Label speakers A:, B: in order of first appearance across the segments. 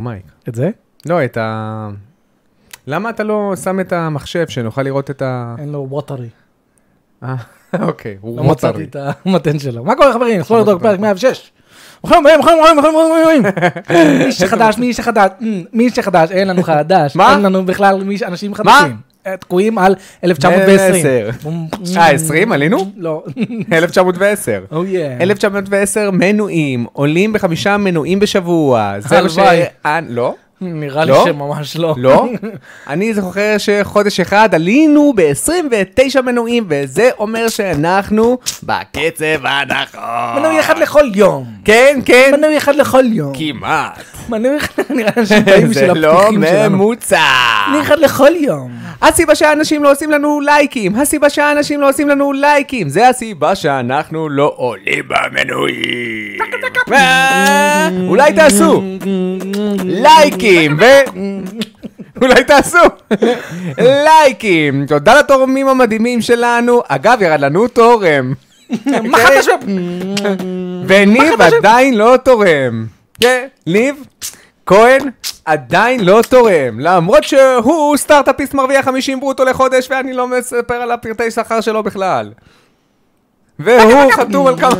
A: מייק.
B: את זה?
A: לא, את ה... למה אתה לא שם את המחשב שנוכל לראות את ה...
B: אין לו ווטרי.
A: אה, אוקיי,
B: לא
A: הוא
B: מצאתי
A: מוצרי.
B: את המתן שלו. מה קורה חברים? אנחנו לא נדבר בפרק
A: אותו.
B: 106. אוכלים, אוכלים, אוכלים, אוכלים, אוכלים, אוכלים, אוכלים. מי שחדש, מי שחדש, אמ, מי שחדש, אין לנו חדש.
A: מה?
B: אין לנו בכלל מי- אנשים חדשים. אה, תקועים על 1920.
A: אה, 20? עלינו?
B: לא.
A: 1910.
B: Oh yeah.
A: 1910 מנויים, עולים בחמישה מנויים בשבוע. זה מה ש...
B: הלוואי.
A: אה, לא?
B: נראה לי
A: לא?
B: שממש לא.
A: לא? אני זוכר שחודש אחד עלינו ב-29 מנויים, וזה אומר שאנחנו בקצב הנכון.
B: מנוי אחד לכל יום.
A: כן, כן.
B: מנוי אחד לכל יום.
A: כמעט.
B: מנוי אחד, נראה לי שהם באים
A: זה
B: בשביל
A: לא
B: הפתיחים שלנו.
A: ממוצע.
B: מנוי אחד לכל יום.
A: הסיבה שאנשים לא עושים לנו לייקים, הסיבה שאנשים לא עושים לנו לייקים, זה הסיבה שאנחנו לא עולים במנויים. אה, אולי תעשו לייקים ו... אולי תעשו לייקים. תודה לתורמים המדהימים שלנו. אגב, ירד לנו תורם. אה,
B: מה
A: אוקיי.
B: חדש?
A: וניב עדיין לא תורם. כן, ניב כהן עדיין לא תורם, למרות שהוא סטארט-אפיסט מרוויח 50 ברוטו לחודש ואני לא מספר על הפרטי שכר שלו בכלל. והוא חתום על כמה...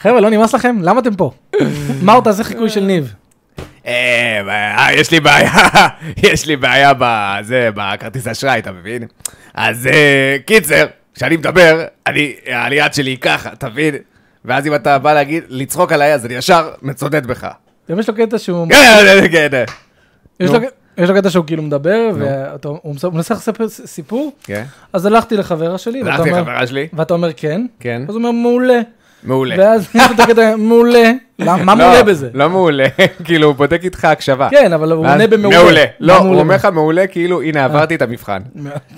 B: חבר'ה, לא נמאס לכם? למה אתם פה? מאור, תעשה חיקוי של ניב.
A: אה, אה, יש לי בעיה, יש לי בעיה בזה, בכרטיס אשראי, אתה מבין? אז אה, קיצר, כשאני מדבר, אני, היד שלי היא ככה, אתה מבין? ואז אם אתה בא להגיד, לצחוק עליי, אז אני ישר מצודד בך.
B: גם יש לו קטע שהוא...
A: כן, כן, כן.
B: יש
A: נו.
B: לו- יש לו קטע שהוא כאילו מדבר, והוא מנסה לספר ס- סיפור,
A: כן.
B: אז הלכתי לחברה שלי, ואתה
A: הלכתי
B: אומר-
A: לחברה שלי,
B: ואתה אומר כן,
A: כן.
B: אז הוא אומר מעולה,
A: מעולה.
B: ואז יש לו את הקטע מעולה, למה- מה
A: לא,
B: מעולה בזה?
A: לא מעולה, כאילו הוא בודק איתך הקשבה.
B: כן, אבל הוא
A: ואז,
B: עונה במעולה.
A: מעולה. לא,
B: מה
A: הוא אומר
B: מעולה? אה.
A: לך מעולה, כאילו, הנה עברתי את המבחן.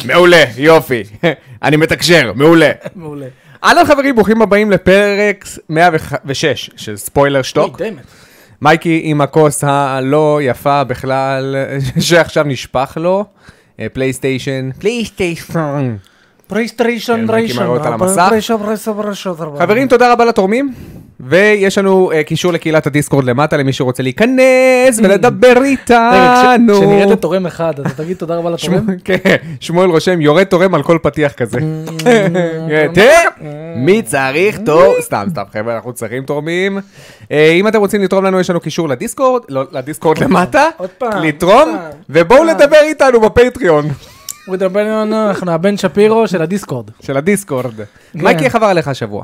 A: מעולה, יופי. אני מתקשר, מעולה.
B: מעולה.
A: אהלן חברים, ברוכים הבאים לפרק 106 של ספוילר שטוק.
B: אוי, דמת.
A: מייקי עם הכוס הלא יפה בכלל, שעכשיו נשפך לו. אה, פלייסטיישן, פלייסטיישן.
B: פרייסטריישן,
A: כן, מייקי
B: ריישן,
A: מראה אותה למסך.
B: פריישן, פריישן, פריישן, פריישן.
A: נכון. חברים, תודה רבה לתורמים, ויש לנו אה, קישור לקהילת הדיסקורד למטה למי שרוצה להיכנס ולדבר
B: רגע, כש-
A: איתנו.
B: אה, כשנראית תורם אחד, אז תגיד תודה רבה לתורם.
A: שמואל- כן, שמואל רושם, יורד תורם על כל פתיח כזה. כן, תראה, מי צריך תור? סתם, סתם, חבר'ה, אנחנו צריכים תורמים. אה, אם אתם רוצים לתרום לנו, יש לנו קישור לדיסקורד, לא, לדיסקורד למטה,
B: עוד פעם,
A: לתרום,
B: עוד פעם,
A: ובואו
B: עוד פעם.
A: לדבר איתנו בפטריון
B: הוא ידבר לנו, אנחנו הבן שפירו של הדיסקורד.
A: של הדיסקורד.
B: כן.
A: מייקי, איך עבר עליך השבוע?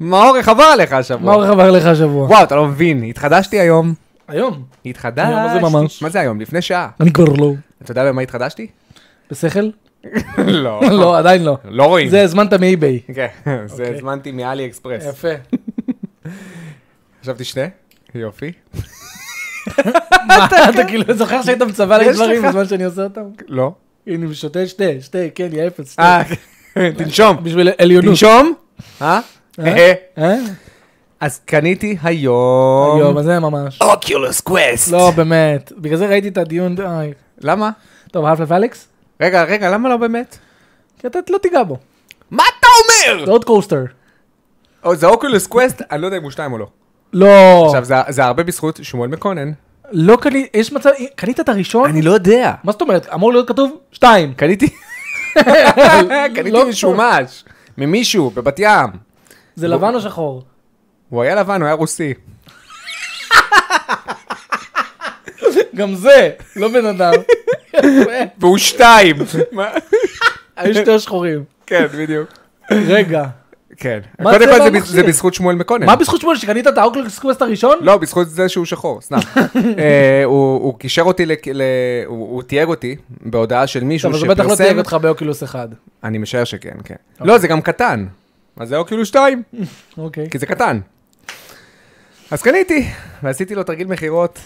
A: מאור, איך עבר עליך
B: מה
A: השבוע?
B: עורך עבר לך השבוע?
A: וואו, אתה לא מבין, התחדשתי היום.
B: היום.
A: התחדשתי.
B: היום זה ממש.
A: לא מה זה היום? לפני שעה.
B: אני כבר לא.
A: אתה יודע במה התחדשתי?
B: בשכל?
A: לא.
B: לא, עדיין לא.
A: לא רואים.
B: זה הזמנת מאי-ביי.
A: כן, זה
B: אוקיי.
A: הזמנתי מאלי אקספרס.
B: יפה.
A: עכשיו תשתה? יופי.
B: אתה כאילו זוכר שהיית מצווה לי
A: יש
B: דברים
A: לך.
B: בזמן שאני עושה אותם?
A: לא.
B: הנה, הוא שותה שתה, שתה, כן, יא אפס, שתה.
A: אה, תנשום.
B: בשביל עליונות.
A: תנשום? אה? אה?
B: אה?
A: אז קניתי היום...
B: יום, אז זה ממש.
A: אוקיולוס קווסט.
B: לא, באמת. בגלל זה ראיתי את הדיון, איי.
A: למה?
B: טוב, האפלף אלכס?
A: רגע, רגע, למה לא באמת?
B: כי אתה לא תיגע בו.
A: מה אתה אומר?
B: זה עוד קוסטר.
A: או, זה אוקיולוס קווסט, אני לא יודע אם הוא שתיים או לא.
B: לא.
A: עכשיו, זה- זה הרבה בזכות שמואל מקונן.
B: לא קנית, יש מצב, קנית את הראשון?
A: לא יודע.
B: מה זאת אומרת? אמור להיות כתוב שתיים.
A: קניתי... קניתי
B: לא-
A: משומש. ממישהו, בבת ים.
B: זה לבן או שחור?
A: הוא היה לבן, הוא היה רוסי.
B: גם זה, לא בן אדם. יפה.
A: והוא שתיים. מה?
B: היו שתי שחורים.
A: כן, בדיוק.
B: רגע.
A: כן.
B: מה
A: קודם
B: צבע
A: כל זה
B: המכשיר?
A: בז- זה בזכות שמואל מקונן.
B: מה בזכות שמואל שקנית את האוקלקס קווסט הראשון?
A: כן. לא, בזכות זה שהוא שחור, סתם. אה, הוא הוא קישר אותי, לק- ל- הוא הוא תייג אותי בהודעה של מישהו
B: טוב, אז
A: שפרסם.
B: הוא בטח לא תייג אותך אוקיי. באוקילוס אחד.
A: אני משער שכן, כן. לא, זה גם קטן. אז זה אוקילוס 2,
B: אוקיי.
A: כי זה קטן. אז קניתי, ועשיתי לו תרגיל מכירות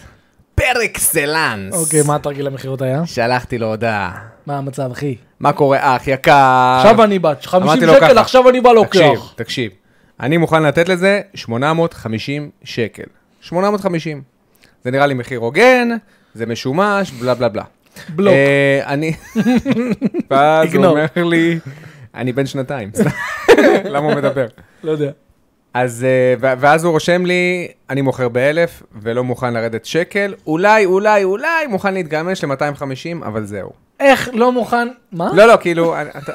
A: פר אקסלנס.
B: אוקיי, מה התרגיל המכירות היה?
A: שלחתי לו הודעה.
B: מה המצב, אחי?
A: מה קורה, אח יקר?
B: עכשיו אני לא בת 50
A: אמרתי לו
B: שקל,
A: ככה.
B: עכשיו אני בא
A: תקשיב,
B: לוקח.
A: תקשיב. אני מוכן לתת לזה 850 שקל. 850. זה נראה לי מחיר הוגן, זה משומש, בלה בלה בלה.
B: בלוק.
A: אה, אני... ואז הוא
B: איגנור.
A: אומר לי, אני בן שנתיים. למה הוא מדבר?
B: לא יודע.
A: אז, אה, ו- ואז הוא רושם לי, אני מוכר באלף ולא מוכן לרדת שקל, אולי, אולי, אולי מוכן להתגמש ל-250, אבל זהו.
B: איך לא מוכן... מה?
A: לא, לא, כאילו, אני- אתה,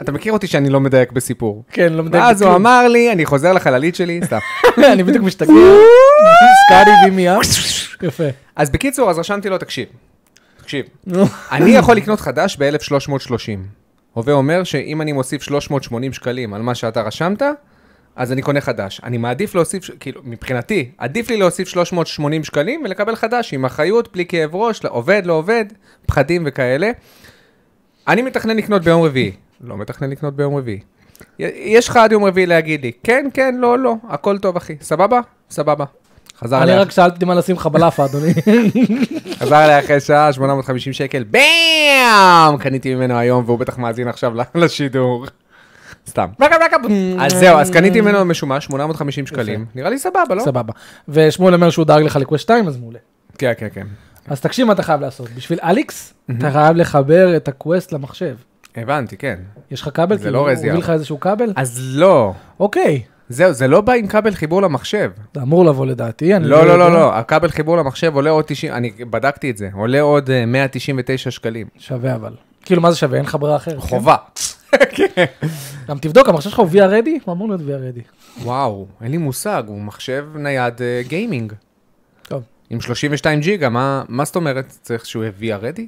A: אתה מכיר אותי שאני לא מדייק בסיפור.
B: כן, לא מדייק.
A: ואז הוא
B: בכלום.
A: אמר לי, אני חוזר לחללית שלי, סתם.
B: אני בדיוק משתגע. סקארי בימי אפ. יפה.
A: אז בקיצור, אז רשמתי לו, תקשיב, תקשיב,
B: נו.
A: אני יכול לקנות חדש ב-1330. הווה אומר שאם אני מוסיף 380 שקלים על מה שאתה רשמת, אז אני קונה חדש. אני מעדיף להוסיף, ש- כאילו, מבחינתי, עדיף לי להוסיף 380 שקלים ולקבל חדש עם אחריות, בלי כאב ראש, לא- עובד, לא עובד, פחדים וכאלה. אני מתכנן לקנות ביום רביעי. לא מתכנן לקנות ביום רביעי. י- יש לך עד יום רביעי להגיד לי, כן, כן, לא, לא, הכל טוב, אחי. סבבה? סבבה. חזר
B: אני
A: אליי
B: רק שאלתי מה לשים לך בלאפה, אדוני.
A: חזר אליי אחרי שעה, 850 שקל, באם! קניתי ממנו היום, והוא בטח מאזין עכשיו לשידור. סתם. אז זהו, אז קניתי ממנו משומש, 850 שקלים. נראה לי סבבה, לא?
B: סבבה. ושמואל אומר שהוא דאג לך לקווי 2, אז מעולה.
A: כן, כן, כן.
B: אז תקשיב מה אתה חייב לעשות. בשביל אליקס, אתה חייב לחבר את הקווסט למחשב.
A: הבנתי, כן.
B: יש לך כבל?
A: זה
B: כאילו,
A: לא
B: הוא
A: רזיאל.
B: הביא לך איזשהו כבל?
A: אז לא.
B: אוקיי.
A: זהו, זה לא בא עם כבל חיבור למחשב.
B: זה אמור לבוא לדעתי. אני
A: לא, לא,
B: יודע.
A: לא, לא. הכבל חיבור למחשב עולה עוד 90, אני בדקתי את זה, עולה עוד אה, 199 שקלים.
B: שווה אבל. כאילו, מה זה שווה? אין לך ברירה אחרת. כן?
A: חובה. כן.
B: גם תבדוק, המחשב שלך הוא VR ready? הוא אמור להיות VR ready.
A: וואו, אין לי מושג, הוא מחשב נייד אה, גיימינג.
B: טוב.
A: עם 32 ג'יגה, מה, מה זאת אומרת? צריך שהוא יהיה VR-ready?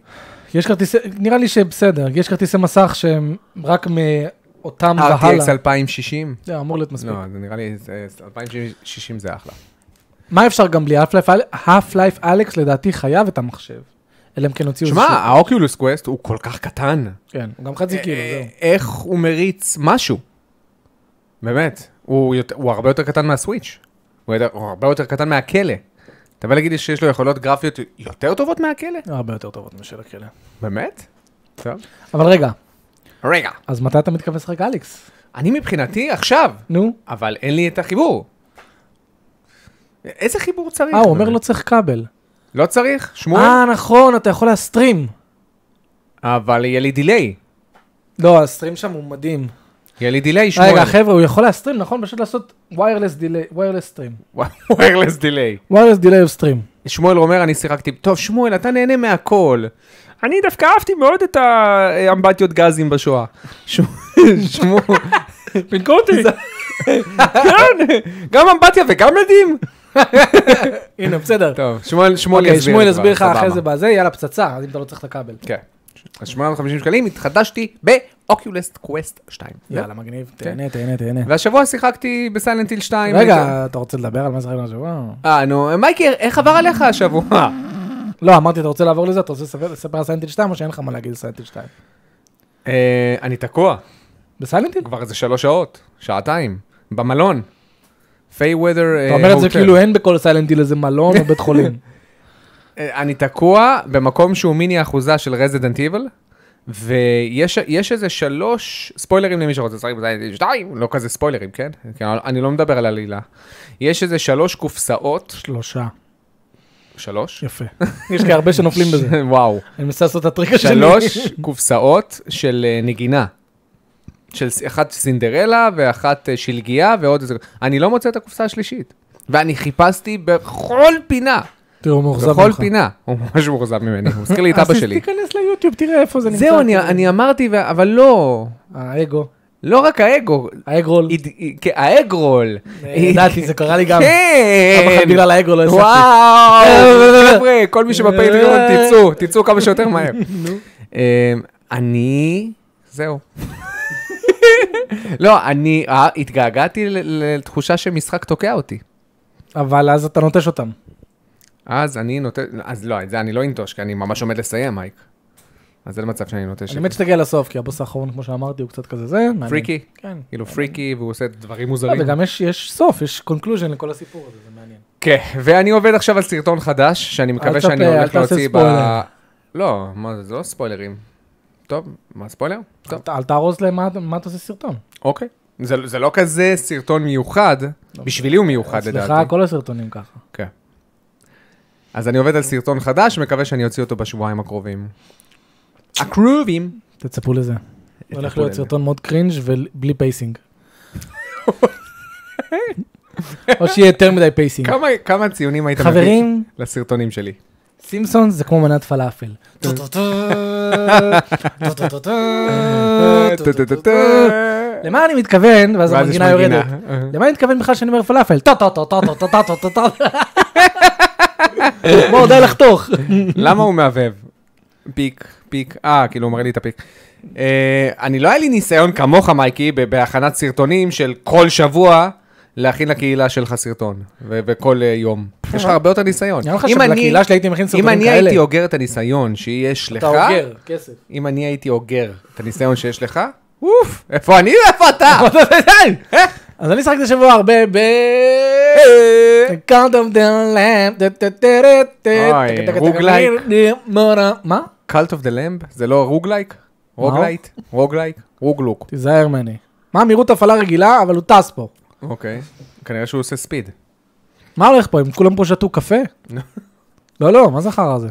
B: יש כרטיסי, נראה לי שבסדר, יש כרטיסי מסך שהם רק מאותם והלאה.
A: RTX 2060?
B: זה אמור להיות אה, מספיק. כאילו
A: לא, זה נראה לי, זה- 2060 זה אחלה.
B: מה אפשר גם בלי האף-לייף אלכס לדעתי חייב את המחשב. אלא אם כן הוציאו
A: שמע,
B: איזשהו-
A: האוקיולוס קווסט הוא כל כך קטן.
B: כן, הוא גם חצי קילו,
A: אה,
B: זהו.
A: איך הוא מריץ משהו? באמת, הוא יות- הוא הרבה יותר קטן מהסוויץ'. הוא יודע- הוא הרבה יותר קטן מהכלא. אתה בא להגיד לי שיש לו יכולות גרפיות יותר טובות מהכלא?
B: הרבה יותר טובות משל הכלא.
A: באמת? טוב.
B: אבל רגע,
A: רגע,
B: אז מתי אתה מתכוון לשחק אלכס?
A: אני מבחינתי עכשיו,
B: נו.
A: אבל אין לי את החיבור. איזה חיבור צריך?
B: אה, הוא אומר
A: באמת?
B: לא צריך כבל.
A: לא צריך, שמואל,
B: אה, נכון, אתה יכול להסטרים. אה.
A: אבל יהיה לי דיליי.
B: לא, הסטרים שם הוא מדהים.
A: יהיה לי דיליי, שמואל.
B: רגע, חבר'ה, הוא יכול להסטרים, נכון? פשוט לעשות ויירלס דיליי, ויירלס סטרים.
A: ויירלס דיליי.
B: ויירלס דיליי אוף סטרים.
A: שמואל אומר, אני שיחקתי, טוב, שמואל, אתה נהנה מהכל. אני דווקא אהבתי מאוד את האמבטיות גזים בשואה. ש- שמואל,
B: פינקו אותי.
A: כן, גם אמבטיה וגם עדים.
B: הנה, בסדר.
A: טוב, שמואל, שמואל יסביר.
B: אוקיי,
A: את זה
B: שמואל
A: כבר,
B: יסביר לך אחרי
A: סבבה.
B: זה בזה, יאללה פצצה, אז אם אתה לא צריך את הכבל.
A: כן. אז 850 שקלים, התחדשתי באוקיולסט קווסט 2.
B: יאללה, מגניב,
A: כן.
B: תהנה, תהנה, תהנה.
A: והשבוע שיחקתי בסיילנט היל 2.
B: רגע, אתה רוצה לדבר על מה זה חייב השבוע?
A: אה, נו, מייקי, איך עבר עליך השבוע?
B: לא, אמרתי, אתה רוצה לעבור לזה, אתה רוצה לספר- לספר על סיינטיל 2 או שאין לך מה להגיד על סיינטיל 2?
A: אה, אני תקוע.
B: בסיינטיל?
A: כבר איזה שלוש שעות, שעתיים, במלון. אה, פיי וודר
B: אתה אומר את זה
A: אוקיי.
B: כאילו אין בכל סיילנטיל איזה מלון או בית חולים.
A: אה, אני תקוע במקום שהוא מיני אחוזה של רזידנט איבל, ויש יש איזה שלוש ספוילרים למי שרוצה לשחק בזיינטיל 2, לא כזה ספוילרים, כן? כן, אני לא מדבר על עלילה. יש איזה שלוש קופסאות,
B: שלושה.
A: שלוש?
B: יפה. יש לי הרבה שנופלים בזה.
A: וואו.
B: אני מנסה לעשות את הטריק השני.
A: שלוש קופסאות של אה, נגינה. של ס- אחת סינדרלה ואחת אה, שלגיה ועוד איזה... אני לא מוצא את הקופסה השלישית. ואני חיפשתי בכל פינה,
B: תראו, הוא מאוכזב ממך. אה,
A: בכל פינה. הוא ממש מאוכזב ממני, הוא מזכיר לי את
B: אז
A: אבא שלי.
B: תיכנס ליוטיוב, תראה איפה זה נמצא.
A: זהו, אני- אני אמרתי, ו- אבל לא,
B: האגו,
A: לא רק האגו,
B: האגרול.
A: הד- כי- האגרול.
B: אה, ידעתי, זה קרה לי גם. פעם אחת
A: כן!
B: בגלל האגו לא אה.
A: וואו,
B: הצלחתי.
A: חבר'ה, כל מי שבפטריון, תצאו, תצאו כמה שיותר מהר. אמ, אני, זהו. לא, אני אה, התגעגעתי ל- לתחושה שמשחק תוקע אותי.
B: אבל אז אתה נוטש אותם.
A: אז אני נוטש, אז לא, את זה אני לא אנטוש, כי אני ממש עומד לסיים, מייק. אז זה מצב שאני נוטש.
B: אני מת שתגיע לסוף, כי הבוס האחרון, כמו שאמרתי, הוא קצת כזה זה. מעניין.
A: פריקי,
B: כן. אה,
A: כאילו פריקי, והוא עושה דברים מוזרים.
B: לא, וגם יש- יש סוף, יש קונקלוז'ן לכל הסיפור הזה, זה מעניין.
A: כן, ואני עובד עכשיו על סרטון חדש, שאני מקווה
B: תספר,
A: שאני
B: אל
A: הולך
B: תעשה
A: להוציא ב...
B: ספוילר.
A: לא, מה, זה לא ספוילרים. טוב, מה ספוילר? טוב,
B: אל תארוז להם מה- מה אתה עושה סרטון.
A: אוקיי. זה זה לא כזה סרטון מיוחד,
B: לא
A: בשבילי הוא מיוחד
B: אצלך
A: לדעתי.
B: כל הסרטונים ככה.
A: כן. אז אני עובד על סרטון חדש, מקווה שאני אוציא אותו בשבועיים הקרובים. הקרובים.
B: תצפו לזה. הולך להיות
A: לזה.
B: סרטון מאוד קרינג' ובלי פייסינג. או שיהיה יותר מדי פייסינג.
A: כמה, כמה ציונים היית
B: חברים?
A: מביא לסרטונים שלי?
B: סימפסון זה כמו מנת פלאפל. למה אני מתכוון? ואז
A: ואז יש
B: המנגינה
A: מנגינה.
B: יורדת.
A: אה.
B: למה אני מתכוון בכלל שאני אומר פלאפל? טו טו טו טו טו טו טו טו טו. בואו די לחתוך.
A: נכון. למה הוא מהבהב? פיק, פיק, אה, כאילו הוא מראה לי את הפיק. אה, אני לא היה לי ניסיון כמוך, מייקי, ב- בהכנת סרטונים של כל שבוע. להכין לקהילה שלך סרטון, ו- וכל אה, יום. יש לך הרבה יותר ניסיון.
B: נראה לך
A: אם אני-
B: שבקהילה שלי הייתי מכין
A: אם
B: סרטונים
A: אני
B: כאלה.
A: הייתי אוגר את הניסיון שיש לך,
B: אתה אוגר, כסף.
A: אם אני הייתי אוגר את הניסיון שיש לך, אוף, איפה אני ואיפה אתה?
B: אה? אז אני שחקתי השבוע הרבה ב... Count of the lamp.
A: אוי, רוגלייק.
B: מה?
A: קלט אוף דה למב? זה לא רוגלייק? רוגלייט? רוגלייק? רוגלוק.
B: תיזהר ממני. מה מהירות הפעלה רגילה, אבל הוא טס פה.
A: אוקיי. כנראה שהוא עושה ספיד.
B: מה הולך פה? הם כולם פה שתו קפה? לא, לא, מה זה החרא הזה?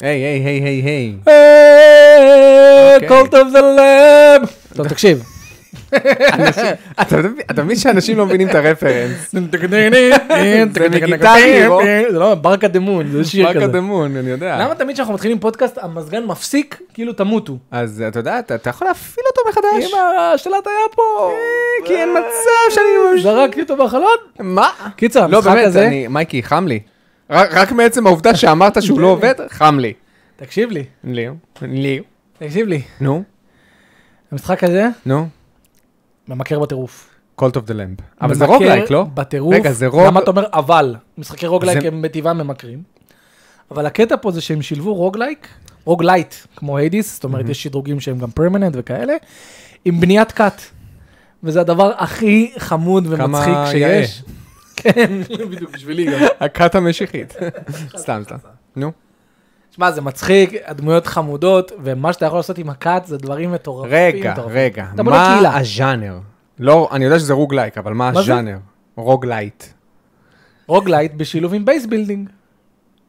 A: היי, היי, היי, היי, היי.
B: אה,
A: אוקיי.
B: קולט אוף דה לב. טוב, תקשיב.
A: אתה מבין- אתה מבין שאנשים לא מבינים את הרפרנס.
B: זה
A: מגיטה הירו.
B: זה לא, ברקה דה מון, זה שיר
A: פארק
B: כזה.
A: הדמון, אני יודע.
B: למה תמיד כשאנחנו מתחילים פודקאסט, המזגן מפסיק, כאילו תמותו?
A: אז אתה יודע, אתה אתה יכול להפעיל אותו מחדש.
B: אמא, השלט היה פה.
A: אה, כי אין מצב שאני... ממש-
B: זרקתי אותו בחלון.
A: מה?
B: קיצר,
A: כן. לא,
B: המשחק
A: באמת,
B: הזה,
A: אני... מייקי, חם לי. רק רק מעצם העובדה שאמרת שהוא לא עובד, חם לי.
B: תקשיב לי,
A: לי. לי.
B: תקשיב לי.
A: נו,
B: המשחק הזה
A: נו.
B: ממכר בטירוף.
A: קולט אוף דה למב. אבל זה
B: ממכר
A: רוגלייק, לא?
B: בטירוף.
A: רגע, זה רוג...
B: למה אתה אומר אבל? משחקי רוגלייק
A: זה-
B: הם בטבעם ממכרים. אבל הקטע פה זה שהם שילבו רוגלייק, רוגלייט, כמו היידיס, זאת אומרת יש שדרוגים שהם גם פרמננט וכאלה, עם בניית קאט. וזה הדבר הכי חמוד ומצחיק
A: כמה יאה.
B: שיש. כן, בדיוק, בשבילי גם.
A: הכת המשיחית. סתם, סתם. נו.
B: שמע, זה מצחיק, הדמויות חמודות, ומה שאתה יכול לעשות עם הקאט זה דברים מטורפים.
A: רגע,
B: מטורפים.
A: רגע.
B: אתה בונה
A: מה
B: לא קהילה.
A: הז'אנר? לא, אני יודע שזה רוגלייק, אבל מה
B: מה זה?
A: הז'אנר? רוגלייט.
B: רוגלייט בשילוב עם בייס בילדינג.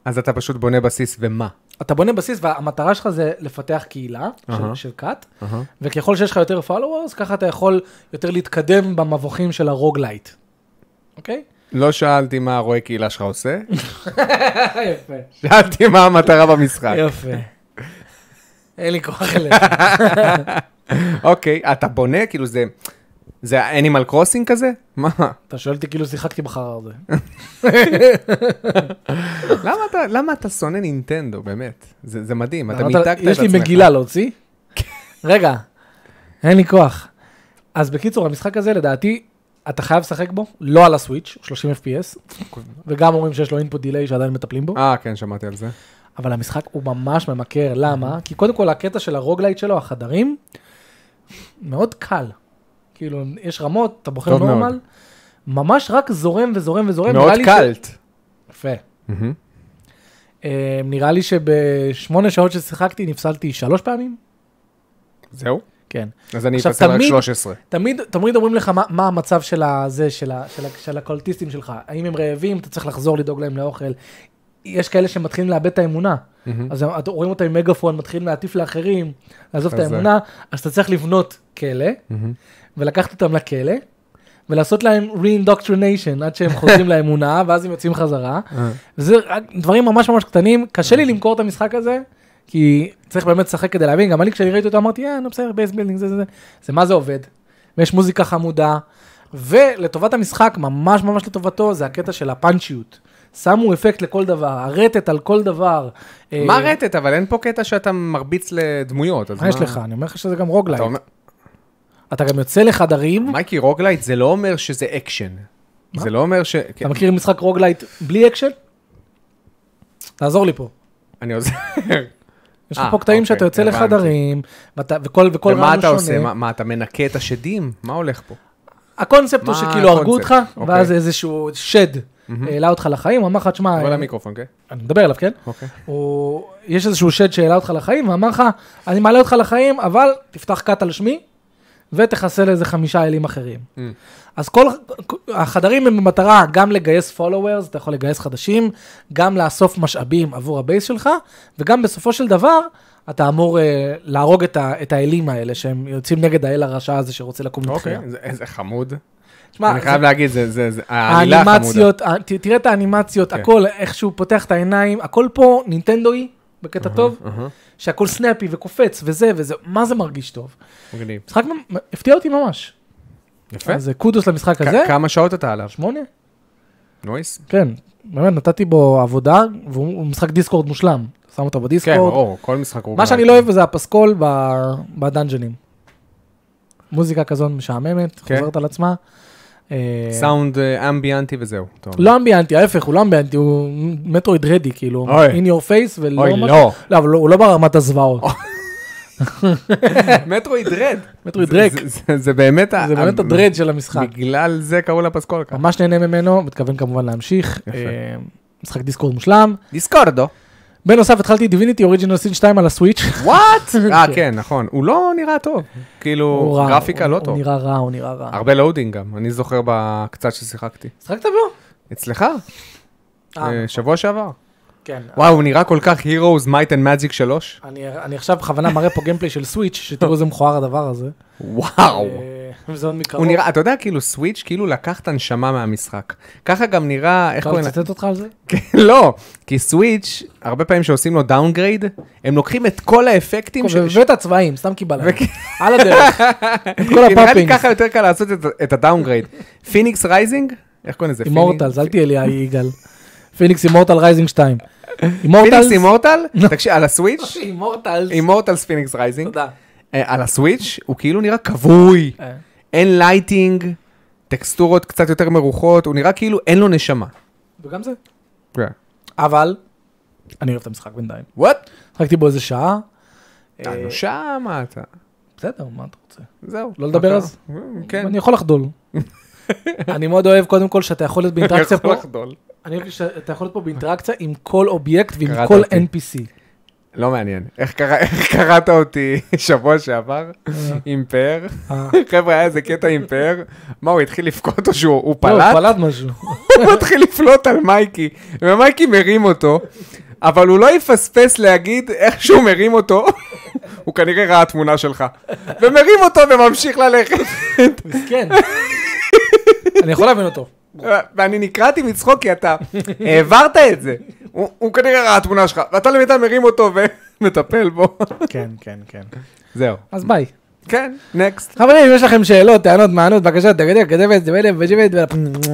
A: אז אתה פשוט בונה בסיס ומה?
B: אתה בונה בסיס והמטרה שלך זה לפתח קהילה של-
A: אהה.
B: של קאט,
A: אהה.
B: וככל שיש לך יותר followers, ככה אתה יכול יותר להתקדם במבוכים של הרוגלייט. אוקיי?
A: לא שאלתי מה הרואה קהילה שלך עושה,
B: יפה.
A: שאלתי מה המטרה במשחק.
B: יפה. אין לי כוח אליך.
A: אוקיי, אתה בונה, כאילו זה... זה האנימל קרוסינג כזה? מה?
B: אתה שואל אותי כאילו שיחקתי בחרא הזה.
A: למה אתה- למה אתה שונא נינטנדו, באמת? זה זה מדהים, אתה
B: אמרת,
A: מיתקת את עצמך.
B: יש לי מגילה להוציא? רגע, אין לי כוח. אז בקיצור, המשחק הזה לדעתי, אתה חייב לשחק בו, לא על הסוויץ', 30 FPS, וגם אומרים שיש לו אינפוט דיליי שעדיין מטפלים בו.
A: אה, כן, שמעתי על זה.
B: אבל המשחק הוא ממש ממכר, למה? כי קודם כל הקטע של הרוגלייט שלו, החדרים, מאוד קל. כאילו, יש רמות, אתה בוחר
A: טוב מאוד.
B: נורמל, ממש רק זורם וזורם וזורם.
A: מאוד
B: נראה לי ש-
A: קלט.
B: יפה. אה, נראה לי שבשמונה שעות ששיחקתי נפסלתי שלוש פעמים.
A: זהו?
B: כן.
A: אז אני
B: עכשיו,
A: אפסל רק
B: תמיד-
A: 13.
B: תמיד, תמיד אומרים לך מה, מה המצב של הזה, של, ה, של, ה, של הקולטיסטים שלך. האם הם רעבים, אתה צריך לחזור לדאוג להם לאוכל. יש כאלה שמתחילים לאבד את האמונה. אז הם- את- רואים אותם עם מגאפון, מתחילים להטיף לאחרים, לעזוב את
A: חזק.
B: האמונה, אז אתה צריך לבנות כלא, ולקחת אותם לכלא, ולעשות להם re-indoctrination עד שהם חוזרים לאמונה, ואז הם יוצאים חזרה. זה רק דברים ממש ממש קטנים, קשה לי למכור את המשחק הזה, כי צריך באמת לשחק כדי להבין, גם אני כשאני ראיתי אותו אמרתי, אה, נו בסדר, בייס בילדינג, זה זה זה, זה מה זה עובד, ויש מוזיקה חמודה, ולטובת המשחק, ממש ממש לטובתו, זה הקטע של הפאנצ'יות. שמו אפקט לכל דבר, הרטט על כל דבר. אה,
A: מה רטט? אבל אין פה קטע שאתה מרביץ לדמויות, אז מה...
B: מה אה, יש לך? אני אומר לך שזה גם
A: אתה
B: רוגלייט.
A: אומר-
B: אתה גם יוצא לחדרים,
A: מייקי, רוגלייט זה לא אומר שזה אקשן. זה לא אומר ש... כן,
B: אתה מכיר משחק רוגלייט בלי אקשן? תעזור לי פה.
A: אני עוזר.
B: יש לך
A: אה,
B: פה קטעים
A: אוקיי,
B: שאתה יוצא
A: הבנתי.
B: לחדרים, ואתה- וכל וכל רעיון
A: ומה
B: הוא שונה. אה,
A: אתה עושה? מה- מה, אתה מנקה את השדים? מה הולך פה?
B: הקונספט הוא
A: מה
B: שכאילו הרגו אותך,
A: הקונספט? אוקיי.
B: ואז איזשהו שד העלה אותך לחיים, הוא אמר לך, תשמע,
A: אבל
B: אה,
A: המיקרופון, כן?
B: אני מדבר אליו, כן?
A: אוקיי.
B: הוא- יש איזשהו שד שהעלה אותך לחיים, ואמר לך, אני מעלה אותך לחיים, אבל תפתח כת על שמי, ותחסל איזה חמישה אלים אחרים.
A: Mm.
B: אז כל החדרים הם במטרה גם לגייס followers, אתה יכול לגייס חדשים, גם לאסוף משאבים עבור הבייס שלך, וגם בסופו של דבר, אתה אמור אה, להרוג את, ה, את האלים האלה, שהם יוצאים נגד האל הרשע הזה שרוצה לקום לתחייה.
A: אוקיי, זה- איזה חמוד.
B: שמע,
A: אני
B: זה-
A: אוקיי. חייב להגיד, זה- זה זה- העלילה חמודה.
B: האנימציות, ה- ת- תראה את האנימציות,
A: כן.
B: הכל, איך שהוא פותח את העיניים, הכל פה נינטנדואי, בקטע טוב, שהכל סנאפי וקופץ וזה וזה, מה זה מרגיש טוב.
A: מגניב.
B: משחק מ- הפתיע אותי ממש.
A: יפה.
B: אז אה, קודוס למשחק הזה.
A: כ- כמה שעות אתה עליו?
B: שמונה?
A: נויס?
B: כן, באמת, נתתי בו עבודה, והוא הוא משחק דיסקורד מושלם. שם אותו
A: כן,
B: בדיסקורד.
A: ברור, כל משחק הוא...
B: מה שאני לא אוהב זה הפסקול ב- בדאנג'לים. מוזיקה כזאת משעממת,
A: כן.
B: חוזרת על עצמה. אה,
A: סאונד אה, אמביאנטי וזהו. אתה אומר.
B: לא אמביאנטי, ההפך, הוא לא אמביאנטי, הוא מטרויד רדי, כאילו,
A: אוי.
B: in your face, ולא
A: אוי,
B: משהו-
A: לא.
B: לא, אבל הוא לא ברמת הזוועות.
A: מטרואיד רד.
B: מטרויד
A: זה-
B: דרק,
A: זה- זה- זה באמת... ה-
B: זה באמת
A: ה-
B: הדרד אמ- של המשחק.
A: בגלל זה קראו לפסקול ככה.
B: ממש נהנה ממנו, מתכוון כמובן להמשיך.
A: יפה.
B: אה, משחק דיסקורד מושלם.
A: דיסקורדו.
B: בנוסף, התחלתי דיביניטי אוריג'ינל סין 2 על הסוויץ'.
A: וואט? אה, כן, נכון. הוא לא נראה טוב. כאילו,
B: הוא רע,
A: גרפיקה
B: הוא-
A: לא טוב. אה.
B: הוא נראה רע, הוא נראה רע.
A: הרבה לואודינג גם, אני זוכר בקצת ששיחקתי.
B: משחק תבוא.
A: אצלך? אה, שבוע שעבר.
B: כן.
A: וואו, הוא נראה כל כך Heroes Might and Magic 3.
B: אני אני עכשיו בכוונה מראה פה גיימפליי של סוויץ', שתראו איזה מכוער הדבר הזה.
A: וואו.
B: אה, וזה עוד מקרוב.
A: הוא נראה, אתה יודע, כאילו סוויץ', כאילו לקח את הנשמה מהמשחק. ככה גם נראה, איך
B: אפשר
A: קוראים לזה?
B: לצטט אותך על זה?
A: כן, לא, כי סוויץ', הרבה פעמים שעושים לו דאונגרייד, הם לוקחים את כל האפקטים ש... ש-
B: ואת הצבעים, סתם קיבלה.
A: וכן.
B: על הדרך. את כל
A: כי נראה לי
B: הפאפינג.
A: ככה יותר קל לעשות את- את הדאונגרייד. פיניקס רייזינג? איך קוראים לזה? פיני-
B: אימורטלס, אל תהיה לי יגאל. פיניקס אימורטל רייזינג 2.
A: פיניקס
B: אימורטלס.
A: אימורטל? תקשיב, על הסוויץ',
B: אימורטלס.
A: אימורטלס פיניקס רייזינג,
B: תודה.
A: אה, על הסוויץ', הוא כאילו נראה כבוי,
B: אה.
A: אין לייטינג, טקסטורות קצת יותר מרוחות, הוא נראה כאילו אין לו נשמה.
B: וגם זה. אבל, אני אוהב את המשחק בינתיים.
A: וואט?
B: שחקתי בו איזה שעה. אה,
A: נו שמה אתה.
B: בסדר, מה אתה רוצה?
A: זהו.
B: לא לדבר
A: אתה-
B: אז?
A: כן.
B: אני יכול לחדול. אני מאוד אוהב קודם כל שאתה יכול להיות באינטראקציה
A: יכול
B: פה,
A: לחדול.
B: אני אוהב שאתה יכול להיות פה באינטראקציה עם כל אובייקט ועם
A: קראת
B: כל
A: אותי.
B: NPC.
A: לא מעניין. איך קרא- איך קראת אותי שבוע שעבר עם פאר?
B: אה.
A: חבר'ה, היה איזה קטע עם פאר. מה, הוא התחיל לבכות או שהוא הוא
B: לא, הוא
A: פלט?
B: פלט משהו.
A: הוא מתחיל לפלוט על מייקי, ומייקי מרים אותו, אבל הוא לא יפספס להגיד איך שהוא מרים אותו, הוא כנראה ראה תמונה שלך. ומרים אותו וממשיך ללכת.
B: מסכן. אני יכול להבין אותו.
A: ואני נקרעתי מצחוק כי אתה העברת את זה. הוא הוא כנראה ראה תמונה שלך, ואתה למיטה מרים אותו ומטפל בו.
B: כן, כן, כן.
A: זהו.
B: אז ביי.
A: כן, נקסט.
B: חברים, אם יש לכם שאלות, טענות, מענות, בקשות, תגידו, כתבת, דבלת, וג'יבלת, טענות,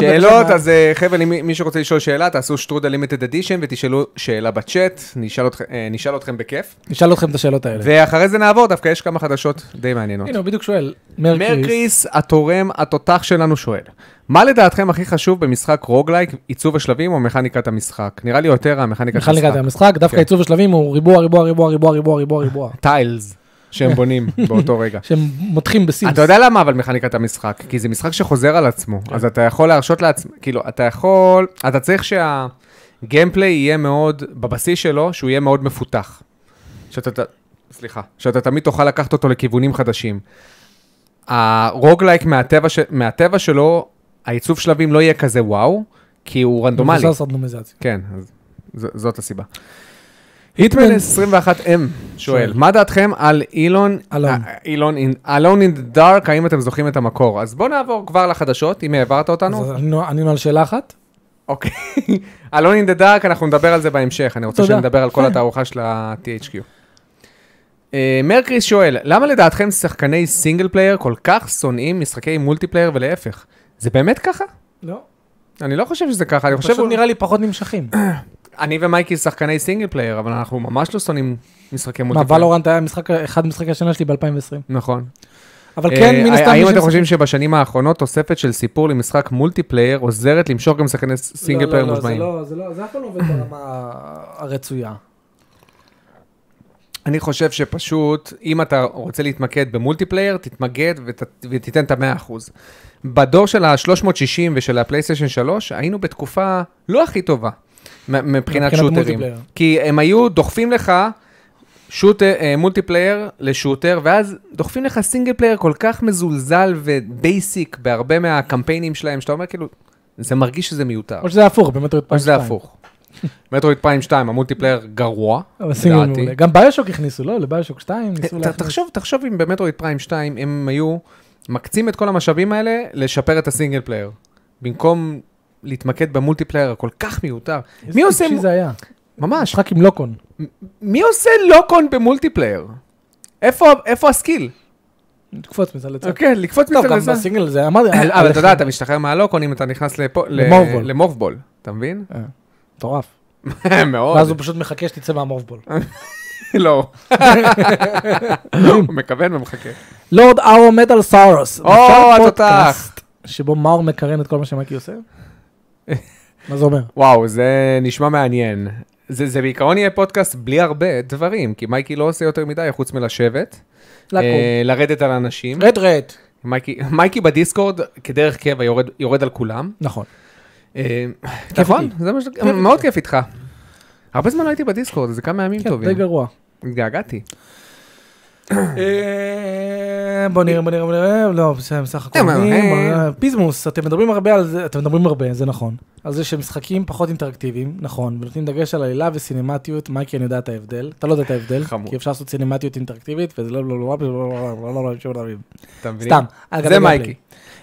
A: שאלות,
B: בבקשה,
A: אז אה, חבר'ה, למי- מי שרוצה לשאול שאלה, תעשו שטרודה לימטד אדישן ותשאלו שאלה בצ'אט, נשאל אתכ- אה, נשאל אתכם בכיף.
B: נשאל אתכם את השאלות האלה.
A: ואחרי זה נעבור, דווקא יש כמה חדשות די מעניינות.
B: הנה, הוא בדיוק שואל, מרקריס,
A: מרקריס, התורם, התותח שלנו שואל, מה לדעתכם הכי חשוב במשחק רוגלייק, עיצוב השלבים או מכניקת המשחק? נראה לי יותר המכניקת
B: מיכל נגעת
A: המשחק.
B: המשחק, דווקא
A: כן.
B: עיצוב השלבים הוא ריבוע, ריבוע, ריבוע, ריבוע, ריבוע, ריבוע, ריבוע,
A: טיילס שהם בונים באותו רגע.
B: שהם מותחים בסימס.
A: אתה יודע למה אבל מכניקת המשחק? כי זה משחק שחוזר על עצמו, אז אתה יכול להרשות לעצמך, כאילו, אתה יכול, אתה צריך שהגיימפליי יהיה מאוד, בבסיס שלו, שהוא יהיה מאוד מפותח. שאתה, ת- סליחה, שאתה תמיד תוכל לקחת אותו לכיוונים חדשים. הרוגלייק מהטבע, ש- מהטבע שלו, העיצוב שלבים לא יהיה כזה וואו, כי הוא רנדומלי.
B: מבוסס רנדומיזציה.
A: כן, אז ז- זאת הסיבה. היטמן 21M שואל,
B: שואל.
A: מה דעתכם על אילון,
B: אלון.
A: אה, אילון, אין- אלון אין דארק, האם אתם זוכרים את המקור? אז בוא נעבור כבר לחדשות, אם העברת אותנו.
B: אז ענינו- ענינו על שאלה אחת,
A: אוקיי. אלון אין דה דארק, אנחנו נדבר על זה בהמשך, אני רוצה
B: תודה. כן.
A: שנדבר על כל התערוכה של ה-THQ. אה, מרקריס שואל, למה לדעתכם שחקני סינגל פלייר כל כך שונאים משחקי מולטיפלייר ולהפך? זה באמת ככה?
B: לא,
A: אני לא חושב שזה ככה, אני חושב...
B: פשוט נראה לי פחות נמשכים.
A: אני ומייקי שחקני סינגל פלייר, אבל אנחנו ממש לא שונאים משחקי
B: מה,
A: מולטיפלייר.
B: ולורנט היה משחק, אחד משחקי השנה שלי ב-2020.
A: נכון.
B: אבל
A: אה,
B: כן, מן הסתם...
A: האם
B: מי
A: אתם
B: שמשחק-
A: חושבים שבשנים האחרונות תוספת של סיפור למשחק מולטיפלייר עוזרת למשוך גם שחקני ס- סינגל
B: לא,
A: פלייר
B: לא, לא,
A: מושבעים?
B: זה לא, זה לא, זה אף פעם לא עובד ברמה הרצויה.
A: אני חושב שפשוט, אם אתה רוצה להתמקד במולטיפלייר, תתמקד ות- ותיתן את המאה אחוז. בדור של ה-360 ושל הפלייסטיישן 3, היינו בתקופה לא הכי טובה מ- מבחינת
B: מבחינת
A: שוטרים.
B: מולטיפלייר.
A: כי הם היו דוחפים לך שוטר, אה, מולטיפלייר לשוטר, ואז דוחפים לך סינגל פלייר כל כך מזולזל ובייסיק בהרבה מהקמפיינים שלהם, שאתה אומר כאילו, זה מרגיש שזה מיותר.
B: או שזה הפוך, באמת הוא
A: או
B: התפעל
A: שזה
B: שתיים.
A: הפוך. מטרויד פריים 2, המולטיפלייר גרוע,
B: אבל סינגל
A: לדעתי.
B: מעולה. גם ביושוק הכניסו, לא? לביושוק 2 ניסו
A: ת-
B: להכניס.
A: תחשוב, תחשוב אם במטרואיד פריים 2 הם היו מקצים את כל המשאבים האלה לשפר את הסינגל פלייר. במקום להתמקד במולטיפלייר הכל כך מיותר. מי עושה... אה,
B: טיפשי זה היה?
A: ממש,
B: משחק עם לוקון.
A: מי עושה לוקון במולטיפלייר? איפה איפה הסקיל?
B: תקפוץ מצד לצד.
A: כן, לקפוץ
B: טוב,
A: מזה
B: גם
A: לזה.
B: בסינגל זה אמרתי. על-
A: אבל אתה
B: עליך.
A: יודע, אתה משתחרר מהלוקון אם אתה נכנס לפו- ל-
B: למורבול.
A: למורבול, אתה מבין?
B: אה, מטורף.
A: מאוד.
B: ואז הוא פשוט מחכה שתצא מהמורבול.
A: לא. הוא מכוון ומחכה.
B: לורד אאו מטאל סאורס.
A: או, התותח.
B: שבו מאור מקרן את כל מה שמקי עושה? מה זה אומר?
A: וואו, זה נשמע מעניין. זה, זה בעיקרון יהיה פודקאסט בלי הרבה דברים, כי מייקי לא עושה יותר מדי חוץ מלשבת,
B: לקום.
A: אה, לרדת על אנשים.
B: רד רד.
A: מייקי, מייקי בדיסקורד כדרך קבע יורד, יורד על כולם.
B: נכון.
A: אה,
B: כיף
A: נכון,
B: איתי.
A: זה מה ש... מאוד כיף איתך. הרבה זמן לא הייתי בדיסקורד, זה כמה ימים
B: כן, די
A: טובים.
B: גרוע.
A: התגעגעתי.
B: אה, בוא נראה, בוא נראה, בוא נראה, לא, בסדר, בסך הכל.
A: אה, מה,
B: אני-
A: אה.
B: פיזמוס, אתם מדברים הרבה על זה, אתם מדברים הרבה, זה נכון. על זה שמשחקים פחות אינטראקטיביים, נכון, ונותנים דגש על עלילה וסינמטיות, מייקי, אני יודע את ההבדל, אתה לא יודע את ההבדל,
A: חמוד.
B: כי אפשר לעשות סינמטיות אינטראקטיבית, וזה לא, לא, לא, לא, לא, לא, לא, לא, לא, שום דבר.
A: אתה מבין?
B: סתם. אגב,
A: זה
B: אגב,
A: מייקי.
B: פליי.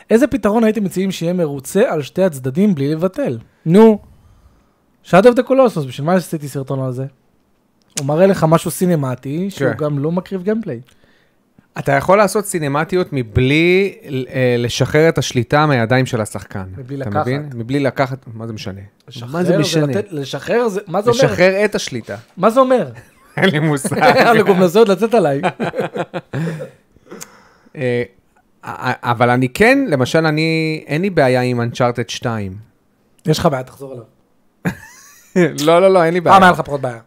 B: איזה פתרון הייתם מציעים שיהיה מרוצה על שתי הצדדים בלי לבטל? נו, שאד אוף דה קולוסוס, בשביל מה עשיתי סרטון על זה? הוא מראה לך משהו סינמטי, שהוא
A: כן.
B: גם לא מקריב גיימפליי.
A: אתה יכול לעשות סינמטיות מבלי אה, לשחרר את השליטה מהידיים של השחקן.
B: מבלי
A: אתה
B: לקחת.
A: מבין? מבלי לקחת, מה זה משנה? מה
B: לשחרר
A: זה משנה?
B: ולתת- לשחרר זה, מה זה אומר?
A: לשחרר את השליטה.
B: מה זה אומר?
A: אין לי מושג.
B: הלגומנזות לצאת עליי.
A: אה, אבל אני כן, למשל, אני, אין לי בעיה עם Uncharted 2.
B: יש לך בעיה, תחזור אליו.
A: לא, לא, לא, אין לי בעיה.
B: פעם היה לך פחות בעיה.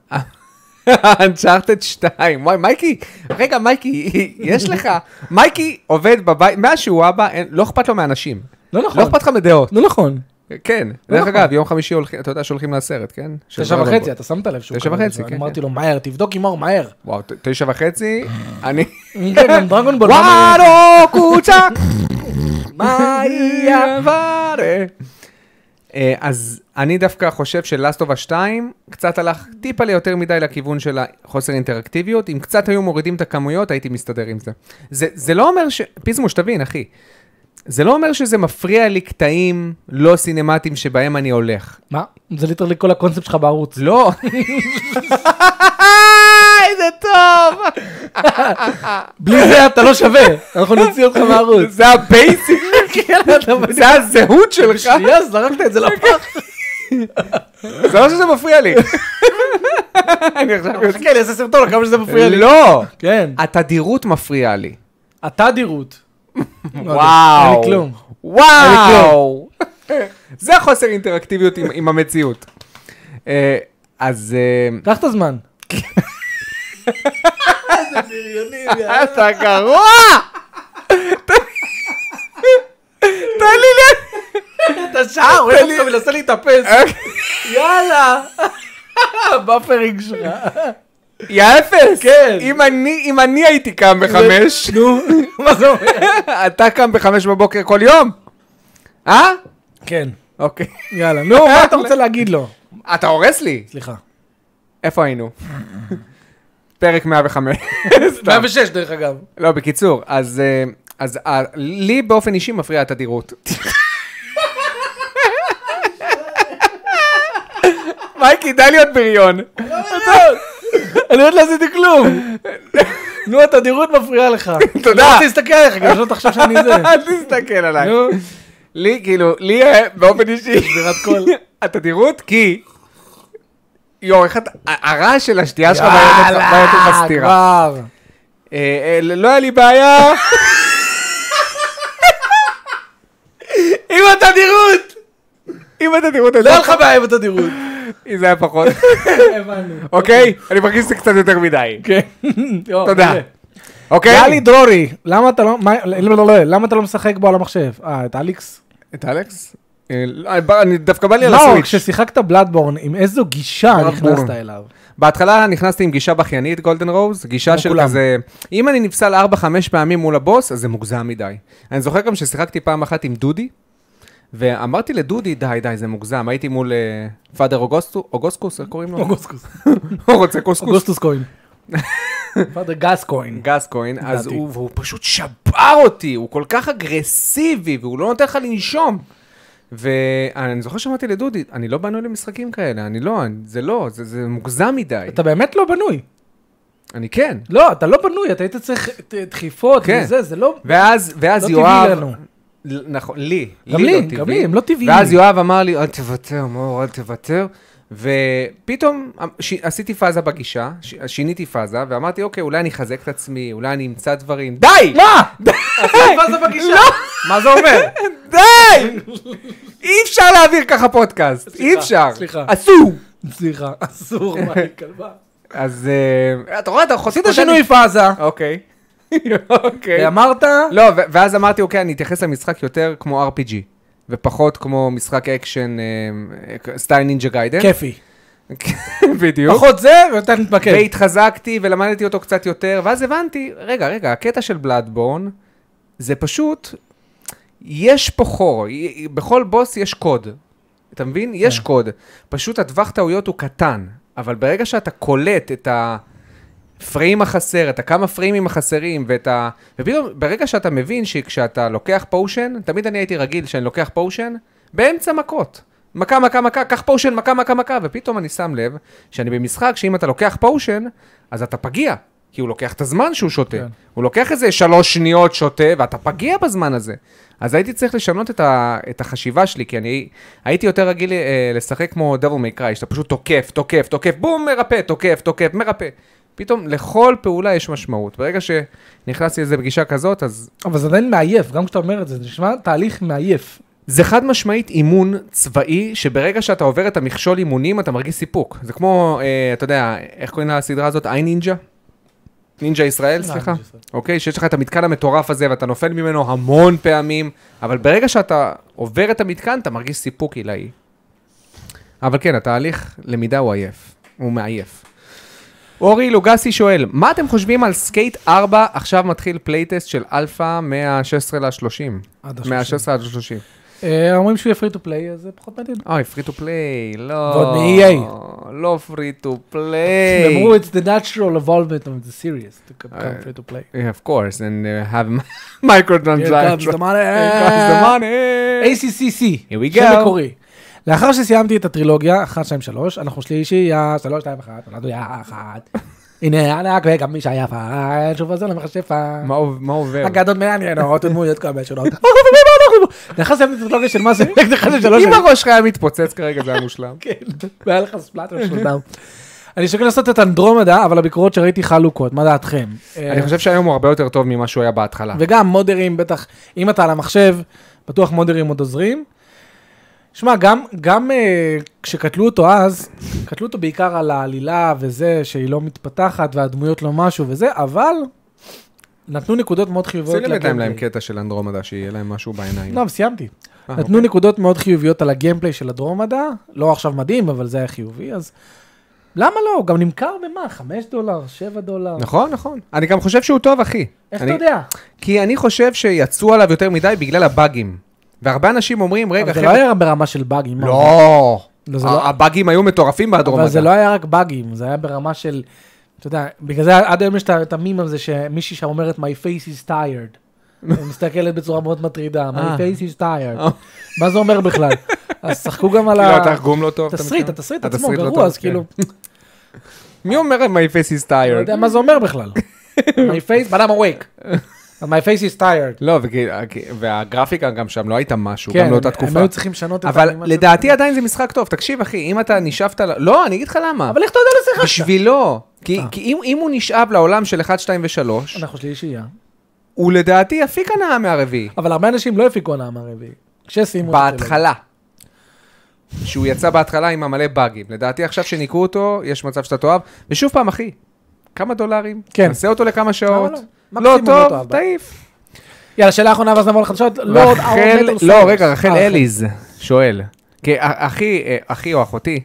A: Uncharted 2. וואי, מייקי, רגע, מייקי, יש לך, מייקי עובד בבית, מאז שהוא אבא, אין- לא אכפת לו מאנשים.
B: לא
A: לא
B: נכון.
A: אכפת לך מדעות.
B: לא נכון.
A: כן.
B: לא
A: דרך
B: נכון.
A: אגב, יום חמישי הולכים, אתה יודע שהולכים לסרט, כן? של
B: תשע
A: דרגון בול.
B: וחצי, אתה שמת לב שהוא
A: תשע
B: קרא לי
A: וחצי,
B: את זה.
A: כן,
B: אמרתי לו, מהר, תבדוק עם מור, מהר.
A: וואו, ת- תשע וחצי, אני...
B: כן, גם דרגון בול. מה-
A: ווארו קוצ'ה! מה יהיה ווארה? אה, אז אני דווקא חושב שלאסטובה 2 קצת הלך טיפה ליותר מדי לכיוון של החוסר אינטראקטיביות. אם קצת היו מורידים את הכמויות, הייתי מסתדר עם זה. זה, זה לא אומר ש... פיזמוש, תבין, אחי. זה לא אומר שזה מפריע לי קטעים לא סינמטיים שבהם אני הולך.
B: מה? זה ליטרלי כל הקונספט שלך בערוץ.
A: לא. איזה טוב!
B: בלי זה אתה לא שווה, אנחנו נוציא אותך מהערוץ.
A: זה הבייסיק, כן, זה הזהות שלך.
B: שנייה, זרקת את זה לפח.
A: זה לא שזה מפריע לי. אני עכשיו יוצא.
B: חכה, אני אעשה סרטון, כמה שזה מפריע לי.
A: לא,
B: כן.
A: התדירות מפריעה לי.
B: התדירות. לא
A: וואו.
B: אין לי כלום.
A: וואו. זה חוסר אינטראקטיביות עם- עם המציאות. אה, אז אה,
B: קח את הזמן.
A: אתה גרוע! תן לי ל...
B: אתה שעה, רואה איך אתה מנסה להתאפס. יאללה. באפרינג שלך.
A: יא אפס!
B: כן.
A: אם אני- אם אני הייתי קם בחמש,
B: נו, מה זה אומר?
A: אתה קם בחמש בבוקר כל יום? אה?
B: כן,
A: אוקיי.
B: יאללה. נו, מה אתה רוצה להגיד לו?
A: אתה הורס לי.
B: סליחה.
A: איפה היינו? פרק 105. סתם.
B: 106 דרך אגב.
A: לא, בקיצור, אז, אה, אז אה, לי באופן אישי מפריע התדירות. מייקי, די להיות בריון.
B: אני עוד לא עשיתי כלום. נו, התדירות מפריעה לך.
A: תודה.
B: לא רוצה להסתכל עליך, גם שלא תחשוב שאני זה.
A: אל תסתכל עליי.
B: נו,
A: לי, כאילו, לי אה, באופן אישי,
B: סגירת קול.
A: התדירות, כי... יואו, איך אתה... הרעש של השתייה שלך
B: יאללה,
A: בעיה יותר מסתירה.
B: כבר.
A: אה, אה, לא היה לי בעיה. עם התדירות! עם התדירות
B: לא
A: הזאת.
B: היה לך בעיה עם התדירות.
A: אם זה היה פחות.
B: הבנו.
A: אוקיי? אני מרגיש שזה קצת יותר מדי.
B: כן.
A: תודה. אוקיי?
B: גלי דרורי, למה אתה לא, מה- לא, לא, לא, לא, למה אתה לא משחק בו על המחשב? אה, את אליקס?
A: את אלכס? אה, לא, אני בא- אני דווקא בא לי על
B: לא,
A: הסוויץ'.
B: כששיחקת בלאדבורן, עם איזו גישה נכנסת אליו.
A: בהתחלה נכנסתי עם גישה בכיינית, גולדן רוז, גישה
B: כמו
A: של
B: כולם.
A: כזה, אם אני נפסל 4-5 פעמים מול הבוס, אז זה מוגזם מדי. אני זוכר גם ששיחקתי פעם אחת עם דודי, ואמרתי לדודי, די, די, זה מוגזם. הייתי מול אה, פאדר אוגוסטו- אוגוסקוס, איך קוראים לו?
B: אוגוסטוס.
A: הוא רוצה קוסקוס.
B: אוגוסטוס כהן. גסקוין.
A: גסקוין, אז
B: לדעתי.
A: הוא, והוא פשוט שבר אותי, הוא כל כך אגרסיבי, והוא לא נותן לך לנשום. ואני זוכר שאמרתי לדודי, אני לא בנוי למשחקים כאלה, אני לא, אני, זה לא, זה, זה מוגזם מדי.
B: אתה באמת לא בנוי.
A: אני כן.
B: לא, אתה לא בנוי, אתה היית צריך ת- דחיפות
A: כן.
B: וזה, זה לא...
A: ואז, ואז
B: לא טבעי
A: יואב...
B: לנו.
A: ל- נכון, לי.
B: גם לי,
A: לא
B: גם
A: טבעי.
B: לי, הם לא טבעיים.
A: ואז יואב אמר לי, אל תוותר, מור, אל תוותר. ופתאום אמ, ש... עשיתי פאזה בגישה, ש... שיניתי פאזה, ואמרתי, אוקיי, אולי אני אחזק את עצמי, אולי אני אמצא דברים. די!
B: מה? לא!
A: מה זה אומר? די! אי אפשר להעביר ככה פודקאסט, אי
B: סליחה,
A: אפשר.
B: סליחה.
A: אסור!
B: סליחה, אסור, מה, היא כלבה.
A: אז אה, אתה רואה, אתה חוסר
B: עשית שינוי פאזה.
A: אוקיי. אוקיי.
B: אמרת,
A: לא, ו- ואז אמרתי, אוקיי, אני אתייחס למשחק יותר כמו RPG, ופחות כמו משחק אקשן, אה, סטייל נינג'ה גיידן.
B: כיפי.
A: כן. בדיוק.
B: פחות זה, ואתה נתמקד.
A: והתחזקתי ולמדתי אותו קצת יותר, ואז הבנתי, רגע, רגע, הקטע של בלאדבורן, זה פשוט, יש פה חור, י- בכל בוס יש קוד. אתה מבין? יש קוד. פשוט הטווח טעויות הוא קטן, אבל ברגע שאתה קולט את ה... פריים החסר, את הכמה פריימים החסרים, ואת ה... ופתאום, ברגע שאתה מבין שכשאתה לוקח פושן, תמיד אני הייתי רגיל שאני לוקח פושן, באמצע מכות. מכה, מכה, מכה, קח פושן, מכה, מכה, מכה, ופתאום אני שם לב שאני במשחק שאם אתה לוקח פושן, אז אתה פגיע, כי הוא לוקח את הזמן שהוא שותה.
B: כן.
A: הוא לוקח איזה שלוש שניות שותה, ואתה פגיע בזמן הזה. אז הייתי צריך לשנות את, ה, את החשיבה שלי, כי אני הייתי יותר רגיל אה, לשחק כמו דבל מי קראי, שאתה פשוט תוקף, תוקף, תוקף, בום, מרפא, תוקף, תוקף, מרפא. פתאום לכל פעולה יש משמעות. ברגע שנכנסתי לאיזה פגישה כזאת, אז
B: אבל זה עדיין מעייף, גם כשאתה אומר את זה, זה נשמע תהליך מעייף.
A: זה חד משמעית אימון צבאי, שברגע שאתה עובר את המכשול אימונים, אתה מרגיש סיפוק. זה כמו, אה, אתה יודע, איך קוראים לסדרה הזאת? איי נינג'ה? נינג'ה ישראל, סליחה.
B: אה, נינג'ה ישראל.
A: אוקיי, שיש לך את המתקן המטורף הזה, ואתה נופל ממנו המון פעמים, אבל ברגע שאתה עובר את המתקן, אתה מרגיש סיפוק עילאי. אבל כן, התהליך למידה הוא עייף. הוא מעייף. אורי לוגסי שואל, מה אתם חושבים על סקייט 4 עכשיו מתחיל פלייטסט של אלפא מה-16 ל-30?
B: עד
A: מה-16 עד ה-30.
B: אה, אומרים שהוא יהיה free to play, אז זה פחות מעניין.
A: אוי, פרי טו פליי, לא.
B: ועוד מ-EA.
A: לא פרי טו
B: הם
A: פליי.
B: אמרו, it's the natural evolvement of the series to
A: אה,
B: become free to play.
A: Of course, and uh, have microtransactions.
B: Here comes the money. Ah.
A: money.
B: ACCC,
A: Here we go.
B: שם מקורי. לאחר שסיימתי את הטרילוגיה, 1, 2, 3, אנחנו שלישי, יא, 3, 2, 1, נולדו יא, אחת. הנה ענק וגם מי שהיה פעל, שוב עזר למחשב פעל.
A: מה עוב- מה עובר?
B: אגדות מעניינות, דמויות כל מיני שונות. לא לאחר שסיימתי את הטרילוגיה של מה זה, אחד של שלוש.
A: אם הראש שלך היה מתפוצץ כרגע, זה היה מושלם.
B: כן, והיה לך ספלאטר שלודם. אני שוקל לעשות את אנדרומדה, אבל הביקורות שראיתי חלוקות, מה דעתכם? אה,
A: אני חושב שהיום הוא הרבה יותר טוב ממה שהוא היה בהתחלה.
B: וגם מודרים בטח, אם אתה על המחשב, בטוח מודרים עוד עוזרים. שמע, גם, גם אה, כשקטלו אותו אז, קטלו אותו בעיקר על העלילה וזה, שהיא לא מתפתחת והדמויות לא משהו וזה, אבל נתנו נקודות מאוד חיוביות.
A: שים לב בינתיים להם
B: לגיימפליי.
A: קטע של אנדרומדה, שיהיה להם משהו בעיניים.
B: לא, אבל סיימתי.
A: אה,
B: נתנו נקודות מאוד חיוביות על הגיימפליי של הדרומדה, לא עכשיו מדהים, אבל זה היה חיובי, אז למה לא? הוא גם נמכר במה? 5 דולר, 7 דולר?
A: נכון, נכון. אני גם חושב שהוא טוב, אחי.
B: איך
A: אני-
B: אתה יודע?
A: כי אני חושב שיצאו עליו יותר מדי בגלל הבאגים. והרבה אנשים אומרים, רגע,
B: אבל זה
A: חבר'ה,
B: לא היה ברמה של באגים. מה?
A: לא.
B: לא, זה לא-
A: הבאגים היו מטורפים בהדרום
B: אבל זה
A: הזה.
B: לא היה רק באגים, זה היה ברמה של, אתה יודע, בגלל זה עד היום יש את ה- את המים הזה שמישהי שם אומרת My face is tired. היא מסתכלת בצורה מאוד מטרידה,
A: אה.
B: My face is
A: אה.
B: tired. מה זה אומר בכלל? אז שחקו גם על
A: כאילו,
B: ה...
A: התרגום לא טוב. אתה
B: תסריט,
A: מתכוון?
B: התסריט עצמו
A: התסריט לא
B: גרוע,
A: טוב,
B: אז כאילו,
A: כן. מי אומר My face is
B: לא
A: tired?
B: יודע מה זה אומר בכלל. My face, but I'm awake. But My face is tired.
A: לא, וכי- כי- והגרפיקה גם שם לא הייתה משהו,
B: כן,
A: גם לאותה
B: הם-
A: תקופה.
B: הם היו צריכים לשנות את
A: אבל
B: האנימציה.
A: לדעתי עדיין זה משחק טוב. תקשיב, אחי, אם אתה נשאבת ל... לא, אני אגיד לך למה.
B: אבל איך אתה יודע לשחק?
A: בשבילו. כי
B: אה. נכון.
A: כי אם אם הוא נשאב לעולם של 1, 2 ו-3,
B: אנחנו שלישייה.
A: הוא לדעתי יפיק הנאה מהרביעי.
B: אבל הרבה אנשים לא הפיקו הנאה מהרביעי. כשסיימו את הטרילוגיה.
A: בהתחלה. שהוא יצא בהתחלה עם המלא באגים. לדעתי עכשיו שניקו אותו, יש מצב שאתה תאהב. ושוב פעם, אחי, כמה דולרים?
B: כן.
A: תעשה אותו לכמה שעות.
B: לא?
A: לא
B: מקסימום לא
A: טוב,
B: תאהב.
A: תעיף.
B: יאללה, שאלה אחרונה ואז נעבור לחדשות. לורד ארון
A: רחל,
B: מטל
A: לא,
B: סולס.
A: רגע, רחל
B: אה,
A: אליז שואל. כי א- אחי, אה, אחי או אחותי,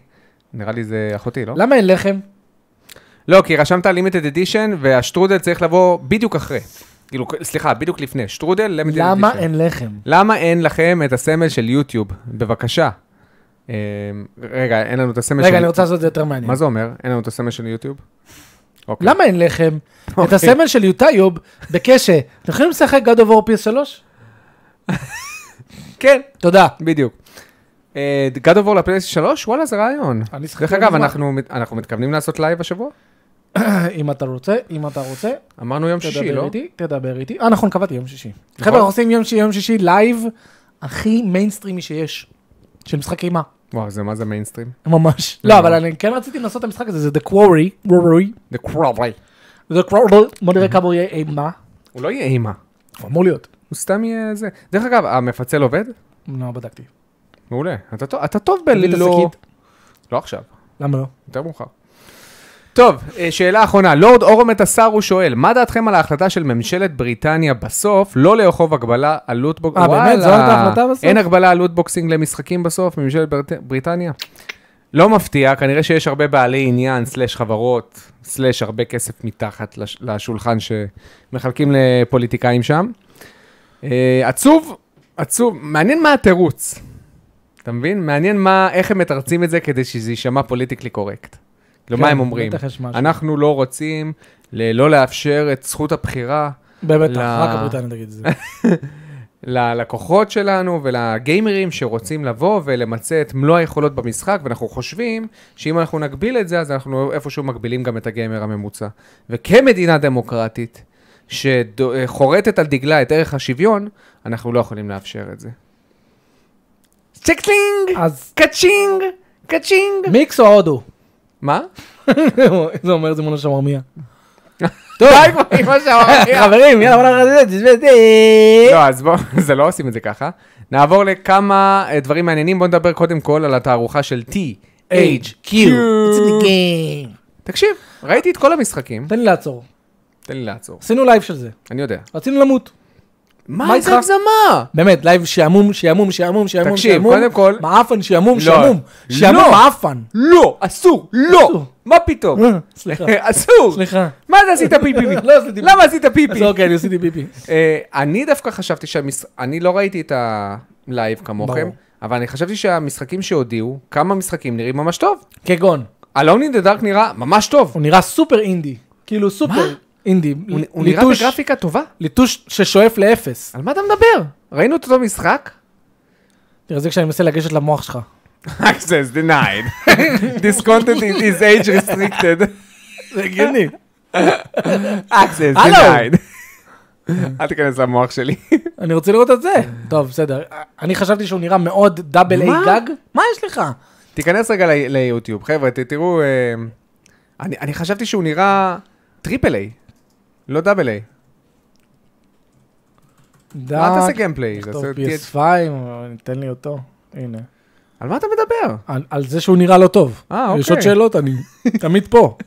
A: נראה לי זה אחותי, לא?
B: למה אין לחם?
A: לא, כי רשמת לימיטד אדישן, והשטרודל צריך לבוא בדיוק אחרי. כאילו, סליחה, בדיוק לפני. שטרודל, לימיטד אדישן.
B: למה אין לחם?
A: למה אין לכם את הסמל של יוטיוב? בבקשה. אמ, רגע, אין לנו את הסמל של...
B: רגע, אני רוצה לעשות את זה יותר מעניין.
A: מה זה אומר? אין לנו את הסמל של יוטיוב? אוקיי.
B: למה אין לחם? את
A: אוקיי.
B: הסמל של יוטיוב בקשה. אתם יכולים לשחק God of War PS3?
A: כן,
B: תודה.
A: בדיוק. אה, God of War לפלייסט 3? וואלה, זה רעיון.
B: אני שיחקתי
A: דרך
B: לא
A: אגב,
B: מזמן.
A: אנחנו מת- אנחנו מתכוונים לעשות לייב השבוע?
B: אם אתה רוצה, אם אתה רוצה,
A: אמרנו יום שישי,
B: תדבר
A: לא?
B: איתי, תדבר איתי. אה, נכון, קבעתי יום שישי. חבר'ה, אנחנו עושים יום שישי, יום שישי לייב הכי מיינסטרימי שיש, של משחק אימה.
A: וואו, זה מה זה מיינסטרים?
B: ממש. לא, אבל אני כן רציתי לנסות את המשחק הזה, זה The Quarry, Quarry,
A: The Crowley.
B: The Quarry, בוא נראה כמה הוא לא- יהיה אימה.
A: הוא לא יהיה אימה.
B: הוא אמור להיות.
A: הוא סתם יהיה זה. דרך אגב, המפצל עובד?
B: לא, בדקתי.
A: מעולה. אתה טוב- אתה טוב
B: תביא את
A: בלא...
B: השקית.
A: לא עכשיו,
B: למה לא?
A: יותר מאוחר. טוב, אה, שאלה אחרונה. לורד אורמת הסארו שואל, מה דעתכם על ההחלטה של ממשלת בריטניה בסוף לא לאכוף הגבלה על לוטבוק...
B: אה, באמת?
A: וואלה,
B: זו הייתה ההחלטה בסוף?
A: אין הגבלה על לוטבוקסינג למשחקים בסוף, ממשלת ברית- בריטניה? לא מפתיע, כנראה שיש הרבה בעלי עניין, סלאש חברות, סלאש הרבה כסף מתחת לש- לשולחן שמחלקים לפוליטיקאים שם. אה, עצוב, עצוב, מעניין מה התירוץ. אתה מבין? מעניין מה, איך הם מתרצים את זה כדי שזה יישמע פוליטיקלי קורקט. כאילו, מה
B: כן,
A: הם אומרים?
B: בטח יש משהו.
A: אנחנו לא רוצים ל- לא לאפשר את זכות הבחירה
B: באמת,
A: לא.
B: רק הבריטניה תגיד את זה.
A: ללקוחות שלנו ולגיימרים שרוצים לבוא ולמצה את מלוא היכולות במשחק, ואנחנו חושבים שאם אנחנו נגביל את זה, אז אנחנו איפשהו מגבילים גם את הגיימר הממוצע. וכמדינה דמוקרטית שחורטת על דגלה את ערך השוויון, אנחנו לא יכולים לאפשר את זה. צ'קלינג!
B: אז
A: קצ'ינג! קצ'ינג!
B: מיקס או הודו?
A: מה?
B: זה אומר את זה מול השמרמיה.
A: טוב, די כבר עם מה שאמרתי.
B: חברים, יאללה, בוא נראה את זה.
A: לא, אז בואו, זה לא עושים את זה ככה. נעבור לכמה אה, דברים מעניינים, בואו נדבר קודם כל על התערוכה של T-H-Q.
B: game.
A: תקשיב, ראיתי את כל המשחקים,
B: תן לי לעצור.
A: תן לי לעצור,
B: עשינו לייב של זה.
A: אני יודע.
B: רצינו למות. מה
A: מה
B: איתך?
A: זה הגזמה?
B: באמת, לייב שעמום, שעמום, שעמום, שעמום,
A: תקשיב,
B: שעמום.
A: קודם כל-
B: מעפן, שעמום,
A: לא.
B: שעמום.
A: לא.
B: שעמום, מעפן.
A: לא, אסור,
B: אסור. אה,
A: לא, מה פתאום?
B: סליחה,
A: אסור.
B: סליחה.
A: מה זה עשית פיפי?
B: לא עשיתי
A: למה עשית פיפי?
B: זה אוקיי, אני עשיתי ביבי.
A: אה, אני דווקא חשבתי שהמש... אני לא ראיתי את הלייב כמוכם,
B: ברור.
A: אבל אני חשבתי שהמשחקים שהודיעו, כמה משחקים נראים ממש טוב.
B: כגון,
A: אלון אין דה דארק נראה ממש טוב.
B: הוא נראה סופר אינדי. כאילו סופר אינדי.
A: הוא- הוא נראה
B: ליטוש-
A: בגרפיקה טובה.
B: ליטוש ששואף לאפס.
A: על מה אתה מדבר? ראינו את אותו משחק?
B: תראה, זה כשאני מנסה לגשת למוח שלך.
A: access denied. This content is, is age restricted.
B: זה הגיוני.
A: access
B: הלו.
A: denied. אל תיכנס למוח שלי.
B: אני רוצה לראות את זה. טוב, בסדר. אני חשבתי שהוא נראה מאוד דאבל איי
A: מה?
B: גג. מה יש לך?
A: תיכנס רגע ל- ליוטיוב, חבר'ה, ת- תראו, אה, אני, אני חשבתי שהוא נראה טריפל איי, לא דאבל איי. מה אתה עושה גיימפליי?
B: נכתוב
A: זה- תהיה-
B: PS5, אבל תן לי אותו. הנה.
A: על מה אתה מדבר?
B: על, על זה שהוא נראה לא טוב.
A: אה, אוקיי.
B: יש עוד שאלות, אני תמיד פה.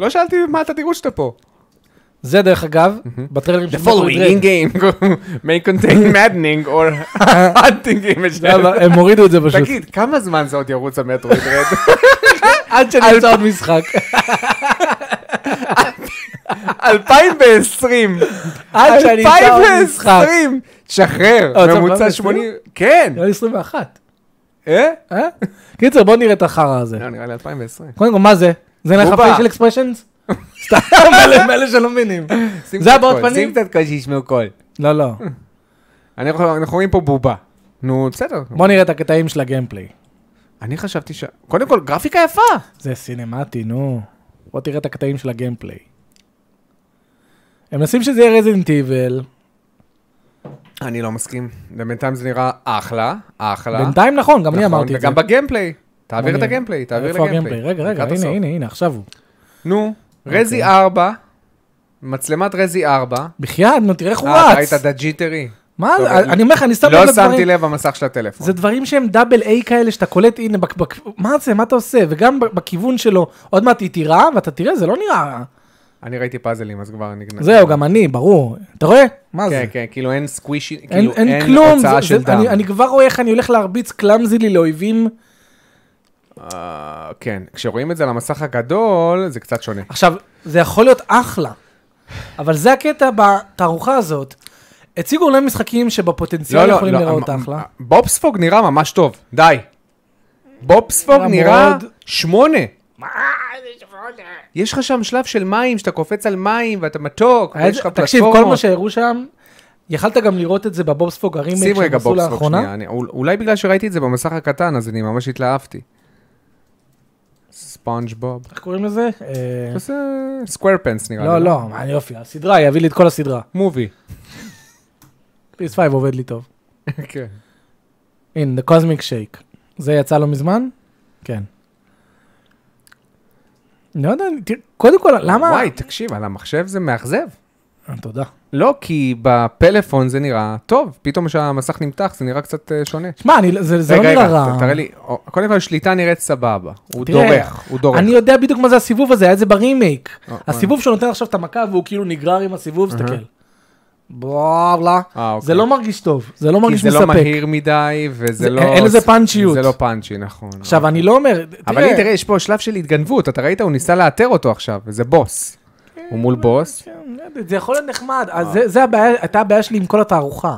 A: לא שאלתי מה אתה תראו שאתה פה.
B: זה דרך אגב, בטריילרים של Metroid Dread.
A: game may contain maddening or hunting image.
B: זה היה- הם הורידו את זה פשוט.
A: תגיד, כמה זמן זה עוד ירוץ המטרואיד רד?
B: עד
A: לא-
B: שנמצא עוד משחק.
A: 2020.
B: עד שנמצא עוד משחק.
A: 2020! שחרר,
B: אה, אתה
A: ממוצע
B: ב-
A: 80... כן!
B: נראה לי 21.
A: אה?
B: אה? קיצר, בוא נראה את החרא הזה.
A: לא, נראה לי 2020.
B: קודם כל, מה זה? זה נראה לך
A: בובה.
B: פיישל אקספרשנס? סתם, אלה מאלה שלא מבינים.
A: שים
B: זה
A: קצת
B: הבעות
A: קול,
B: פנים?
A: שים קצת קול שישמעו קול.
B: לא, לא.
A: אני חושב- אנחנו רואים פה בובה. נו, בסדר.
B: בוא נראה את הקטעים של הגיימפליי.
A: אני חשבתי ש... קודם כל, גרפיקה יפה!
B: זה סינמטי, נו. בוא תראה את הקטעים של הגיימפליי. הם מנסים שזה יהיה רזינט איבל.
A: אני לא מסכים. בינתיים זה נראה אחלה, אחלה.
B: בינתיים נכון, גם אני
A: נכון,
B: אמרתי את זה.
A: וגם בגיימפליי. תעביר את
B: מעניין.
A: הגיימפליי, תעביר
B: איפה
A: לגיימפליי.
B: הגיימפליי? רגע, רגע,
A: לקראת
B: הנה,
A: הסוף.
B: הנה, הנה, עכשיו הוא.
A: נו, רזי 4, מצלמת רזי 4.
B: בחייאת, נו, תראה איך הוא
A: אה, אתה ראית
B: רץ.
A: את הג'יטרי.
B: מה
A: טוב,
B: זה? אני אומר לך, אני שם לב
A: לא שמתי
B: לדברים.
A: לב במסך של הטלפון.
B: זה דברים שהם דאבל איי כאלה שאתה קולט, הנה, בק- בק- מה זה, מה אתה עושה? וגם ב- בכיוון שלו, עוד מעט היא תירה, ואתה תראה, זה לא נראה...
A: אני ראיתי פאזלים, אז כבר נגנב.
B: זהו, גם אני, ברור. אתה רואה? כן. מה זה?
A: כן, כן, כאילו אין סקווישי,
B: אין,
A: כאילו
B: אין, כלום,
A: הוצאה
B: זה,
A: של
B: זה,
A: דם.
B: אני, אני כבר רואה איך אני הולך להרביץ קלאמזילי לאויבים.
A: אה, כן, כשרואים את זה על המסך הגדול, זה קצת שונה.
B: עכשיו, זה יכול להיות אחלה, אבל זה הקטע בתערוכה הזאת. הציגו להם משחקים
A: לא,
B: שבפוטנציאל יכולים להיראות
A: המ-
B: אחלה.
A: בובספוג אמ, נראה ממש טוב, די. בובספוג
B: נראה
A: נראה
B: מאוד-
A: שמונה. יש לך שם שלב של מים, שאתה קופץ על מים ואתה מתוק,
B: היה את
A: ויש
B: זה-
A: לך פלטפורמות.
B: תקשיב, כל מה שהראו שם, יכלת גם לראות את זה בבובספוג הרימייק
A: שים
B: שהם
A: רגע
B: עשו
A: בובספוק שנייה,
B: לאחרונה.
A: אני- אול- אולי בגלל שראיתי את זה במסך הקטן, אז אני ממש התלהבתי. ספונג' בוב.
B: איך קוראים לזה? אה,
A: זה סקוויר פנס נראה לי.
B: לא, לא, מה, יופי, הסדרה, יביא לי את כל הסדרה.
A: מובי.
B: PS5 עובד לי טוב. כן. הנה, The Cosmic Shake. זה יצא לא מזמן? כן. לא יודע, תראה, קודם כל, למה...
A: וואי, תקשיב, על המחשב זה מאכזב.
B: אה, תודה.
A: לא, כי בפלאפון זה נראה טוב, פתאום כשהמסך נמתח זה נראה קצת אה, שונה.
B: שמע, אני- זה זה לא
A: רגע,
B: נראה
A: רגע,
B: רע.
A: ת- תראה לי, או- קודם כל השליטה נראית סבבה, הוא
B: תראה,
A: דורך, הוא דורך.
B: אני לא יודע בדיוק מה זה הסיבוב הזה, היה את זה ברימייק.
A: אה,
B: הסיבוב שהוא נותן עכשיו את המכה והוא כאילו נגרר עם הסיבוב,
A: אהה.
B: תסתכל. בלה בלה.
A: אה, אוקיי.
B: זה לא מרגיש טוב, זה לא
A: כי
B: מרגיש
A: זה לא
B: מספק.
A: מהיר מדי, וזה
B: זה-
A: לא...
B: אין לזה פאנצ'יות.
A: זה לא פאנצ'י, נכון.
B: עכשיו, אני לא אומר, תראה,
A: אבל הנה, תראה, יש פה שלב של התגנבות, אתה ראית, הוא ניסה לאתר אותו עכשיו, וזה בוס. הוא מול בוס.
B: כן, לא זה יכול להיות נחמד,
A: אה.
B: אז זה- זה הבעיה- הייתה הבעיה שלי עם כל התערוכה.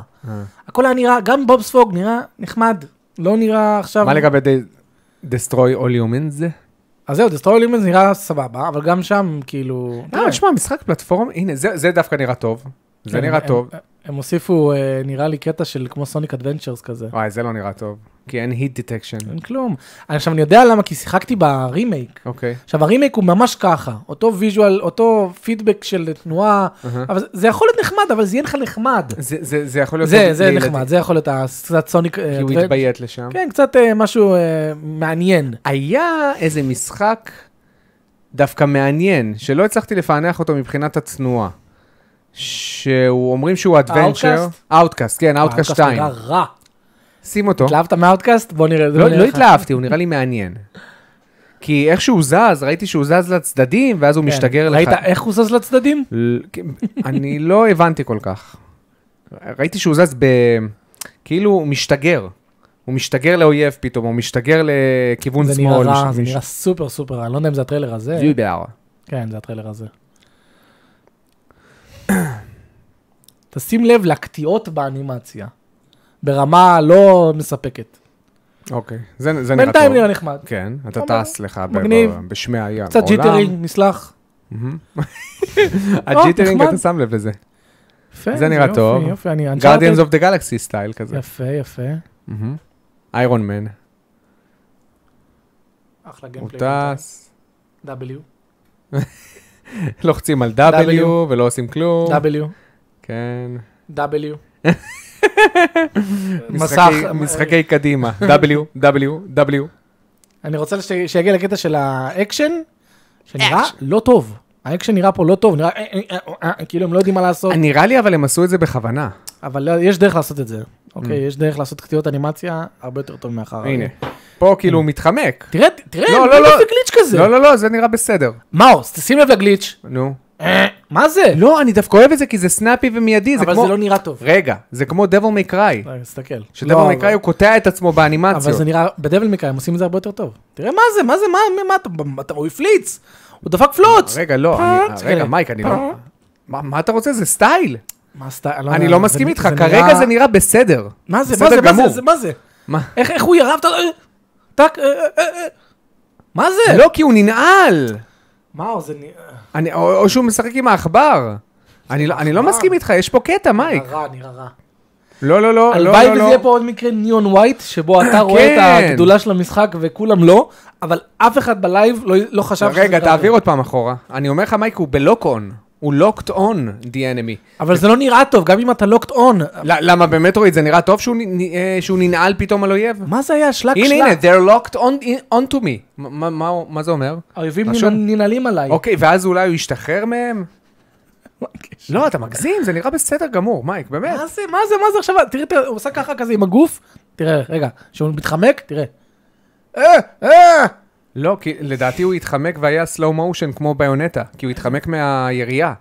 B: הכל היה נראה, גם בוב ספוג נראה נחמד, לא נראה עכשיו...
A: מה לגבי די- Destroy All Humans?
B: אז זהו, דסטרויל אימנס נראה סבבה, אבל גם שם, כאילו...
A: אה, תשמע, משחק פלטפורמה, הנה, זה זה דווקא נראה טוב. זה
B: הם-
A: נראה
B: כן, הם-
A: טוב.
B: הם הוסיפו, אה, נראה לי, קטע של כמו סוניק אדוונצ'רס כזה.
A: וואי, זה לא נראה טוב. כי אין היט דטקשן.
B: אין כלום. עכשיו, אני יודע למה, כי שיחקתי ברימייק.
A: אוקיי.
B: עכשיו, הרימייק הוא ממש ככה, אותו ויז'ואל, אותו פידבק של תנועה, אבל זה- זה יכול להיות נחמד, אבל זה יהיה לך נחמד.
A: זה- זה זה יכול להיות...
B: זה,
A: טוב
B: זה
A: לילדים,
B: נחמד, זה יכול להיות ה- קצת סוניק... אה,
A: כי הוא
B: אדוונ-
A: התביית לשם.
B: כן, קצת אה, משהו אה, מעניין.
A: היה איזה משחק דווקא מעניין, שלא הצלחתי לפענח אותו מבחינת התנועה. שהוא אומרים שהוא אדוונצ'ר.
B: Outcast?
A: אאוטקאסט, כן, אאוטקאסט 2.
B: נראה רע.
A: שים אותו.
B: התלהבת מאוטקאסט? בוא נראה. בוא
A: לא,
B: נראה
A: לא
B: לך.
A: התלהבתי, הוא נראה לי מעניין. כי איך שהוא זז, ראיתי שהוא זז לצדדים, ואז הוא
B: כן.
A: משתגר לך.
B: ראית איך הוא זז לצדדים?
A: ל- כן, אני לא הבנתי כל כך. ראיתי שהוא זז ב... כאילו, הוא משתגר. הוא משתגר לאויב פתאום, הוא משתגר לכיוון
B: זה נראה
A: שמאל.
B: רע,
A: מש-
B: זה
A: מש-
B: נראה סופר סופר רע, אני לא יודע אם זה הטריילר הזה.
A: יודבר.
B: כן, זה הטריילר הזה. תשים לב לקטיעות באנימציה, ברמה לא מספקת.
A: אוקיי, זה זה נראה טוב.
B: בינתיים נראה נחמד.
A: כן, אתה
B: אומר,
A: טס לך ב-
B: מגניב.
A: ב- בשמי הים.
B: קצת
A: העולם.
B: ג'יטרי, נסלח.
A: מהמם. הג'יטרינג,
B: נחמד.
A: אתה שם לב לזה.
B: יפה,
A: זה נראה
B: יופי,
A: טוב.
B: יופי, אני
A: Guardians
B: אנצ'ארטד.
A: of the Galaxy סטייל כזה.
B: יפה, יפה.
A: איירון מן.
B: אחלה
A: הוא
B: גיימפליי.
A: טס,
B: W.
A: לוחצים על
B: W.
A: W ולא עושים כלום.
B: W.
A: כן.
B: W. מסך.
A: משחקי- אה, משחקי קדימה. W, W, W.
B: אני רוצה ש- שיגיע לקטע של האקשן, שנראה לא טוב. האקשן נראה פה לא טוב, נראה אה, אה, אה, אה, כאילו הם לא יודעים מה לעשות,
A: נראה לי אבל הם עשו את זה בכוונה.
B: אבל לא- יש דרך לעשות את זה. אוקיי, יש דרך לעשות קטיעות אנימציה הרבה יותר טוב מאחר.
A: Mm. הנה. פה כאילו הוא מתחמק.
B: תראה, תראה,
A: לא,
B: הם
A: לא,
B: לא
A: לא.
B: עושים גליץ' כזה.
A: לא, לא, לא, זה נראה בסדר.
B: מאוס, תשים לב לגליץ'.
A: נו.
B: אה, מה זה?
A: לא, אני דווקא אוהב את זה כי זה סנאפי ומיידי.
B: אבל
A: כמו-
B: זה לא נראה טוב.
A: רגע, זה כמו דבו מקראי.
B: רגע, תסתכל.
A: שדבו
B: לא,
A: מקראי
B: אבל-
A: הוא קוטע את עצמו
B: אבל זה
A: באנימציות.
B: נראה, בדבל מקראי הם עושים את זה הרבה יותר טוב. תראה מה זה, מה זה, מה, מה, מה, אתה- אתה, הוא הפליץ, הוא דפק פלוץ.
A: רגע, לא, אני-
B: תסתכל.
A: רגע, מייק, אני לא... מה- מה אתה רוצה? זה סטייל.
B: מה עשתה,
A: אני
B: יודע,
A: לא
B: זה-
A: מסכים איתך,
B: נראה-
A: כרגע זה נראה אה. בסדר.
B: מה זה, מה
A: בסדר
B: זה, מה
A: גמור.
B: זה, זה, מה זה?
A: מה?
B: איך, איך הוא ירב את ה... טק, אה, אה, אה, אה. מה זה?
A: לא, כי הוא ננעל.
B: מה, זה אה, נראה
A: אני, או, או שהוא משחק עם העכבר. אני, לא- אני לא מסכים איתך, יש פה קטע, מייק.
B: רע, נראה רע.
A: לא, לא, לא, לא,
B: הלוואי
A: לא,
B: וזה
A: לא.
B: יהיה פה עוד מקרה ניאון ווייט, שבו אתה רואה את
A: כן.
B: הגדולה של המשחק וכולם לא, אבל אף אחד בלייב לא- לא חשב שזה
A: רגע,
B: ככה.
A: תעביר עוד פעם אחורה. אני אומר לך, מייק, הוא בלוק און. הוא לוקט און, די אנמי.
B: אבל זה לא נראה טוב, גם אם אתה לוקט און.
A: למה במטרואיד זה נראה טוב שהוא, נ- נ- אה, שהוא ננעל פתאום על אויב?
B: מה זה היה? שלק
A: הנה, הנה,
B: שלק.
A: they're locked on, on to me. מה- מה- מה- מה זה אומר?
B: האויבים
A: רשום.
B: ננעלים עליי.
A: אוקיי, ואז אולי הוא ישתחרר מהם? לא, אתה מגזים, זה נראה בסדר גמור, מייק, באמת.
B: מה זה, מה זה, מה זה עכשיו, תראה, תראה, הוא עושה ככה כזה עם הגוף, תראה, רגע, כשהוא מתחמק, תראה. אה, אה.
A: לא, כי לדעתי הוא התחמק והיה slow motion כמו ביונטה, כי הוא התחמק מהירייה.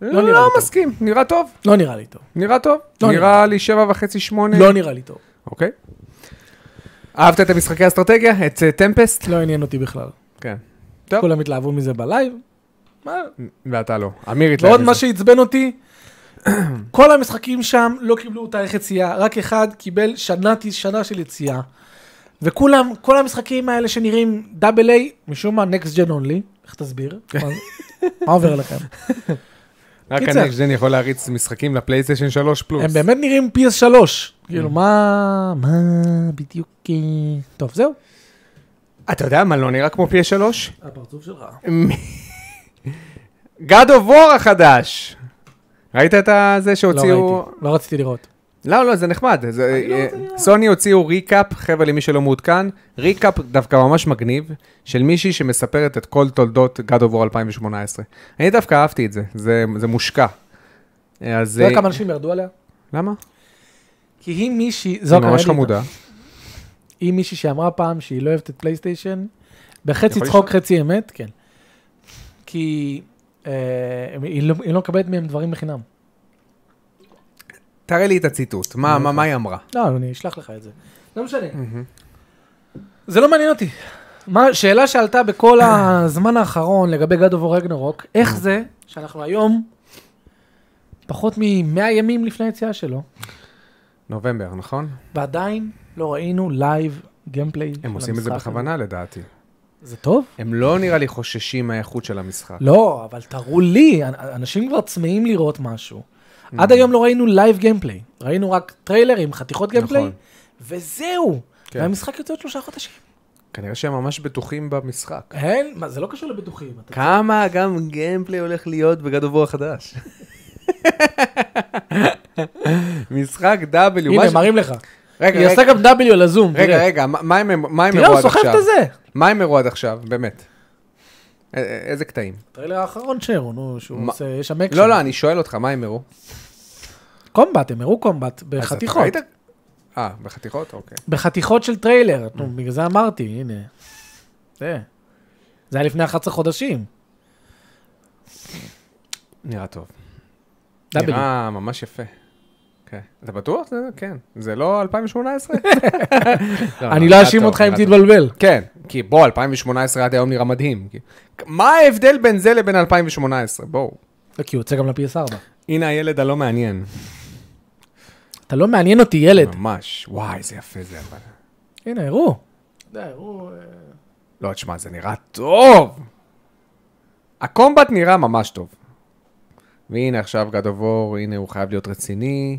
B: נראה
A: לא,
B: לי
A: לא
B: טוב.
A: מסכים, נראה טוב,
B: לא נראה לי טוב,
A: נראה טוב.
B: לא
A: נראה
B: נראה.
A: לי שבע וחצי, שמונה.
B: לא נראה לי טוב,
A: אוקיי. אהבת את המשחקי האסטרטגיה? את אה, טמפסט?
B: לא עניין אותי בכלל.
A: כן. טוב.
B: כולם התלהבו מזה בלייב. מה?
A: ואתה לא. אמיר התלהב
B: ועוד
A: מזה.
B: מה שעצבן אותי, כל המשחקים שם לא קיבלו תאריך יציאה, רק אחד קיבל שנה, שנה של יציאה. וכולם, כל המשחקים האלה שנראים דאבל איי, משום מה נקסט ג'ן אונלי, איך תסביר? מה- מה עובר עליכם?
A: רק
B: קיצר.
A: הנקסט ג'ן יכול להריץ משחקים לפלייסטיישן 3 פלוס.
B: הם באמת נראים PS3, כאילו מה, מה בדיוק, אה, טוב זהו.
A: אתה יודע מה לא נראה כמו PS3?
B: הפרצוף שלך.
A: God of War החדש. ראית את זה
B: לא
A: שהוציאו...
B: ראיתי, לא רציתי לראות.
A: לא, לא, זה נחמד. זה,
B: אני לא
A: אה,
B: רוצה לראות.
A: סוני הוציאו ריקאפ, חבר'ה, למי שלא מעודכן, ריקאפ דווקא ממש מגניב, של מישהי שמספרת את כל תולדות God of War 2018. אני דווקא אהבתי את זה, זה, זה מושקע. אה, אז...
B: אתה יודע
A: אה,
B: כמה אנשים ירדו עליה?
A: למה?
B: כי היא מישהי, זו
A: זה
B: הכוונה
A: ממש לא
B: לי.
A: חמודה.
B: היא מישהי שאמרה פעם שהיא לא אוהבת את פלייסטיישן, בחצי
A: יכול
B: צחוק, חצי אמת, כן. כי אה, היא לא- היא לא מקבלת מהם דברים בחינם.
A: תראה לי את הציטוט, מה, מה, מה היא אמרה?
B: לא, אני אשלח לך את זה. לא משנה. זה לא מעניין אותי. מה, שאלה שעלתה בכל הזמן האחרון לגבי God of War רגנרוק, איך זה שאנחנו היום פחות מ-100 ימים לפני היציאה שלו,
A: נובמבר, נכון?
B: ועדיין לא ראינו לייב גיימפליי של המשחק.
A: הם עושים את זה
B: הזה.
A: בכוונה לדעתי.
B: זה טוב?
A: הם לא נראה לי חוששים מהאיכות של המשחק.
B: לא, אבל תראו לי, אנ- אנשים כבר צמאים לראות משהו. עד היום לא ראינו לייב גיימפליי, ראינו רק טריילרים, חתיכות גיימפליי,
A: נכון.
B: וזהו.
A: כן.
B: והמשחק יוצא עוד שלושה חודשים.
A: כנראה שהם ממש בטוחים במשחק.
B: אין, מה, זה לא קשור לבטוחים.
A: כן,
B: אתה-
A: כמה גם גיימפליי הולך להיות בגד אובור החדש. משחק W.
B: הנה,
A: משהו-
B: מראים לך.
A: רגע,
B: היא עושה
A: רגע,
B: גם W על הזום,
A: רגע,
B: תראה.
A: רגע, מה מה הם מה הם
B: תראה,
A: הראו
B: הוא
A: עד
B: סוחב
A: עכשיו?
B: את הזה.
A: מה הם הראו עד עכשיו, באמת? א- א- איזה קטעים?
B: הטריילר האחרון שהראו, נו, שהוא
A: מה?
B: עושה, יש שם אקשן.
A: לא, לא, אני שואל אותך, מה הם הראו?
B: קומבט, הם הראו קומבט,
A: אז אתה
B: בחתיכות.
A: ראית? אה, בחתיכות? אוקיי.
B: בחתיכות של טריילר,
A: Mm.
B: נו, בגלל זה אמרתי, הנה. זה. זה היה לפני 11 חודשים.
A: נראה טוב.
B: W.
A: נראה לא, ממש יפה. כן. אתה בטוח? זה- כן. זה לא 2018?
B: אני לא אאשים אותך אם
A: תתבלבל.
B: תתבלבל.
A: כן, כי בוא, 2018 עד היום נראה מדהים. כי- מה ההבדל בין זה לבין 2018? בואו.
B: לא, כי הוא יוצא גם ל-PS4.
A: הנה הילד הלא מעניין.
B: אתה לא מעניין אותי, ילד.
A: ממש. וואי, איזה יפה זה אבל.
B: הנה, הראו. אתה יודע, הראו... אה,
A: לא, תשמע, זה נראה טוב. הקומבט נראה ממש טוב. והנה עכשיו גד אבור, הנה הוא חייב להיות רציני.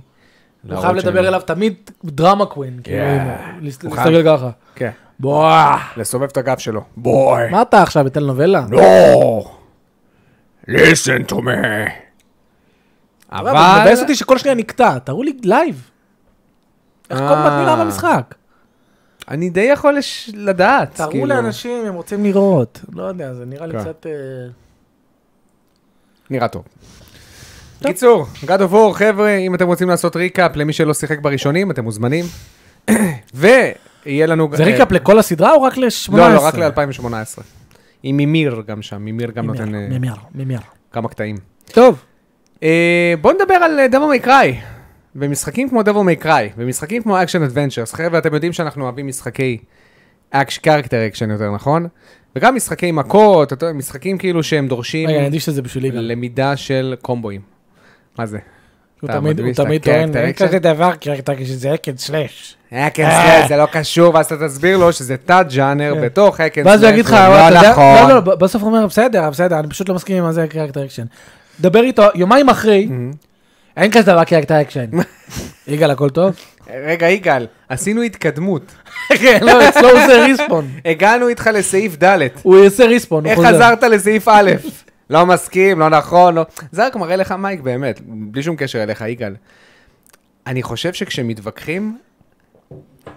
B: הוא חייב לדבר אליו תמיד דרמה קווין, כאילו,
A: Yeah.
B: הנה, להס-
A: הוא חייב-
B: להסתכל ככה.
A: כן.
B: בוא.
A: לסובב את הגב שלו. בואי.
B: מה אתה עכשיו, בטלנובלה?
A: לא! listen to me.
B: אבל...
A: אבל...
B: מבאס אותי שכל שנייה נקטע, תראו לי לייב. איך
A: אה.
B: כל פעם נראה במשחק?
A: אני די יכול לש- לדעת.
B: תראו
A: כאילו.
B: לאנשים, הם רוצים לראות. לא יודע, זה נראה לי
A: כן.
B: קצת... אה,
A: נראה טוב. קיצור, God of War, חבר'ה, אם אתם רוצים לעשות ריקאפ למי שלא שיחק בראשונים, אתם מוזמנים. ויהיה לנו...
B: זה
A: אה,
B: ריקאפ לכל הסדרה או רק ל-18?
A: לא, לא, רק ל-2018. עם מימיר גם שם, מימיר גם נותן אה,
B: מימיר, מימיר.
A: כמה קטעים.
B: טוב.
A: אה, בואו נדבר על דבו מייקראי. במשחקים כמו דבו מייקראי, במשחקים כמו אקשן אדוונצ'רס, חבר'ה, אתם יודעים שאנחנו אוהבים משחקי אקש קרקטר אקשן יותר נכון? וגם משחקי מכות, אתה יודע, משחקים כאילו שהם דורשים
B: רגע, אני אדגיש את זה בשבילי גם.
A: למידה של קומבואים. מה זה?
B: הוא
A: אתה
B: תמיד- הוא
A: מדגיש את
B: תמיד טוען,
A: הקרקטר
B: אין
A: אקשן?"
B: כזה דבר קרקטר כשזה אקד סלאש.
A: האק אנד סלאש זה לא קשור, ואז אתה תסביר לו שזה תת ג'אנר
B: אה. כן.
A: בתוך האק אנד
B: ואז הוא יגיד לך, "אבל
A: לא
B: אתה יודע-
A: נכון.
B: לא, לא, ב- בסוף הוא אומר, בסדר, בסדר, אני פשוט לא מסכים עם מה זה קרקטר אקשן. דבר איתו, יומיים אחרי,
A: Mm-hmm.
B: אין כזה דבר קרקטר אקשן. יגאל, הכל טוב?
A: רגע, יגאל, עשינו התקדמות.
B: לא. כן, לא, אצלו הוא עושה ריספון.
A: הגענו איתך לסעיף ד'.
B: הוא יעשה ריספון, הוא
A: איך
B: חוזר.
A: חזרת לסעיף א'? לא מסכים, לא נכון, לא... זה רק מראה לך, מייק, באמת, בלי שום קשר אליך, יגאל. אני חושב שכשמתווכחים,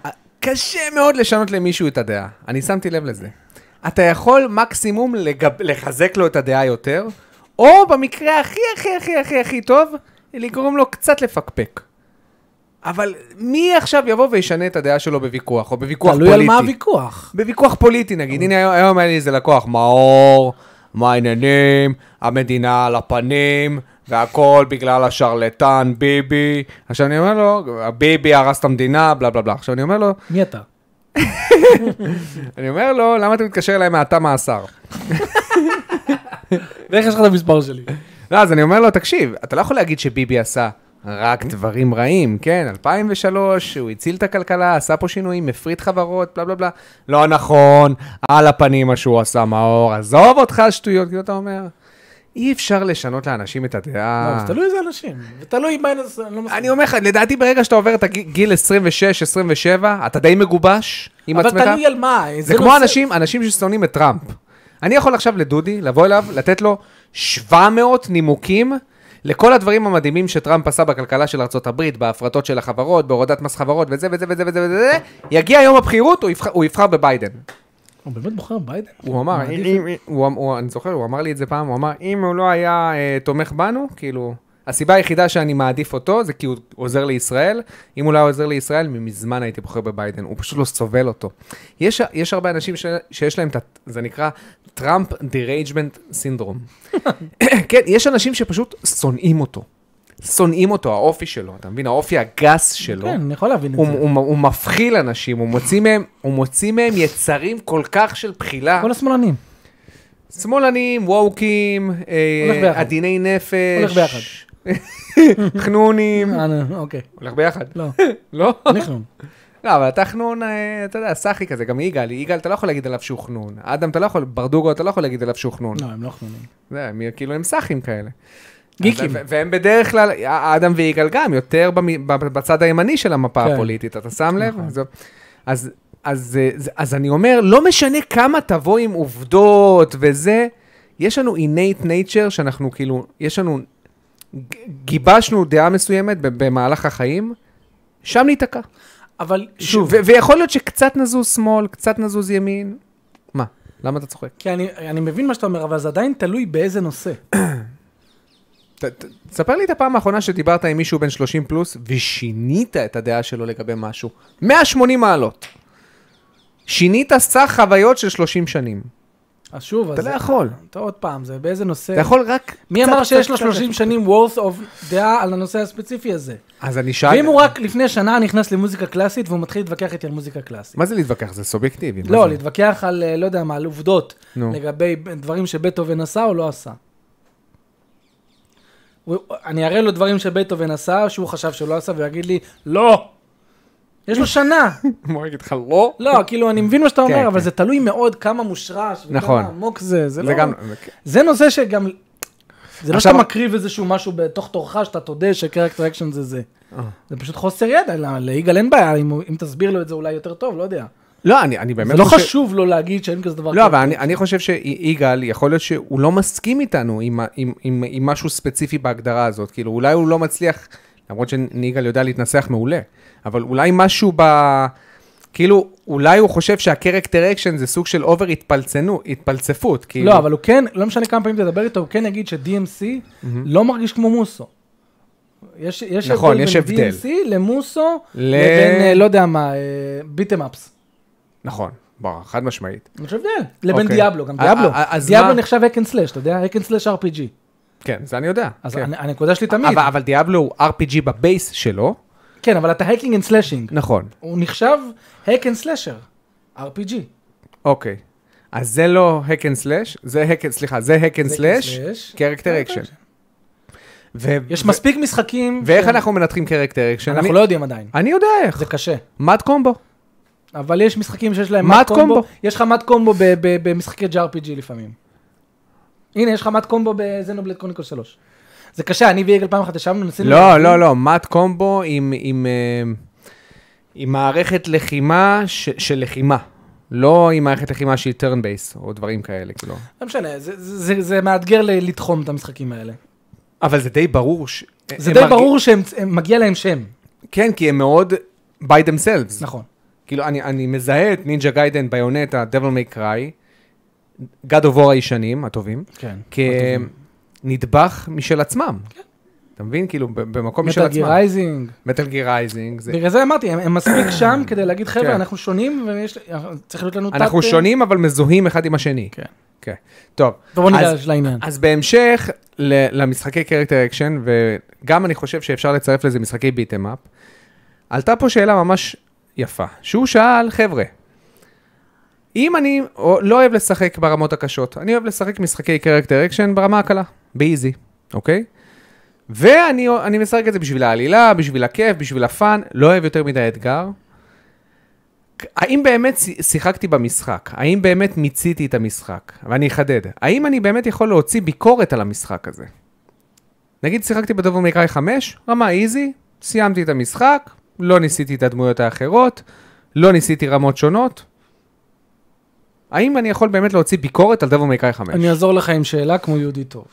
A: אה, קשה מאוד לשנות למישהו את הדעה. אני שמתי לב לזה. אתה יכול מקסימום לגב... לחזק לו את הדעה יותר, או במקרה הכי הכי הכי הכי הכי טוב, לגרום לו קצת לפקפק. אבל מי עכשיו יבוא וישנה את הדעה שלו בוויכוח, או בוויכוח פוליטי?
B: תלוי על מה הוויכוח.
A: בוויכוח פוליטי נגיד, הנה היום- היום היה לי איזה לקוח, מאור, מה העניינים, המדינה על הפנים, והכל בגלל השרלטן ביבי. עכשיו אני אומר לו, ביבי הרס את המדינה, בלה בלה בלה. עכשיו אני אומר לו,
B: מי אתה?
A: אני אומר לו, למה אתה מתקשר אליי מהתא מאסר?
B: ואיך יש לך את המספר שלי?
A: לא, אז אני אומר לו, תקשיב, אתה לא יכול לא להגיד שביבי עשה רק דברים רעים, כן, 2003, הוא הציל את הכלכלה, עשה פה שינויים, הפריט חברות, בלה בלה בלה. לא נכון, על הפנים מה שהוא עשה, מאור, עזוב אותך, שטויות, כאילו אתה אומר. אי אפשר לשנות לאנשים את הדעה.
B: לא, זה תלוי איזה אנשים, ותלוי מה... אני לא מסכים.
A: אה. אני אומר לך, לדעתי ברגע שאתה עובר את הגיל 26-27, אתה די מגובש עם עצמך.
B: אבל תלוי על מה.
A: זה כמו אנשים, אנשים ששונאים את טראמפ. אני יכול עכשיו לדודי, לבוא אליו, לתת לו 700 נימוקים לכל הדברים המדהימים שטראמפ עשה בכלכלה של ארה"ב, בהפרטות של החברות, בהורדת מס חברות, וזה וזה וזה וזה וזה, יגיע יום הבחירות, הוא יבחר- הוא יבחר בביידן.
B: הוא באמת בוחר ביידן?
A: הוא אמר,
B: מעדיף-
A: אם- אם- הוא- אמ- הוא- אני זוכר, הוא אמר לי את זה פעם, הוא אמר, אם הוא לא היה אה, תומך בנו, כאילו, הסיבה היחידה שאני מעדיף אותו, זה כי הוא עוזר לישראל, אם הוא לא היה עוזר לישראל, מזמן הייתי בוחר בביידן, הוא פשוט לא סובל אותו. יש יש הרבה אנשים ש- שיש להם את, ה- זה נקרא טראמפ דירייג'מנט סינדרום. כן, יש אנשים שפשוט שונאים אותו. שונאים אותו, האופי שלו, אתה מבין? האופי הגס שלו.
B: כן, אני יכול להבין את
A: לא. הוא,
B: זה.
A: הוא, הוא מפחיל אנשים, הוא מוציא, מהם, הוא מוציא מהם יצרים כל כך של בחילה.
B: כל השמאלנים.
A: שמאלנים, ווקים, אה,
B: הולך ביחד.
A: עדיני נפש.
B: הולך ביחד.
A: חנונים.
B: אה, נו, אוקיי,
A: הולך ביחד.
B: לא.
A: לא?
B: נכנון.
A: לא, אבל אתה חנון, אה, אתה יודע, סאחי כזה, גם יגאל, יגאל אתה לא יכול להגיד עליו שהוא חנון. אדם אתה לא יכול, ברדוגו אתה לא יכול להגיד עליו שהוא חנון.
B: לא, הם לא חנונים.
A: זה, הם כאילו הם סאחים כאלה.
B: גיקים.
A: ו- והם בדרך כלל, אדם ויגאל גם, יותר במ- ב- בצד הימני של המפה
B: כן. נכון.
A: הפוליטית, אתה שם לב? אז- אז, אז, אה, זה- אז אני אומר, לא משנה כמה תבוא עם עובדות וזה, יש לנו innate nature שאנחנו כאילו, יש לנו, ג- גיבשנו דעה מסוימת ב- במהלך החיים, שם ניתקע.
B: אבל שוב,
A: ו- ויכול להיות שקצת נזוז שמאל, קצת נזוז ימין. מה? למה אתה צוחק?
B: כי אני- אני מבין מה שאתה אומר, אבל זה עדיין תלוי באיזה נושא.
A: ת- ת- תספר לי את הפעם האחרונה שדיברת עם מישהו בן 30 פלוס ושינית את הדעה שלו לגבי משהו. 180 מעלות. שינית סך חוויות של 30 שנים.
B: אז שוב, אז...
A: אתה לא יכול.
B: אתה עוד פעם, זה באיזה נושא.
A: אתה יכול רק...
B: מי
A: קצת-
B: אמר שיש
A: קצת-
B: לו
A: קצת-
B: 30 שנים worth of דעה על הנושא הספציפי הזה?
A: אז אני
B: ואם
A: שאל...
B: הוא רק לפני שנה נכנס למוזיקה קלאסית והוא מתחיל להתווכח איתי על מוזיקה קלאסית.
A: מה זה להתווכח? זה סובייקטיבי. מה
B: לא,
A: זה?
B: להתווכח על, אה, לא יודע מה, על עובדות.
A: נו.
B: לגבי דברים שבטהובן עשה או לא עשה. הוא- אני אראה לו דברים שבטהובן עשה, שהוא חשב שלא עשה, והוא יגיד לי, לא! יש לו שנה.
A: הוא יגיד לך לא?
B: לא, כאילו, אני מבין מה שאתה
A: כן,
B: אומר, אבל
A: כן.
B: זה תלוי מאוד כמה מושרש וכמה
A: נכון.
B: עמוק זה. זה
A: זה
B: לא-
A: גם...
B: זה נושא שגם... זה לא
A: עכשיו-
B: שאתה מקריב איזשהו משהו בתוך תורך, שאתה תודה שקרקטר אקשן זה זה.
A: אה.
B: זה פשוט חוסר ידע, לא- ליגאל אין בעיה, אם הוא- אם תסביר לו את זה אולי יותר טוב, לא יודע.
A: לא, אני אני באמת
B: זה לא חשוב לו להגיד שאין כזה דבר.
A: לא, אבל אני, אני חושב שיגאל, יכול להיות שהוא לא מסכים איתנו עם, ה- עם, עם, עם משהו ספציפי בהגדרה הזאת. כאילו, אולי הוא לא מצליח, למרות שיגאל יודע להתנסח מעולה, אבל אולי משהו ב... כאילו, אולי הוא חושב שהקרקטר אקשן זה סוג של אובר התפלצנות, התפלצפות. כאילו,
B: לא, אבל הוא כן, לא משנה כמה פעמים תדבר איתו, הוא כן יגיד ש-DMC לא מרגיש כמו מוסו. יש, יש
A: נכון,
B: הבדל
A: יש
B: בין
A: הבדל.
B: DMC למוסו,
A: ל-
B: לבין, אה, לא יודע מה, ביטם אפס.
A: נכון, ברור, חד משמעית.
B: יש הבדל. לבין
A: אוקיי.
B: דיאבלו, גם
A: אה,
B: דיאבלו.
A: אה, אה, אז
B: דיאבלו
A: מה?
B: נחשב אקן סלאש, אתה יודע? אקן סלאש RPG.
A: כן, זה אני יודע.
B: אז
A: כן.
B: הנ- הנקודה שלי תמיד,
A: אבל, אבל דיאבלו הוא RPG בבייס שלו,
B: כן, אבל אתה האקינג אנד סלאשינג.
A: נכון,
B: הוא נחשב האק אנד סלאשר, RPG.
A: אוקיי. אז זה לא hack and slash, זה hack and, סליחה, זה hack and
B: hack and
A: slash, אה, כן.
B: slash,
A: character
B: character
A: action.
B: action.
A: ו-
B: יש
A: ו-
B: מספיק משחקים.
A: ואיך
B: שהם-
A: אנחנו מנתחים קרקטר אקשן?
B: אנחנו
A: אני- אה.
B: לא יודעים עדיין,
A: אני יודע איך.
B: זה קשה.
A: מד קומבו.
B: אבל יש משחקים שיש להם
A: מד
B: מד קומבו,
A: קומבו.
B: יש לך מד קומבו ב- ב- במשחקי JRPG לפעמים. הנה, יש לך מד קומבו בזנובלד קרוניקל 3. זה קשה, אני ויגאל פעם אחת ישבנו, ניסינו...
A: לא, לא, לא, מד קומבו עם- עם אה, עם מערכת לחימה ש- של לחימה. לא עם מערכת לחימה שהיא turn base או דברים כאלה, כאילו.
B: לא משנה, זה- זה- זה- זה מאתגר ל- לתחום את המשחקים האלה.
A: אבל זה די ברור ש...
B: זה
A: הם
B: די
A: מרג-
B: ברור שמגיע להם שם,
A: כן, כי הם מאוד by themselves.
B: נכון.
A: כאילו, אני, אני מזהה את נינג'ה גיידן, ביונטה, דבל מי קראי, God of War הישנים, הטובים,
B: כן.
A: כנדבך משל עצמם. אתה מבין? כאילו, ב- במקום משל
B: מטל
A: עצמם.
B: גירייזינג.
A: מטל גיר רייזינג. זה...
B: בגלל זה אמרתי, הם הם מספיק שם כדי להגיד, חבר'ה,
A: כן.
B: אנחנו שונים, וצריך להיות לנו
A: אנחנו
B: תת-
A: שונים, אבל מזוהים אחד עם השני.
B: כן.
A: כן. טוב.
B: טוב, בוא
A: אז-
B: ניגש לעניין.
A: אז בהמשך ל- למשחקי קרקטר אקשן, וגם אני חושב שאפשר לצרף לזה משחקי ביטם אפ, עלתה פה שאלה ממש יפה, שהוא שאל, חבר'ה, אם אני או- לא אוהב לשחק ברמות הקשות, אני אוהב לשחק משחקי קרקטר אקשן ברמה הקלה, באיזי, אוקיי? ואני אני משחק את זה בשביל העלילה, בשביל הכיף, בשביל הפאן, לא אוהב יותר מדי אתגר. האם באמת ש- שיחקתי במשחק? האם באמת מיציתי את המשחק? ואני אחדד. האם אני באמת יכול להוציא ביקורת על המשחק הזה? נגיד שיחקתי בדובר מקראי 5, רמה איזי, סיימתי את המשחק, לא ניסיתי את הדמויות האחרות, לא ניסיתי רמות שונות. האם אני יכול באמת להוציא ביקורת על דובר מקראי 5?
B: אני אעזור לך עם שאלה כמו יהודי טוב.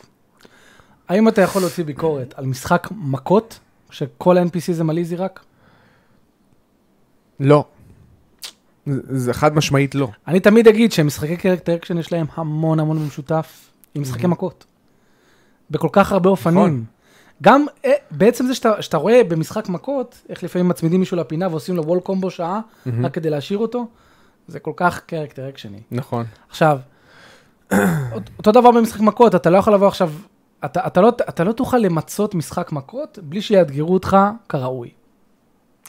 B: האם אתה יכול להוציא ביקורת על משחק מכות, שכל ה-NPC זה מליזי רק?
A: לא. זה- זה חד משמעית לא.
B: אני תמיד אגיד שמשחקי קרקטר אקשן יש להם המון המון במשותף עם משחקי מכות. בכל כך הרבה אופנים.
A: נכון.
B: גם אה, בעצם זה שאתה, שאתה רואה במשחק מכות, איך לפעמים מצמידים מישהו לפינה ועושים לו וול קומבו שעה, רק כדי להשאיר אותו, זה כל כך קרקטר אקשני.
A: נכון.
B: עכשיו, אות- אותו דבר במשחק מכות, אתה לא יכול לבוא עכשיו, אתה, אתה, לא, אתה לא תוכל למצות משחק מכות בלי שיאתגרו אותך כראוי.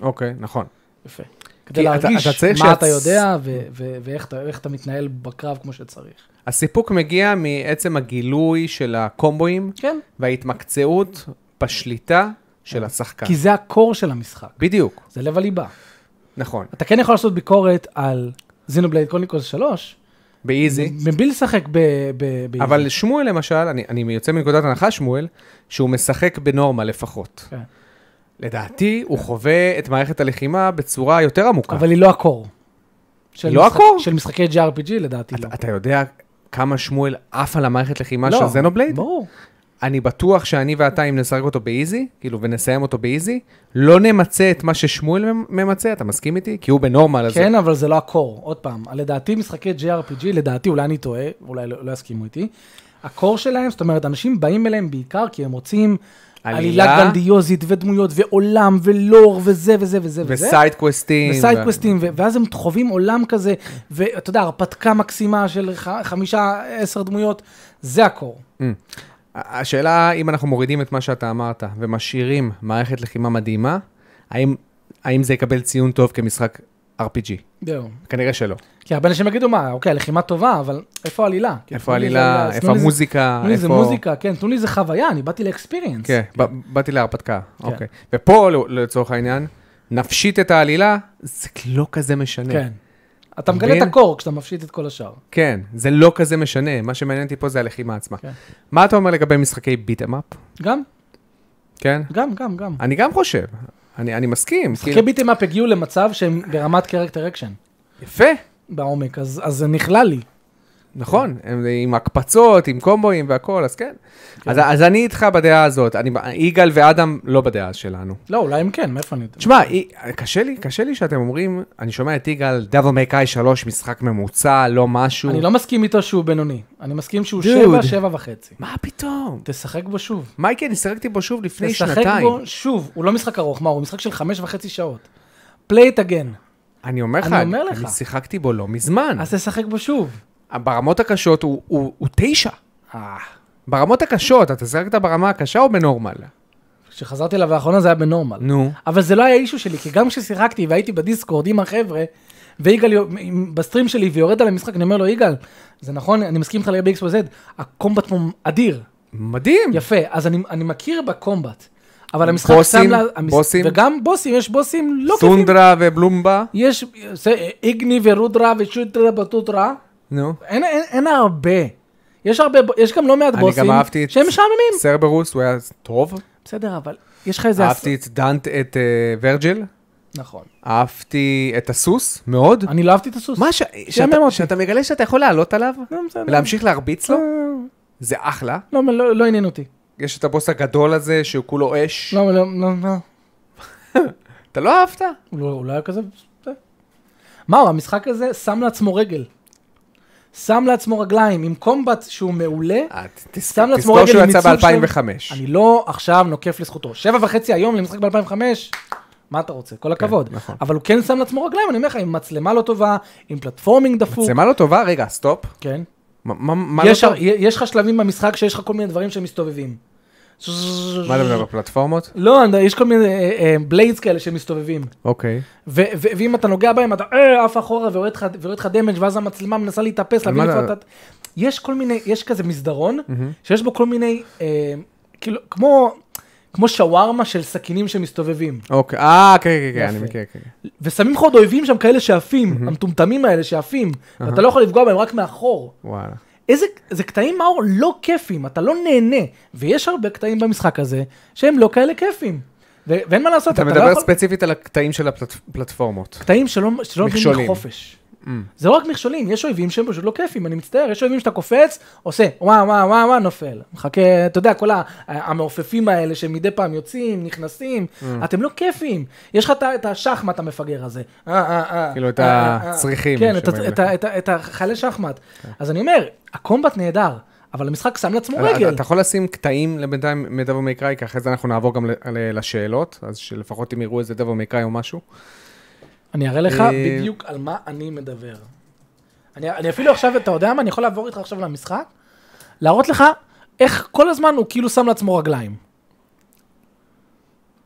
A: אוקיי, נכון.
B: יפה.
A: כי
B: כדי
A: אתה-
B: להרגיש
A: אתה צריך
B: מה
A: שיצ-
B: אתה יודע ו- ו- ואיך אתה- איך אתה מתנהל בקרב כמו שצריך.
A: הסיפוק מגיע מעצם הגילוי של הקומבואים
B: כן.
A: וההתמקצעות בשליטה של השחקן.
B: אה. כי זה הקור של המשחק,
A: בדיוק,
B: זה לב הליבה.
A: נכון.
B: אתה כן יכול לעשות ביקורת על זינובלייד קוניקוס 3,
A: באיזי.
B: מבלי לשחק ב... ב- ב-
A: אבל שמואל למשל, אני, אני יוצא מנקודת הנחה, שמואל, שהוא משחק בנורמה לפחות.
B: כן.
A: לדעתי, הוא חווה את מערכת הלחימה בצורה יותר עמוקה.
B: אבל היא לא הקור. של
A: לא
B: משחק-
A: הקור?
B: של משחקי JRPG לדעתי לא.
A: אתה, אתה יודע כמה שמואל עף על המערכת לחימה
B: לא,
A: של זנובלייד?
B: ברור.
A: אני בטוח שאני ואתה, אם נשחק אותו באיזי, כאילו, ונסיים אותו באיזי, לא נמצה את מה ששמואל ממ- ממצה, אתה מסכים איתי? כי הוא בנורמל, אז
B: כן, אבל זה לא הקור. עוד פעם, לדעתי משחקי JRPG, לדעתי, אולי אני טועה, אולי לא, לא יסכימו איתי. הקור שלהם, זאת אומרת, אנשים באים אליהם בעיקר כי הם רוצים
A: עלילה.
B: עלילה, גרנדיוזית ודמויות ועולם ולור וזה וזה וזה וזה.
A: וסייד קווסטים.
B: וסייד
A: ו-
B: קווסטים, ו- ואז הם חווים עולם כזה, ואתה יודע, הרפתקה מקסימה של ח- חמישה, עשר דמויות, זה הקור.
A: השאלה, אם אנחנו מורידים את מה שאתה אמרת ומשאירים מערכת לחימה מדהימה, האם, האם זה יקבל ציון טוב כמשחק RPG?
B: זהו.
A: כנראה שלא.
B: כי הרבה אנשים יגידו, מה, אוקיי, הלחימה טובה, אבל איפה העלילה?
A: כן, איפה
B: תנו לי איזה
A: העלילה,
B: אז
A: איפה
B: תנו לי איזה-
A: המוזיקה,
B: תנו לי איזה
A: איפה...
B: מוזיקה, כן, תנו לי איזה חוויה, אני באתי לאקספיריאנס.
A: כן, ב- באתי להרפתקה,
B: כן.
A: אוקיי. ופה, ל- לצורך העניין, נפשית את העלילה, זה לא כזה משנה.
B: כן. אתה
A: מבין?
B: מגלה את הקור כשאתה מפשיט את כל השאר.
A: כן, זה לא כזה משנה, מה שמעניין אותי פה זה הלחימה עצמה.
B: כן.
A: מה אתה אומר לגבי משחקי ביט-אמאפ?
B: גם,
A: כן?
B: גם, גם, גם.
A: אני גם חושב, אני אני מסכים.
B: משחקי
A: כאילו-
B: ביטים אפ הגיעו למצב שהם ברמת קרקטר אקשן,
A: יפה.
B: בעומק, אז אז זה נכלל לי.
A: נכון, הם, עם הקפצות, עם קומבואים והכל, אז כן. אז, אז אני איתך בדעה הזאת, אני, יגאל ואדם לא בדעה שלנו.
B: לא, אולי הם כן, מאיפה אני יודע?
A: תשמע, אי- קשה לי, קשה לי שאתם אומרים, אני שומע את יגאל, דאבל מקאי 3, משחק ממוצע, לא משהו.
B: אני לא מסכים איתו שהוא בינוני, אני מסכים שהוא
A: דוד.
B: שבע, שבע וחצי.
A: מה פתאום?
B: תשחק בו שוב.
A: מייקי, אני שיחקתי בו שוב לפני
B: תשחק
A: שנתיים.
B: בו שוב, הוא לא משחק ארוך, מה, הוא משחק של חמש וחצי שעות. פליי את הגן,
A: אני אומר לך,
B: אני אומר לך.
A: אני שיחקתי בו לא מזמן.
B: אז תשחק בו שוב.
A: ברמות הקשות הוא- הוא הוא תשע.
B: אה,
A: ברמות הקשות, אתה שיחקת ברמה הקשה או בנורמל?
B: כשחזרתי אליו לאחרונה זה היה בנורמל.
A: נו.
B: אבל זה לא היה אישו שלי, כי גם כששיחקתי והייתי בדיסקורד עם החבר'ה, ויגאל יו- עם- בסטרים שלי ויורד על המשחק, אני אומר לו, יגאל, זה נכון, אני מסכים איתך לגבי XYZ, הקומבט פה אדיר,
A: מדהים.
B: יפה, אז אני, אני מכיר בקומבט, אבל המשחק
A: בוסים,
B: שם לה... המש-
A: בוסים.
B: וגם בוסים, יש בוסים לא כיפים.
A: סונדרה ובלומבה.
B: יש זה, אה, איגני ורודרה ושוטרה בטוטרה,
A: נו.
B: אין, אין, אין הרבה. יש הרבה, ב- יש גם לא מעט
A: אני
B: בוסים,
A: גם אהבתי את-
B: שהם משעממים.
A: סרברוס הוא היה טוב,
B: בסדר, אבל יש לך איזה...
A: אהבתי את דנט, את אה, ורג'יל,
B: נכון.
A: אהבתי את הסוס מאוד.
B: אני לא אהבתי את הסוס.
A: מה ש- שאתה- שאתה מגלה שאתה יכול לעלות עליו
B: לא, בסדר.
A: ולהמשיך להרביץ לו, זה אחלה.
B: אה, לא, לא, לא עניין אותי.
A: יש את הבוס הגדול הזה שהוא כולו אש,
B: לא, לא, לא, לא.
A: אתה לא אהבת?
B: הוא לא, הוא לא היה כזה... זה. מה, הוא, המשחק הזה שם לעצמו רגל. שם לעצמו רגליים, עם קומבט שהוא מעולה.
A: אה, ת- תזכור-
B: שם לעצמו
A: תזכור
B: רגל
A: שהוא
B: עם
A: יצא
B: מיצוב
A: ב-2005.
B: אני לא עכשיו נוקף לזכותו. שבע וחצי היום למשחק ב-2005, מה אתה רוצה? כל הכבוד.
A: נכון.
B: אבל הוא כן שם לעצמו רגליים, אני אומר לך, עם מצלמה לא טובה, עם פלטפורמינג דפוק.
A: מצלמה לא טובה? רגע, סטופ.
B: כן.
A: מה- מה מה לא
B: יש,
A: טוב?
B: יש לך שלבים במשחק שיש לך כל מיני דברים שמסתובבים.
A: מה אתה מדבר? פלטפורמות?
B: לא, אני- יש כל מיני בליידס כאלה שמסתובבים.
A: אוקיי.
B: ו- ו- ואם אתה נוגע בהם אתה אה, עף אחורה ויורד לך- ויורד לך דמג' ואז המצלמה מנסה להתאפס,
A: על
B: להבין
A: מה
B: איפה
A: אתה-
B: אתה... יש כל מיני, יש כזה מסדרון, שיש בו כל מיני, אה, כאילו, כמו, כמו שווארמה של סכינים שמסתובבים.
A: אוקיי, אה, כן, כן, כן, אני
B: יפה.
A: מכיר, כן. כן.
B: ושמים לך עוד אויבים שם כאלה שעפים, המטומטמים האלה שעפים, ואתה לא יכול לפגוע בהם רק מאחור.
A: וואלה.
B: איזה, זה קטעים מאור לא כיפים, אתה לא נהנה. ויש הרבה קטעים במשחק הזה שהם לא כאלה כיפים. ו- ואין מה לעשות,
A: אתה
B: אתה, לא
A: מדבר
B: יכול...
A: ספציפית על הקטעים של הפלטפורמות.
B: קטעים שלא, שלא נותנים
A: מכשולים. Mm.
B: לך חופש. זה לא רק מכשולים, יש אויבים שהם פשוט לא כיפים, אני מצטער, יש אויבים שאתה קופץ, עושה וואו וואו וואו וואו נופל. מחכה, אתה יודע, כל ה- המעופפים האלה שמדי פעם יוצאים, נכנסים,
A: Mm.
B: אתם לא כיפים. יש לך את ה- את השחמט המפגר הזה. אה, אה, אה,
A: כאילו, את
B: אה, אה, אה.
A: הצריחים
B: כן, את ה-
A: שבאים כן.
B: את ה- את ה- את החיילי שחמט. אז אני אומר, הקומבט נהדר, אבל המשחק שם לעצמו
A: אתה-
B: רגל.
A: אתה יכול לשים קטעים לבינתיים מדבר מקראי, כי אחרי זה אנחנו נעבור גם ל- ל- לשאלות, אז שלפחות אם יראו איזה דבר מקראי או משהו.
B: אני אראה לך
A: אה,
B: בדיוק על מה אני מדבר. אני, אני אפילו עכשיו, אתה יודע מה, אני יכול לעבור איתך עכשיו למשחק, להראות לך איך כל הזמן הוא כאילו שם לעצמו רגליים.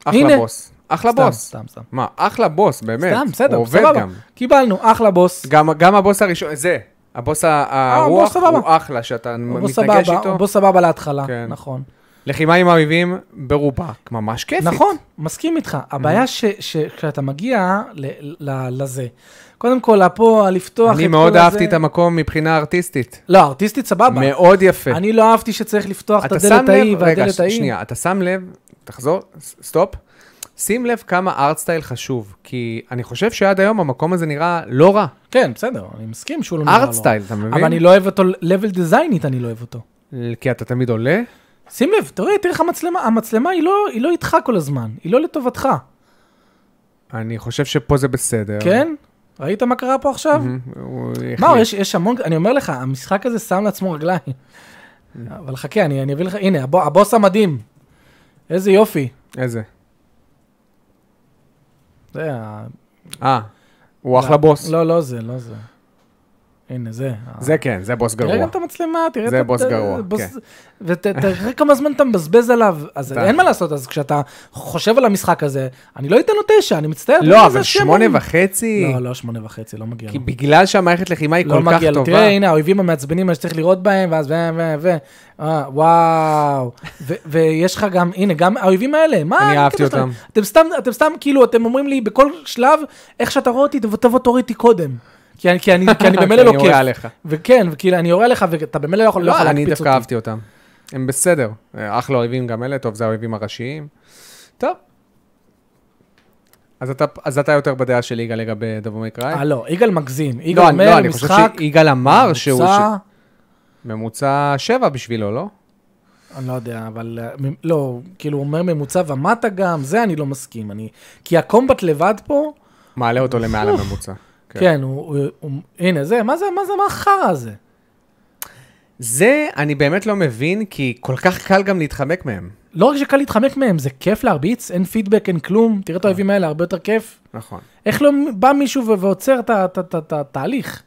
A: אחלה
B: הנה.
A: בוס. אחלה
B: סתם,
A: בוס.
B: סתם, סתם.
A: מה, אחלה בוס, באמת.
B: סתם, בסדר,
A: הוא עובד
B: סבבה.
A: גם.
B: קיבלנו, אחלה בוס.
A: גם. גם הבוס הראשון, זה, הבוס ה- הרוח
B: אה, סבבה.
A: הוא אחלה, שאתה
B: הוא בוס
A: מתנגש
B: סבבה, הוא
A: איתו.
B: בוס סבבה להתחלה,
A: כן.
B: נכון.
A: לחימה עם האויבים ברובה, ממש כיפית.
B: נכון, מסכים איתך.
A: Mhm.
B: הבעיה ש- שכשאתה מגיע ל- ל- לזה, קודם כל, פה, לפתוח את כל
A: אני
B: הזה...
A: מאוד אהבתי את המקום מבחינה ארטיסטית.
B: לא, ארטיסטית סבבה.
A: מאוד יפה.
B: אני לא אהבתי שצריך לפתוח את
A: אתה שם
B: הדלת ההיא
A: לב, רגע,
B: והדלת
A: ש-
B: ההיא.
A: שנייה, אתה שם לב, תחזור, ס- סטופ. שים לב כמה ארטסטייל חשוב, כי אני חושב שעד היום המקום הזה נראה לא רע.
B: כן, בסדר, אני מסכים שהוא לא נראה לו.
A: ארטסטייל, אתה מבין?
B: אבל אני לא אוהב אותו, level designית אני לא אוהב אותו.
A: כי אתה תמיד עולה.
B: שים לב, תראה, תראה איך המצלמה, המצלמה היא לא, היא לא איתך כל הזמן, היא לא לטובתך,
A: אני חושב שפה זה בסדר.
B: כן? ראית מה קרה פה עכשיו?
A: הוא
B: מה,
A: החליט.
B: יש, יש המון, אני אומר לך, המשחק הזה שם לעצמו רגליים. אבל חכה, אני, אני אביא לך, הנה, הבו, הבוס המדהים. איזה יופי.
A: איזה?
B: זה ה...
A: אה, הוא אחלה בוס.
B: לא, לא זה, לא זה. הנה, זה. ה-
A: זה כן, זה בוס גרוע.
B: תראה גם את המצלמה, תראה
A: זה
B: את ה-
A: בוס גרוע,
B: בוס-
A: כן.
B: ות- תראה כמה זמן אתה מבזבז עליו, אז
A: אתה-
B: אין מה לעשות, אז כשאתה חושב על המשחק הזה, אני לא אתן לו תשע, אני מצטער. אתה יודע,
A: לא,
B: זה
A: אבל
B: השם
A: שמונה
B: הוא-
A: וחצי,
B: לא, לא שמונה וחצי, לא מגיע
A: כי
B: לו.
A: בגלל שהמערכת לחימה היא
B: לא
A: כל כך
B: מגיע לו.
A: טובה.
B: תראה, הנה, האויבים המעצבנים האלה שצריך לראות בהם, ואז ו... ו... ו... אה, וואו. ו- ויש לך גם, הנה, גם האויבים האלה, מה?
A: אני
B: הקטע
A: אהבתי
B: שלהם?
A: אותם.
B: אתם סתם, אתם סתם, כאילו, אתם אומרים לי בכל שלב, איך שאתה רואה אותי, תבוא תוריד אותי קודם. כי אני- כי אני כי אני
A: כי
B: במילא
A: כן, אני
B: לא
A: יורה
B: כיף.
A: עליך.
B: וכן, וכאילו, אני יורה לך, ואתה במילא לא יכול לא יכול
A: לא,
B: להקפיץ
A: אני
B: אותי.
A: דווקא אהבתי אותם. הם בסדר. אה, אחלה אויבים גם אלה, טוב, זה האויבים הראשיים. טוב. אז אתה, אז אתה יותר בדעה של יגאל לגבי דבור מקראי?
B: אה, לא, יגאל מגזים. יגאל
A: לא, אני- לא,
B: אומר,
A: אני חושב
B: משחק,
A: שיגאל אמר שהוא...
B: ממוצע,
A: ש... ממוצע שבע בשבילו, לא?
B: אני לא יודע, אבל אה, מ- לא, כאילו, הוא אומר ממוצע ומטה גם, זה אני לא מסכים. אני, כי הקומבט לבד פה,
A: מעלה אותו למעל הממוצע. כן.
B: כן, הוא, הוא- הוא- הנה, זה, מה זה, מה זה, מה החרא הזה?
A: זה אני באמת לא מבין, כי כל כך קל גם להתחמק מהם.
B: לא רק שקל להתחמק מהם, זה כיף להרביץ, אין פידבק, אין כלום,
A: כן.
B: תראה את האויבים האלה, הרבה יותר כיף.
A: נכון.
B: איך לא בא מישהו ו- ועוצר את ה- את ה- את ה- את התהליך?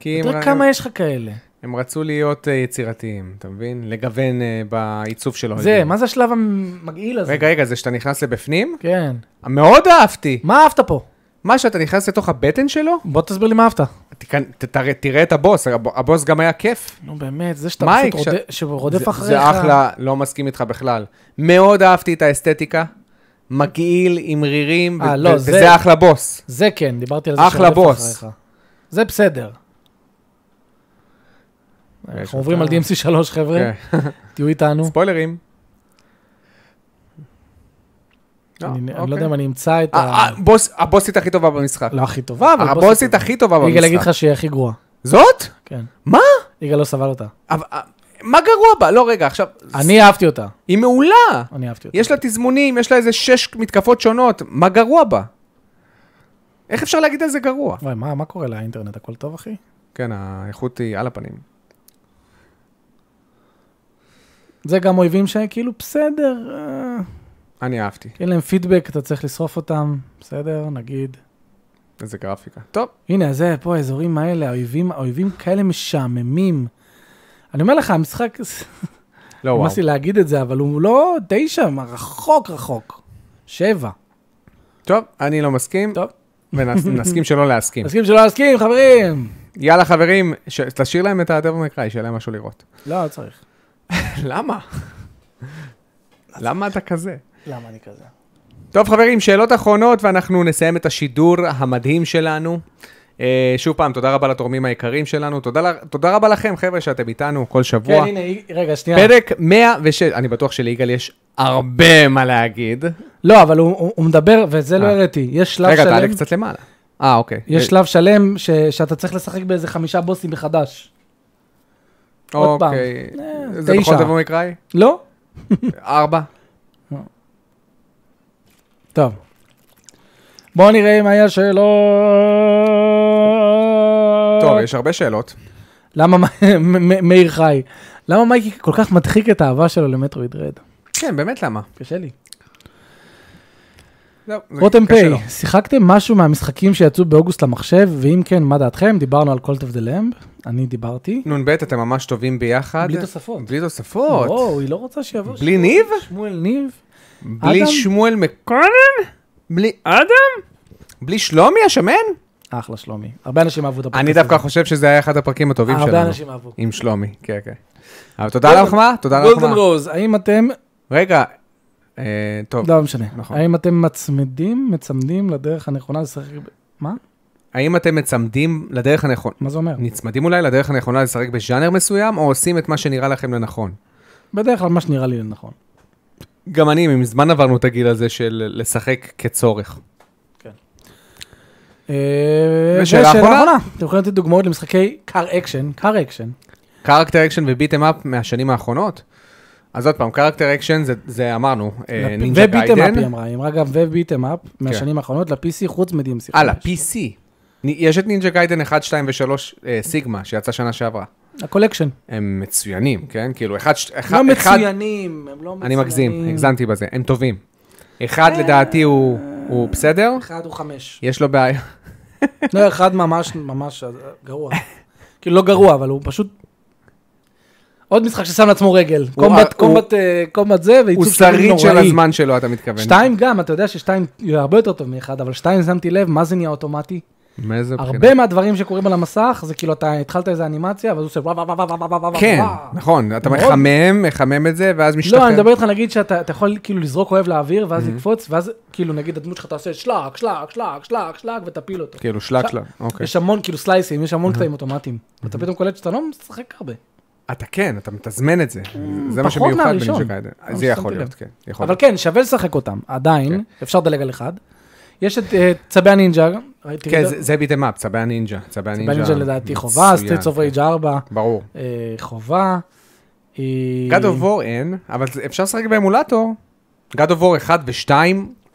A: כי הם,
B: תראה
A: ר...
B: כמה יש לך כאלה.
A: הם רצו להיות אה, יצירתיים, אתה מבין? לגוון אה, בעיצוב של
B: זה, מה זה השלב המגעיל הזה?
A: רגע, רגע, זה שאתה נכנס לבפנים?
B: כן.
A: מאוד אהבתי.
B: מה אהבת פה?
A: מה, שאתה נכנס לתוך הבטן שלו?
B: בוא תסביר לי מה אהבת.
A: תיכנ- ת- תראה- תראה את הבוס, הב- הבוס גם היה כיף.
B: נו באמת, זה שאתה
A: מייק,
B: פשוט רודף-
A: זה-
B: שרודף אחריך.
A: זה אחלה, לא מסכים איתך בכלל. מאוד אהבתי את האסתטיקה, מגעיל עם רירים, ו-
B: אה, לא,
A: ו-
B: זה-
A: וזה אחלה בוס.
B: זה כן, דיברתי על זה
A: אחלה
B: שרודף
A: בוס.
B: אחריך. זה בסדר.
A: ויש
B: אנחנו עוברים על
A: אותה-
B: DMC 3, חבר'ה,
A: כן.
B: תהיו איתנו.
A: ספוילרים. לא,
B: אני אני לא
A: אוקיי.
B: יודע אם אני אמצא את
A: ה-
B: ה...
A: ה- הבוס- הבוסית הכי טובה במשחק.
B: לא הכי טובה, אבל...
A: הבוסית הכי טובה
B: במשחק. יגאל יגיד
A: במשחק.
B: לך שהיא הכי גרועה.
A: זאת?
B: כן.
A: מה?
B: יגאל לא סבל אותה.
A: אבל- אה, מה גרוע בה? לא, רגע, עכשיו...
B: אני אהבתי אותה.
A: היא מעולה!
B: אני אהבתי אותה.
A: יש לה תזמונים, יש לה איזה שש מתקפות שונות, מה גרוע בה? איך אפשר להגיד על זה גרוע?
B: וואי, מה מה קורה לאינטרנט? הכל טוב, אחי?
A: כן, האיכות היא על הפנים.
B: זה גם אויבים שכאילו, בסדר, אה,
A: אני אהבתי,
B: אין להם פידבק, אתה צריך לשרוף אותם, בסדר, נגיד.
A: איזה גרפיקה. טוב,
B: הנה, זה, פה האזורים האלה, האויבים, האויבים כאלה משעממים. אני אומר לך, המשחק,
A: לא וואו.
B: נמאס לי להגיד את זה, אבל הוא לא תשע, מה, רחוק רחוק. שבע.
A: טוב, אני לא מסכים,
B: טוב,
A: ונסכים שלא להסכים.
B: מסכים שלא להסכים, חברים?
A: יאללה חברים, ש- תשאיר להם את הדבר מקראי, שיהיה להם משהו לראות.
B: לא, לא צריך.
A: למה? למה אתה כזה?
B: למה אני כזה?
A: טוב חברים, שאלות אחרונות ואנחנו נסיים את השידור המדהים שלנו. אה, שוב פעם, תודה רבה לתורמים היקרים שלנו, תודה, ל- תודה רבה לכם חבר'ה שאתם איתנו כל שבוע.
B: כן, הנה, היא- רגע, שנייה.
A: פרק 106, אני בטוח שליגאל יש הרבה מה להגיד.
B: לא, אבל הוא- הוא הוא מדבר, ואת זה לא
A: אה.
B: הראיתי. יש שלב
A: רגע, תעלה
B: שלם,
A: קצת למעלה. אה, אוקיי.
B: יש שלב שלם ש- שאתה צריך לשחק באיזה חמישה בוסים מחדש. עוד פעם.
A: אוקיי.
B: אה,
A: זה בכל
B: תשע.
A: דבר מקראי?
B: לא?
A: ארבע.
B: טוב. בואו נראה אם היה שאלות.
A: טוב, יש הרבה שאלות.
B: למה מ- מ- מ- מאיר חי? למה מייקי כל כך מדחיק את האהבה שלו למטרואיד רד?
A: כן, באמת למה?
B: קשה לי.
A: זהו, זה
B: רותם
A: קשה לו.
B: פיי, שיחקתם משהו מהמשחקים שיצאו באוגוסט למחשב? ואם כן, מה דעתכם? דיברנו על Call of the Lamb, אני דיברתי.
A: נ"ב, אתם ממש טובים ביחד.
B: בלי תוספות.
A: בלי תוספות.
B: וואו, היא לא רוצה שיבוא
A: בלי ניב?
B: שמואל ניב.
A: בלי
B: אדם?
A: שמואל מקונן? בלי אדם? בלי שלומי השמן?
B: אחלה שלומי. הרבה אנשים אהבו את הפרק
A: אני
B: הזה.
A: דווקא חושב שזה היה אחד הפרקים הטובים שלנו.
B: הרבה אנשים לא, אהבו.
A: עם שלומי, כן, כן. אבל תודה על המחמאה, תודה על
B: גולדן
A: המחמאה.
B: רוז, האם אתם...
A: רגע, אה, טוב,
B: לא משנה.
A: נכון.
B: האם אתם מצמידים, מצמדים לדרך הנכונה לשחק... ב- מה?
A: האם אתם מצמדים לדרך הנכונה?
B: מה זה אומר?
A: נצמדים אולי לדרך הנכונה לשחק בז'אנר מסוים, או עושים את מה שנראה לכם לנכון?
B: בדרך כלל מה שנראה לי נכון.
A: גם אני, מזמן עברנו את הגיל הזה של לשחק כצורך. ושאלה אחרונה?
B: אה, אתם יכולים לתת דוגמאות למשחקי קאר אקשן, קאר אקשן.
A: קרקטר אקשן וביטם אפ מהשנים האחרונות? אז עוד פעם, קרקטר אקשן זה, זה אמרנו, אה, נינג'ה
B: וביטם אפ היא
A: גיידן.
B: אמרה, היא אמרה גם וביטם אפ מהשנים האחרונות ל-PC חוץ מ-DMC.
A: הלאה, PC. נ- יש את נינג'ה גיידן 1, 2 ו-3 סיגמה, אה, שיצא שנה שעברה.
B: הקולקשן.
A: הם מצוינים, כן? כאילו, אחד... ש- אחד-
B: לא
A: אחד-
B: מצוינים, הם לא מצוינים.
A: אני מגזים, הגזמתי בזה, הם טובים. אחד לדעתי הוא הוא בסדר,
B: אחד הוא חמש.
A: יש לו בעיה.
B: לא, אחד ממש ממש אה, גרוע. כאילו לא גרוע, אבל הוא פשוט... עוד משחק ששם לעצמו רגל.
A: הוא-
B: קומבט,
A: הוא-
B: קומבט, אה, קומבט זה,
A: הוא
B: ועיצוב שלבים
A: שריד של
B: נוראי.
A: הזמן שלו, אתה מתכוון.
B: שתיים גם, אתה יודע ששתיים הרבה יותר טוב מאחד, אבל שתיים שמתי לב, מה זה נהיה אוטומטי?
A: מאיזה בחינה?
B: הרבה מהדברים שקורים על המסך, זה כאילו אתה התחלת איזה אנימציה, ואז הוא עושה וואו וואו וואו וואו וואו וואו.
A: כן, נכון, אתה
B: מאוד.
A: מחמם, מחמם את זה, ואז משתחרר.
B: לא, אני מדבר איתך נגיד שאתה אתה יכול כאילו לזרוק אוהב לאוויר, ואז לקפוץ, ואז כאילו נגיד הדמות שלך אתה עושה שלק, שלק, שלק, שלק, שלק, ותפיל אותו.
A: כאילו, שלק שלק, אוקיי.
B: יש המון כאילו סלייסים, יש המון קטעים אוטומטיים. ואתה פתאום קולט שאתה לא משחק הרבה.
A: אתה כן, אתה מתזמן את זה. זה מה
B: אה, פחות
A: שמיוחד
B: מהראשון.
A: בנינג'ה גיידן.
B: אבל
A: זה יכול
B: שמתי
A: להיות,
B: לב.
A: כן. יכול
B: אבל
A: להיות.
B: כן, שווה לשחק אותם,
A: כן.
B: עדיין, אפשר לדלג על אחד. יש את אה, צבי הנינג'ה, ראיתי-
A: כן, זה- זה ביטם אפ, צבי הנינג'ה. צבי
B: צבי
A: הנינג'ה.
B: הנינג'ה לדעתי חובה,
A: מצוין,
B: סטריטס אוף
A: כן.
B: רייג' 4,
A: ברור.
B: אה, חובה. היא-
A: God of War אין, אבל זה- אפשר לשחק באמולטור. God of War 1 ו-2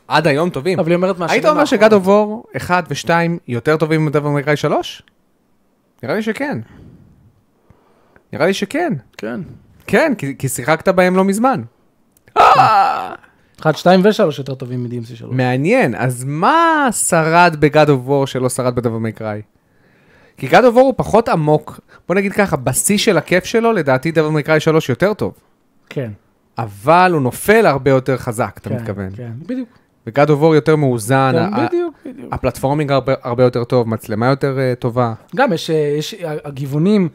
A: עד היום טובים.
B: אבל היא אומרת מה
A: היית אומר ש-God of War 1 ו-2 יותר טובים מדבר מקראי 3? נראה לי שכן. נראה לי שכן.
B: כן.
A: כן, כי- כי שיחקת בהם לא מזמן.
B: 1, 2 ו-3 יותר טובים מ-DMC 3.
A: מעניין, אז מה שרד ב-God of War שלא שרד בדבר מקראי? כי God of War הוא פחות עמוק. בוא נגיד ככה, בשיא של הכיף שלו, לדעתי דבר מקראי 3 יותר טוב.
B: כן.
A: אבל הוא נופל הרבה יותר חזק, אתה
B: כן,
A: מתכוון. אה,
B: כן, בדיוק.
A: ו-God of War יותר מאוזן,
B: כן,
A: ה-
B: בדיוק, בדיוק.
A: הפלטפורמינג הרבה- הרבה יותר טוב, מצלמה יותר אה, טובה.
B: גם יש, אה, יש אה, הגיוונים,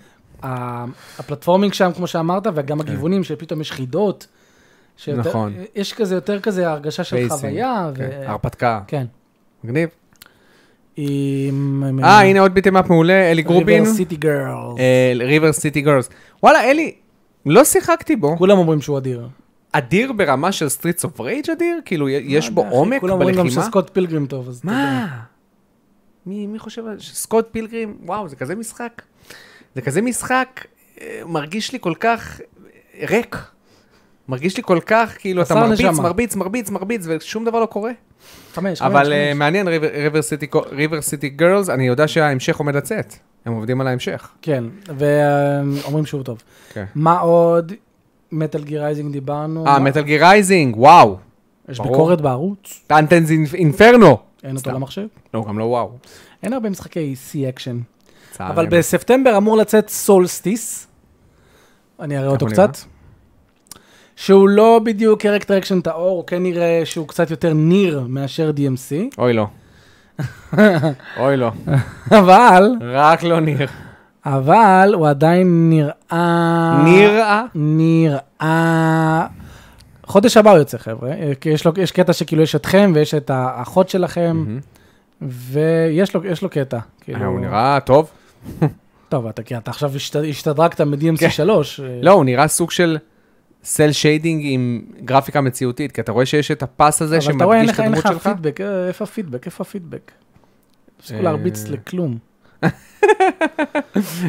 B: ה- הפלטפורמינג שם, כמו שאמרת, וגם הגיוונים שפתאום יש חידות. שיותר-
A: כן.
B: אה,
A: נכון.
B: יש כזה יותר כזה הרגשה של
A: פייסינג,
B: חוויה. ו-
A: כן, הרפתקה.
B: כן.
A: מגניב.
B: עם...
A: אה, הנה אה. עוד ביטמאפ מעולה, אלי גרובין.
B: סיטי גרלס.
A: ריבר סיטי גרס. וואלה, אלי, לא שיחקתי בו.
B: כולם אומרים שהוא אדיר.
A: אדיר ברמה של סטריטס אוף רייג' אדיר? כאילו, י- יש בו
B: מה, אחי,
A: עומק
B: כולם אומרים גם
A: בלחימה?
B: שסקוט פילגרים טוב, אז אתה יודע.
A: מה? מי מי חושב על- שסקוט פילגרים? וואו, זה כזה משחק. זה כזה משחק, אה, מרגיש לי כל כך אה, ריק. מרגיש לי כל כך, כאילו, אתה
B: חסר
A: מרביץ,
B: נשמה.
A: מרביץ, מרביץ, מרביץ, ושום דבר לא קורה.
B: חמש, חמש,
A: אבל אה,
B: חמש.
A: מעניין, ריבר סיטי גרלס, אני יודע שההמשך עומד לצאת. הם עובדים על ההמשך.
B: כן, ואומרים שהוא טוב.
A: כן.
B: מה עוד? מטאל גיר רייזינג דיברנו.
A: אה,
B: מה-
A: מטל גיר רייזינג, וואו.
B: יש
A: ברור.
B: ביקורת בערוץ,
A: טנטנס אינפרנו.
B: אין אותו
A: סתם.
B: למחשב.
A: לא, גם לא וואו.
B: אין הרבה משחקי C אקשן.
A: צער אה,
B: אבל
A: עליהם.
B: בספטמבר אמור לצאת סולסטיס. אני אראה אותו
A: הוא נראה?
B: קצת. שהוא לא בדיוק קרקטר אקשן טהור, הוא כן נראה שהוא קצת יותר ניר מאשר DMC,
A: אוי לא. אוי לא.
B: אבל,
A: רק לא ניר.
B: אבל
A: אה.
B: הוא עדיין נראה...
A: נראה.
B: נראה חודש הבא הוא יוצא, חבר'ה. אה, כי יש, לו, יש קטע שכאילו יש אתכם ויש את האחות שלכם, ויש לו, יש לו קטע. כאילו...
A: אה, הוא נראה טוב.
B: טוב, אתה, כי אתה עכשיו השת, השתדרגת מ-DMC3. אה,
A: לא, הוא נראה סוג של סל שיידינג עם גרפיקה מציאותית, כי אתה רואה שיש את הפס הזה
B: אבל אתה רואה,
A: שמדגיש
B: אין
A: את
B: לך- אין
A: הדמות
B: לך
A: שלך.
B: פידבק, אה, איפה הפידבק? איפה הפידבק? תפסיקו
A: אה.
B: להרביץ לכלום.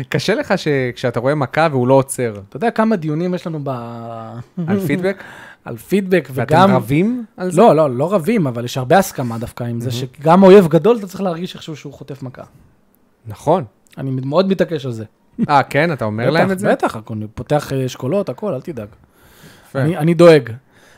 A: קשה לך שכשאתה רואה מכה והוא לא עוצר,
B: אתה יודע כמה דיונים יש לנו ב-
A: על פידבק,
B: על פידבק
A: ואתם
B: וגם...
A: רבים על זה?
B: לא, לא, לא רבים, אבל יש הרבה הסכמה דווקא עם זה, שגם אויב גדול אתה צריך להרגיש איכשהו שהוא חוטף מכה. לא.
A: נכון.
B: אני מאוד מתעקש על זה.
A: אה, כן, אתה אומר להם את זה? כן.
B: בטח, בטח, אני פותח אה, אשכולות, הכל, אל תדאג.
A: יפה.
B: אני אני דואג.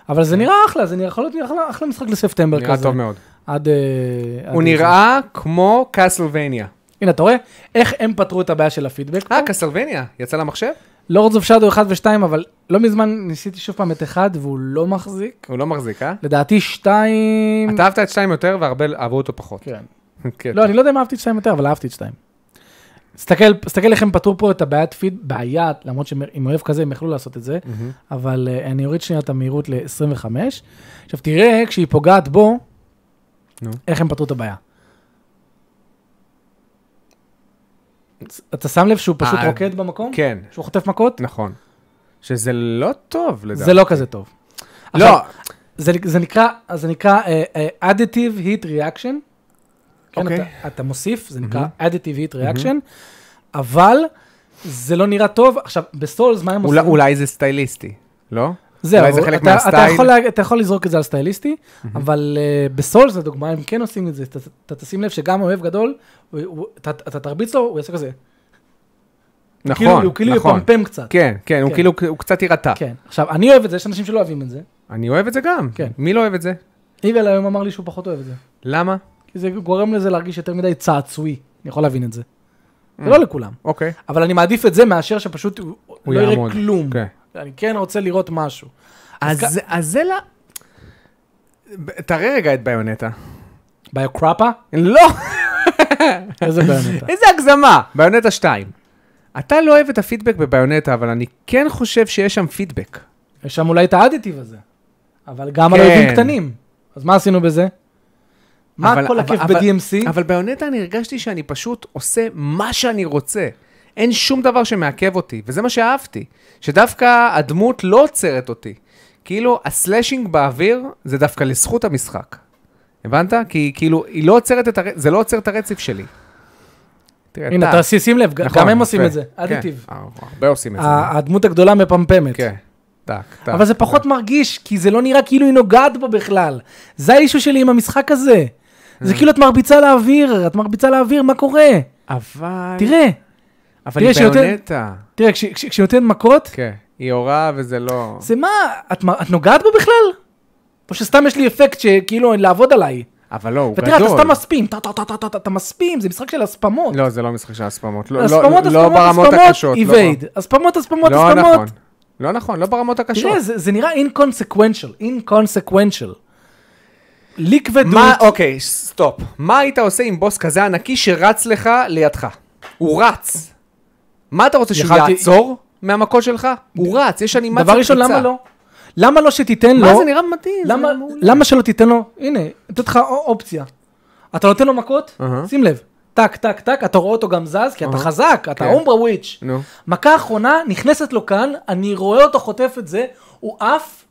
B: אבל זה נראה אחלה, זה נראה- יכול להיות אחלה- אחלה משחק לספטמבר כזה.
A: כן. נראה טוב מאוד.
B: עד... אה,
A: הוא
B: עד-
A: נראה כמו קסלווניה.
B: הנה, אתה רואה? איך הם פתרו את הבעיה של הפידבק?
A: אה, קסלווניה, יצא למחשב?
B: לורדס אוף שאדו 1 ו-2, אבל לא מזמן ניסיתי שוב פעם את 1 והוא לא מחזיק.
A: הוא לא מחזיק, אה?
B: לדעתי 2...
A: אתה אהבת את שתיים יותר והרבה אהבו אותו פחות.
B: כן.
A: כן.
B: לא, אני לא יודע אם אהבתי את 2 יותר, אבל אהבתי את 2. תסתכל, תסתכל איך הם פתרו פה את הבעיית פיד, בעיה, למרות שעם אוהב כזה הם יכלו לעשות את זה,
A: מהמם.
B: אבל אה, אני אוריד שנייה את המהירות ל-25. עכשיו תראה, כשהיא פוגעת בו,
A: נו.
B: איך הם פתרו את הבעיה. אתה שם לב שהוא פשוט
A: אה,
B: רוקד במקום?
A: כן,
B: שהוא חוטף מכות?
A: נכון. שזה לא טוב, לדעתי.
B: זה לא כזה טוב.
A: לא,
B: עכשיו, זה, זה נקרא, זה נקרא uh, uh, additive heat reaction. כן,
A: אוקיי.
B: אתה, אתה מוסיף, זה נקרא additive heat reaction, אבל זה לא נראה טוב. עכשיו, בסולס, מה הם
A: אולי-
B: עושים?
A: אולי זה סטייליסטי, לא?
B: זהו,
A: אולי זה חלק
B: אתה, אתה,
A: מהסטייל?
B: יכול, לה- אתה יכול לזרוק את זה על סטייליסטי, אבל uh, בסולס, לדוגמה, הם כן עושים את זה. אתה- אתה תשים לב שגם אוהב גדול, הוא- הוא- אתה אתה תרביץ לו, הוא יעשה כזה.
A: נכון,
B: כאילו, הוא כאילו
A: נכון.
B: יפמפם קצת.
A: כן, כן, הוא
B: כן.
A: כאילו, הוא קצת יירתע.
B: כן. עכשיו, אני אוהב את זה, יש אנשים שלא אוהבים את זה.
A: אני אוהב את זה גם.
B: כן.
A: מי לא אוהב את זה?
B: איבל היום אמר לי שהוא פחות אוהב את זה.
A: למה?
B: כי זה גורם לזה להרגיש יותר מדי צעצועי, אני יכול להבין את זה. זה לא לכולם,
A: אוקיי.
B: אבל אני מעדיף את זה מאשר שפשוט הוא
A: הוא
B: לא יראה
A: יעמוד,
B: כלום.
A: כן.
B: אני כן רוצה לראות משהו. אז
A: אז אז זה לא... ב- תראה רגע את ביונטה.
B: ביוקרפה?
A: לא,
B: איזה בעיה.
A: איזה הגזמה. ביונטה 2. אתה לא אוהב את הפידבק בביונטה, אבל אני כן חושב שיש שם פידבק.
B: יש שם אולי את האדיטיב הזה, אבל גם על
A: כן.
B: אויבים קטנים. אז מה עשינו בזה? מה
A: אבל-
B: כל
A: אבל-
B: הכיף
A: אבל-
B: ב-DMC?
A: אבל ביונטה אני הרגשתי שאני פשוט עושה מה שאני רוצה. אין שום דבר שמעכב אותי, וזה מה שאהבתי. שדווקא הדמות לא עוצרת אותי. כאילו, הסלאשינג באוויר זה דווקא לזכות המשחק. הבנת? כי כאילו, היא לא עוצרת את הר... זה לא עוצר את הרצף שלי. תראה,
B: הנה, אתה עשי- שים לב, ג-
A: נכון,
B: גם הם עושים
A: יפה.
B: את זה,
A: כן,
B: אדיטיב.
A: אה, הרבה עושים את זה.
B: ה- הדמות הגדולה מפמפמת.
A: כן, טק, טק.
B: אבל זה
A: נכון.
B: פחות מרגיש, כי זה לא נראה כאילו היא נוגעת בו בכלל. זה האישו שלי עם המשחק הזה. זה
A: Mm.
B: כאילו את מרביצה לאוויר, את מרביצה לאוויר, מה קורה?
A: אבל...
B: תראה,
A: אבל
B: תראה
A: היא
B: שיותר-
A: ביונטה.
B: תראה, כש- כש- כשהיא נותנת מכות,
A: כן, היא הורה וזה לא...
B: זה מה, את מ- את נוגעת בו בכלל? או שסתם יש לי אפקט שכאילו לעבוד עליי.
A: אבל לא, הוא גדול.
B: ותראה, אתה סתם מספים, טה טה טה טה טה טה, אתה מספים, זה משחק של הספמות.
A: לא, זה לא משחק של הספמות. לא, לא,
B: הספמות,
A: לא ברמות
B: הספמות,
A: הקשות.
B: הספמות,
A: לא בר-
B: איבייד. הספמות, הספמות,
A: לא נכון.
B: הספמות.
A: לא נכון, לא ברמות הקשות.
B: תראה, זה זה נראה אינקונסקוונשל, אינקonssequential. לי כבדות.
A: מה, אוקיי, סטופ. מה היית עושה עם בוס כזה ענקי שרץ לך לידך? הוא רץ. מה אתה רוצה, שהוא
B: יכלתי-
A: יעצור מהמכות שלך? הוא רץ, יש אנימציה
B: דבר ראשון, למה לא? למה לא שתיתן לו?
A: מה, זה נראה מדהים. זה
B: למה-
A: נראה מעולה.
B: למה שלא תיתן לו? הנה, נותנת לך א- אופציה. אתה נותן לו מכות?
A: אהה.
B: שים לב. טק, טק, טק, אתה רואה אותו גם זז, כי אתה
A: אהה.
B: חזק, אתה
A: כן.
B: אומברה וויץ'.
A: נו.
B: מכה אחרונה, נכנסת לו כאן, אני רואה אותו חוטף את זה, הוא עף,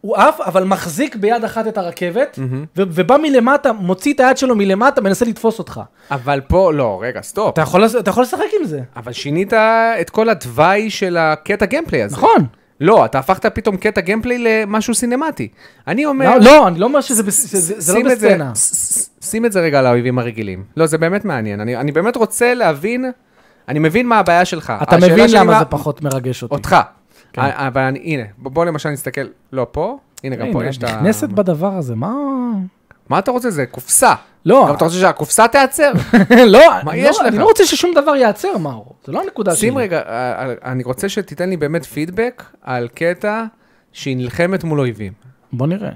B: הוא עף, אבל מחזיק ביד אחת את הרכבת, ו- ובא מלמטה, מוציא את היד שלו מלמטה, מנסה לתפוס אותך.
A: אבל פה, לא, רגע, סטופ.
B: אתה יכול, לס- אתה יכול לשחק עם זה.
A: אבל שינית את כל התוואי של הקטע גיימפליי הזה.
B: נכון.
A: לא, אתה הפכת פתאום קטע גיימפליי למשהו סינמטי. אני אומר...
B: לא, לא, אני לא אומר שזה בס- שזה- זה לא
A: שים את זה-
B: בסצנה.
A: ש- ש- שים את זה רגע על האויבים הרגילים. לא, זה באמת מעניין. אני אני באמת רוצה להבין, אני מבין מה הבעיה שלך.
B: אתה
A: השאלה
B: מבין
A: שלי
B: למה
A: מה-
B: זה פחות כן. מרגש אותי.
A: אותך. ה- אבל אני- הנה, ב- בוא למשל נסתכל, לא פה, הנה גם פה
B: הנה,
A: יש
B: את
A: את ה...
B: נכנסת בדבר הזה, מה...
A: מה אתה רוצה? זה קופסה.
B: לא.
A: גם אתה רוצה שהקופסה תיעצר?
B: לא,
A: מה
B: אני
A: יש
B: לא- אני
A: לך?
B: לא רוצה ששום דבר ייעצר, מאור. זה לא הנקודה שלי.
A: שים רגע, אה, אה, אני רוצה שתיתן לי באמת פידבק על קטע שהיא נלחמת מול אויבים.
B: בוא נראה.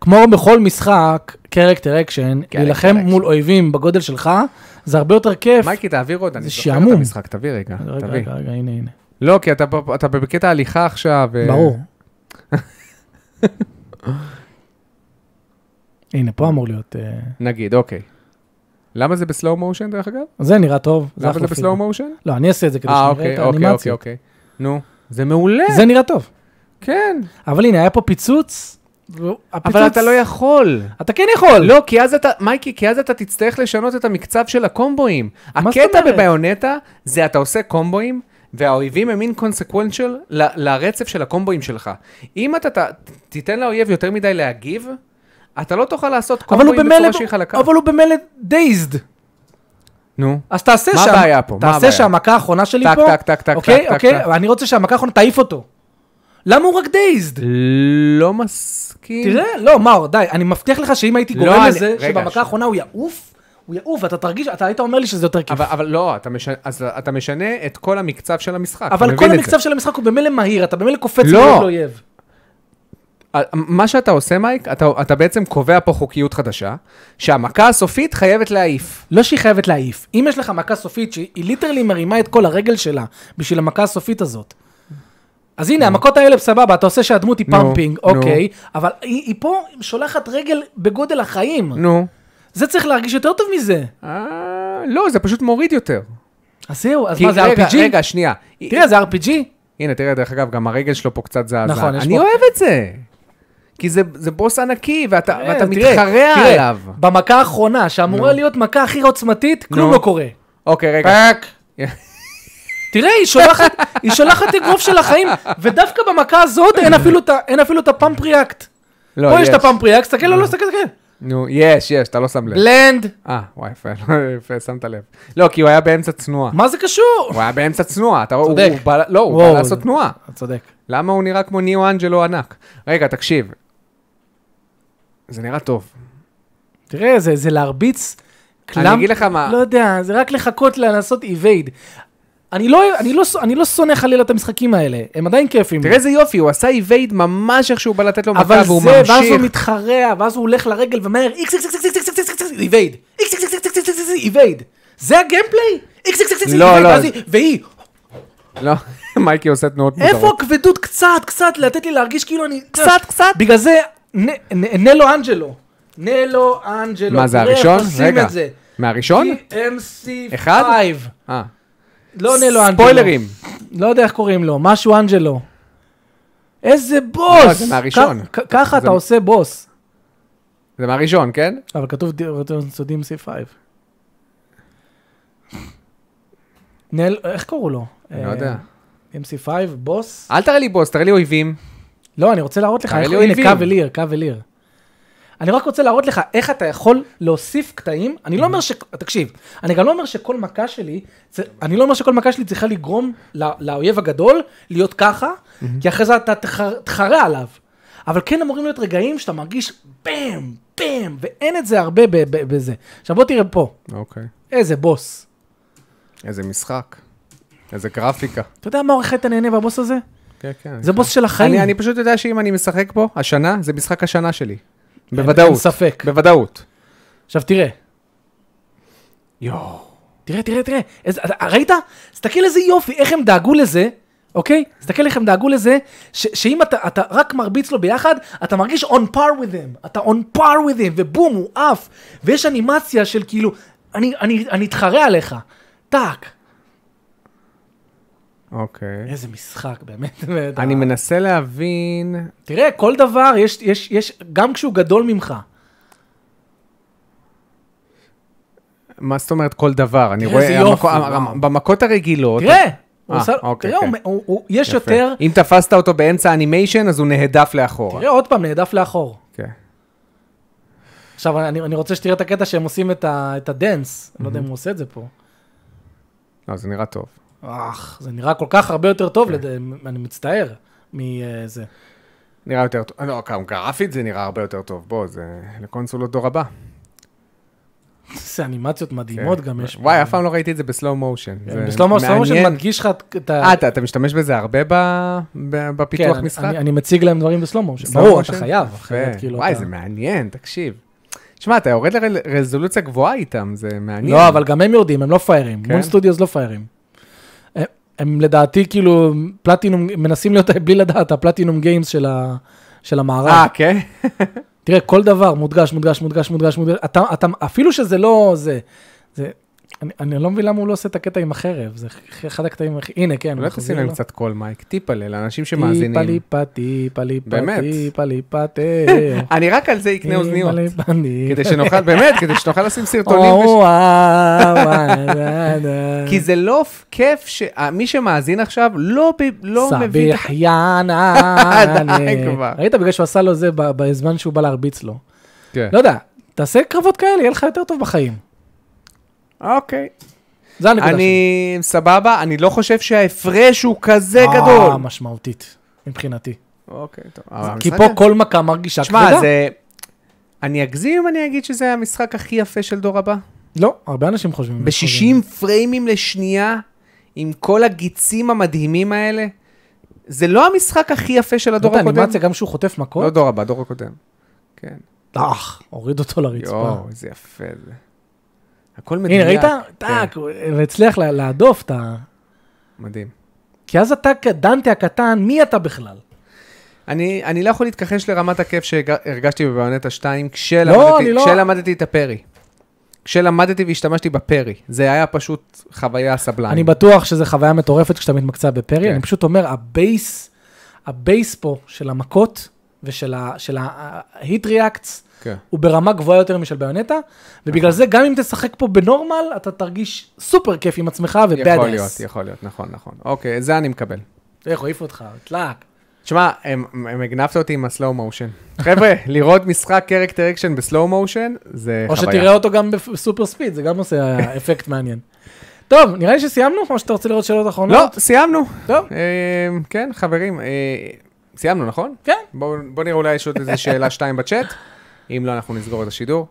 B: כמו בכל משחק, קרקטר אקשן, להילחם
A: action.
B: מול אויבים בגודל שלך, זה הרבה יותר כיף.
A: מייקי, תעביר עוד, אני זוכר את
B: שעמום.
A: המשחק, תביא רגע,
B: רגע,
A: תביא.
B: רגע, רגע, הנה, הנה.
A: לא, כי אתה ב- אתה בקטע הליכה עכשיו. אה,
B: ברור. הנה, פה אמור להיות... אה,
A: נגיד, אוקיי. למה זה בסלואו מושן דרך אגב?
B: זה נראה טוב, זה
A: למה זה
B: אחלה
A: בסלואו
B: פידבק.
A: מושן?
B: לא, אני אעשה את זה כדי
A: אה,
B: שנראה את
A: אוקיי, אוקיי, אוקיי,
B: האנימציה.
A: אוקיי. נו, זה מעולה.
B: זה נראה טוב.
A: כן.
B: אבל הנה, היה פה פיצוץ.
A: אבל אתה לא יכול.
B: אתה כן יכול.
A: לא, כי אז אתה, מייקי, כי אז אתה תצטרך לשנות את המקצב של הקומבואים.
B: מה זאת
A: הקטע
B: אומרת?
A: בביונטה זה אתה עושה קומבואים, והאויבים הם אינקונסקוונצ'ל לרצף של הקומבואים שלך. אם אתה ת- תיתן לאויב יותר מדי להגיב, אתה לא תוכל לעשות
B: אבל הוא
A: קומבואים בצורה שהיא
B: במילא,
A: חלקה.
B: אבל הוא במילא דייזד.
A: נו.
B: אז תעשה
A: מה
B: שם,
A: הבעיה פה? מה הבעיה?
B: תעשה שהמכה האחרונה שלי
A: טק,
B: פה,
A: טק, טק, טק,
B: אוקיי,
A: טק, טק,
B: אוקיי,
A: טק.
B: אני רוצה שהמכה האחרונה תעיף אותו. למה הוא רק דייזד?
A: לא מסכים.
B: תראה, לא, מאור, די, אני מבטיח לך שאם הייתי
A: לא,
B: גורם
A: אני-
B: לזה,
A: רגע, ש-
B: שבמכה האחרונה הוא יעוף, הוא יעוף, ואתה תרגיש, אתה היית אומר לי שזה יותר כיף.
A: אבל, אבל לא, אתה משנה, אז אתה משנה את כל המקצב של המשחק. אתה
B: אבל
A: מבין
B: כל
A: את זה.
B: המקצב של המשחק הוא במילא מהיר, אתה במילא קופץ
A: לא.
B: מול אויב.
A: אה, מה שאתה עושה, מייק, אתה, אתה בעצם קובע פה חוקיות חדשה, שהמכה הסופית חייבת להעיף.
B: לא שהיא חייבת להעיף. אם יש לך מכה סופית שהיא ליטרלי מרימה את כל הרגל שלה בשביל המכה הסופית הזאת. אז הנה, המכות האלה סבבה, אתה עושה שהדמות היא
A: נו,
B: פאמפינג,
A: נו.
B: אוקיי, אבל היא היא פה שולחת רגל בגודל החיים.
A: נו.
B: זה צריך להרגיש יותר טוב מזה.
A: אה, לא, זה פשוט מוריד יותר.
B: אז זהו, אז
A: כי
B: מה זה
A: רגע,
B: RPG?
A: רגע, שנייה.
B: תראה, זה RPG?
A: אה, הנה, תראה, דרך אגב, גם הרגל שלו פה קצת זעזע.
B: נכון, יש
A: אני
B: פה-
A: אוהב את זה. כי זה, זה בוס ענקי, ואתה, ואתה
B: אה, תראה,
A: מתחרע
B: תראה,
A: עליו.
B: במכה האחרונה, שאמורה להיות מכה הכי עוצמתית, כלום
A: נו.
B: לא קורה.
A: אוקיי, רגע.
B: פאק. תראה, היא שולחת, היא שולחת אגרוף של החיים, ודווקא במכה הזאת אין אפילו את ה- אין אפילו את הפאמפ ריאקט.
A: לא,
B: פה יש
A: יש. אה. כן.
B: את הפאמפ ריאקט, תסתכל, לא, לא, תסתכל, תסתכל.
A: נו, יש, יש, אתה לא שם לב.
B: בלנד.
A: אה, וואי, יפה, יפה, שמת לב. לא, כי הוא היה באמצע תנועה.
B: מה זה קשור?
A: הוא היה באמצע תנועה, אתה רואה, הוא-
B: צודק.
A: הוא בא, לא, הוא
B: וואו.
A: בא לעשות תנועה.
B: אתה צודק.
A: למה הוא נראה כמו ניאו אנג'לו ענק? רגע, תקשיב. זה נראה טוב.
B: תראה, זה, זה להרביץ קלאם.
A: אני אגיד לך מה-
B: לא יודע, זה רק לחכות לנסות איבייד. אני לא, אני, לא, אני לא שונא חלילה את המשחקים האלה, הם עדיין כיפים.
A: תראה איזה יופי, הוא עשה איבייד ממש איך שהוא בא לתת לו מכה,
B: אבל
A: והוא
B: זה, ואז הוא
A: ממשיך.
B: מתחרע, ואז הוא הולך לרגל ומהר, איקס איקס איקס איקס איקס איקס איקס איקס איבייד. איקס איקס איקס איקס איקס איקס איבייד. זה הגיימפליי? איקס איקס איקס איקס
A: לא,
B: איבייד,
A: לא.
B: ואז היא- והיא,
A: לא, מייקי עושה תנועות
B: איפה
A: מוזרות.
B: הכבדות קצת, קצת, לתת לי להרגיש כאילו אני... קצת, קצת. בגלל זה, נ- נ- נלו אנג'לו. נלו אנג'לו.
A: מה זה
B: תראה איך
A: הראשון?
B: עושים
A: רגע.
B: את זה.
A: מהראשון?
B: MC5.
A: אחד? אה.
B: לא נלו אנג'לו.
A: ספוילרים.
B: לא יודע איך קוראים לו, משהו אנג'לו. איזה
A: לא,
B: בוס!
A: זה מהראשון.
B: כ- כ- ככה
A: זה-
B: אתה עושה בוס.
A: זה מהראשון, כן?
B: אבל כתוב DMC5. נל... איך קראו לו? אה,
A: אני לא יודע.
B: MC5, בוס?
A: אל תראה לי בוס, תראה לי אויבים.
B: לא, אני רוצה להראות לך,
A: תראה
B: איך-
A: לי
B: הנה,
A: אויבים.
B: קאבליר, קאבליר. אני רק רוצה להראות לך איך אתה יכול להוסיף קטעים, אני לא אומר ש... תקשיב, אני גם לא אומר שכל מכה שלי, צ- אני לא אומר שכל מכה שלי צריכה לגרום לא- לאויב הגדול להיות ככה, כי אחרי זה אתה תחר- תחרה עליו. אבל כן אמורים להיות רגעים שאתה מרגיש פעם, פעם, ואין את זה הרבה ב- ב- בזה. עכשיו בוא תראה פה,
A: אוקיי.
B: איזה בוס.
A: איזה משחק. איזה גרפיקה.
B: אתה יודע מה עורך אתה נהנה בבוס הזה?
A: כן, כן.
B: זה בוס של החיים.
A: אני אני פשוט יודע שאם אני משחק פה, השנה, זה משחק השנה שלי.
B: אין-
A: בוודאות.
B: אין ספק.
A: בוודאות.
B: עכשיו תראה.
A: יואו.
B: תראה, תראה, תראה, איזה, אתה- ראית? תסתכל איזה יופי, איך הם דאגו לזה, אוקיי? תסתכל איך הם דאגו לזה, ש, שאם אתה, אתה רק מרביץ לו ביחד, אתה מרגיש on par with him, אתה on par with him, ובום, הוא עף, ויש אנימציה של כאילו, אני, אני, אני אתחרה עליך, טאק.
A: אוקיי.
B: איזה משחק, באמת. באמת.
A: אני מנסה להבין...
B: תראה, כל דבר, יש, יש, יש, גם כשהוא גדול ממך.
A: מה זאת אומרת כל דבר? אני
B: תראה
A: רואה...
B: איזה יופי,
A: המכו- המ-
B: וואו.
A: במכות הרגילות...
B: תראה, הוא
A: אה,
B: עושה-
A: אוקיי,
B: תראה, הוא-
A: אוקיי.
B: הוא- הוא- יש
A: יפה.
B: יותר,
A: אם תפסת אותו באמצע האנימיישן, אז הוא נהדף לאחורה.
B: תראה, עוד פעם, נעדף לאחור.
A: כן.
B: עכשיו, אני, אני רוצה שתראה את הקטע שהם עושים את, ה, את הדנס. אני לא
A: Mhm.
B: יודע אם הוא עושה את זה פה.
A: לא, זה נראה טוב.
B: אך, זה נראה כל כך הרבה יותר
A: כן.
B: טוב, לד... אני מצטער, מזה.
A: נראה יותר טוב. לא, גם גרפית זה נראה הרבה יותר טוב. בוא, זה לקונסולות דור הבא. כן.
B: זה אנימציות מדהימות גם יש. פה.
A: וואי, אף פעם לא ראיתי את זה בסלואו מושן.
B: כן, בסלום הסלום
A: מעניין.
B: שמדגיש לך את- את ה...
A: אה, אתה אתה משתמש בזה הרבה ב- ב-
B: כן,
A: בפיתוח
B: אני-
A: משחק?
B: אני- אני מציג להם דברים בסלום מושן.
A: בסלואו
B: ברור, אתה
A: מושן?
B: חייב.
A: יפה.
B: אחרת, כאילו,
A: וואי,
B: אתה-
A: זה מעניין, תקשיב. שמע, אתה יורד לרזולוציה גבוהה איתם, זה מעניין.
B: לא, אבל גם הם יורדים, הם לא פיירים.
A: כן?
B: מון סטודיוס לא פיירים. אה, הם לדעתי כאילו פלטינום, מנסים להיות בלי לדעת הפלטינום גיימס של, ה, של המערב.
A: אה, כן?
B: תראה, כל דבר מודגש, מודגש, מודגש, מודגש, מודגש, אתה, אתה, אפילו שזה לא זה, זה, אני, אני לא מבין למה הוא לא עושה את הקטע עם החרב, זה אחד הקטעים, הכי- הנה, כן,
A: אולי
B: הוא
A: תשים
B: מחזיר
A: להם
B: לו.
A: קצת קול מייק, טיפלה, לאנשים
B: טיפה
A: שמאזינים.
B: ליפה, טיפה ליפה,
A: באמת.
B: טיפה ליפה, תר.
A: אני רק על זה אקנה אוזניות.
B: טיפה ליפה, ני.
A: כדי שנוכל, באמת, כדי שנוכל לשים סרטונים.
B: או, אה,
A: וש-
B: וואו, וואו, וואו, וואו.
A: כי זה לא כיף שמי שמאזין עכשיו לא ב- לא מבין. את-
B: סביח יאנה.
A: די כבר.
B: ראית בגלל שהוא עשה לו זה ב- בזמן שהוא בא להרביץ לו.
A: כן.
B: לא יודע, תעשה קרבות כאלה, יהיה לך יותר טוב בחיים.
A: אוקיי.
B: זה הנקודה שלי.
A: אני סבבה, אני לא חושב שההפרש הוא כזה
B: אה,
A: גדול.
B: משמעותית, מבחינתי.
A: אוקיי, טוב. אבל
B: כי פה
A: בסדר.
B: כל מכה מרגישה כבדה.
A: שמע, זה... אני אגזים אם אני אגיד שזה המשחק הכי יפה של דור הבא.
B: לא, הרבה אנשים חושבים.
A: ב-60 פריימים לשנייה, עם כל הגיצים המדהימים האלה, זה לא המשחק הכי יפה של הדור
B: הדור
A: הקודם.
B: האנימציה, גם שהוא חוטף
A: לא
B: מכות,
A: דור הבא, דור הקודם. כן.
B: אח, אה, הוריד אותו לרצפה.
A: יואו, איזה יפה זה. הכל מדויק.
B: הנה, ראית?
A: כן,
B: טאק, הוא הצליח לה- להדוף את ה...
A: מדהים.
B: כי אז אתה, דנטה הקטן, מי אתה בכלל?
A: אה, אני, אני לא יכול להתכחש לרמת הכיף שהרגשתי בביונטה 2 כשלמדתי,
B: לא, אני לא-
A: כשלמדתי את הפרי. כשלמדתי והשתמשתי בפרי. זה היה פשוט חוויה סבלנית.
B: אני בטוח שזו חוויה מטורפת כשאתה מתמקצע בפרי,
A: כן.
B: אני פשוט אומר, הבייס, הבייס פה של המכות ושל ה- של ה-hit reacts,
A: כן.
B: הוא ברמה גבוהה יותר משל ביונטה, ובגלל
A: נכון.
B: זה גם אם תשחק פה בנורמל, אתה תרגיש סופר כיף עם עצמך ובאד אס.
A: יכול להיות, יכול להיות, נכון, נכון. אוקיי, זה אני מקבל.
B: איך הוא העיף אותך, טלאק.
A: תשמע, הם, הם הגנבת אותי עם הסלואו מושן. חבר'ה, לראות משחק קרקטר אקשן בסלואו מושן, זה
B: או
A: חוויה.
B: שתראה אותו גם בסופר ספיד, זה גם עושה אפקט מעניין. טוב, נראה לי שסיימנו, או שאתה רוצה לראות שאלות אחרונות?
A: לא, סיימנו.
B: טוב.
A: אה, כן, חברים, אה, סיימנו, נכון?
B: כן.
A: בואו בוא נראה אולי יש עוד איזה שאלה שתיים בצ'אט, אם לא, אנחנו נסגור את השידור.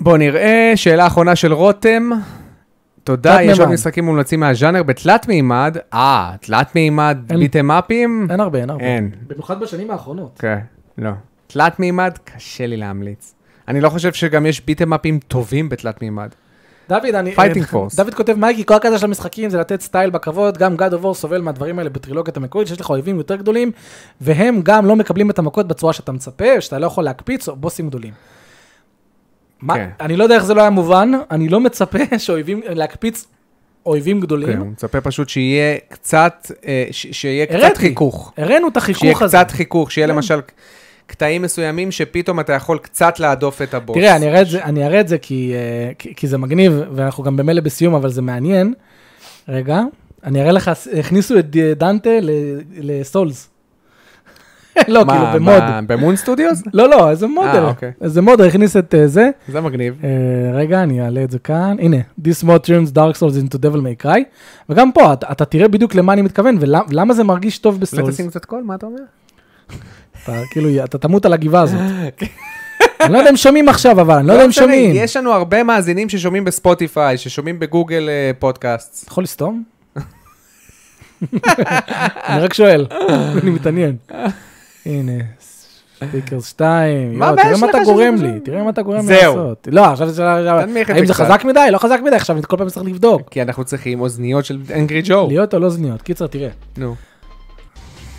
A: בואו נראה, שאלה אחרונה של רותם. תודה, יש עוד
B: תלת-מימד.
A: משחקים מומלצים מהז'אנר בתלת מימד. אה, תלת מימד
B: אין.
A: ביטם אפים?
B: אין הרבה, אין הרבה.
A: אין.
B: במיוחד בשנים האחרונות.
A: כן, לא. תלת מימד, קשה לי להמליץ. אני לא חושב שגם יש ביטם אפים טובים בתלת מימד.
B: דוד, אני...
A: Fighting
B: אה,
A: Force.
B: דוד כותב, מייקי, כל הקטע של המשחקים זה לתת סטייל בקרבות, גם God of War סובל מהדברים האלה בטרילוגית המקורית, שיש לך אויבים יותר גדולים, והם גם לא מקבלים את המכות בצורה שאתה מצפה, שאתה לא יכול להקפיץ, או בוסים גדולים. מה,
A: כן.
B: אני לא יודע איך זה לא היה מובן, אני לא מצפה שאויבים, להקפיץ אויבים
A: כן,
B: גדולים.
A: הוא מצפה פשוט שיהיה קצת, אה, ש- שיהיה קצת
B: הראתי.
A: חיכוך.
B: הראינו את
A: שיהיה
B: החיכוך הזה. כן.
A: קצת חיכוך, שיהיה למשל קטעים מסוימים שפתאום אתה יכול קצת להדוף את הבוס.
B: תראה, אני אראה את זה, אני אראה את זה כי, אה, כי, כי זה מגניב, ואנחנו גם במילא בסיום, אבל זה מעניין. רגע, אני אראה לך, ס- הכניסו את אה, דנטה ל- לסולס. לא,
A: מה,
B: כאילו, במוד.
A: מה, במון סטודיוס?
B: לא, לא, איזה מודר.
A: אוקיי.
B: איזה מודר הכניס את אה, זה.
A: זה מגניב.
B: אה, רגע, אני אעלה את זה כאן. הנה, This mod turns Dark Souls into Devil May Cry. וגם פה, אתה, אתה תראה בדיוק למה אני מתכוון, ולמה זה מרגיש טוב
A: אולי
B: בסולס.
A: תשים קצת קול, מה אתה אומר?
B: לא, אתה, כאילו, אתה תמות על הגבעה הזאת. אני לא יודע אם שומעים עכשיו, אבל אני לא יודע אם
A: משנה,
B: שומעים.
A: יש לנו הרבה מאזינים ששומעים בספוטיפיי, ששומעים בגוגל אה, פודקאסט.
B: אתה יכול לסתום? אני רק שואל, אני מתעניין. הנה, ספיקרס 2,
A: מה
B: יואו,
A: הבעיה
B: תראה מה
A: שלך
B: אתה
A: שזה
B: גורם
A: כזה?
B: לי, תראה מה אתה גורם לי
A: זהו.
B: לעשות. לא, עכשיו זה שאלה,
A: תנמיך את
B: האם
A: זה
B: זה
A: קצת.
B: חזק מדי? לא חזק מדי, עכשיו אני כל פעם צריך לבדוק.
A: כי אנחנו צריכים אוזניות של אנגרי ג'ו.
B: להיות או לא זניות, קיצר תראה.
A: נו.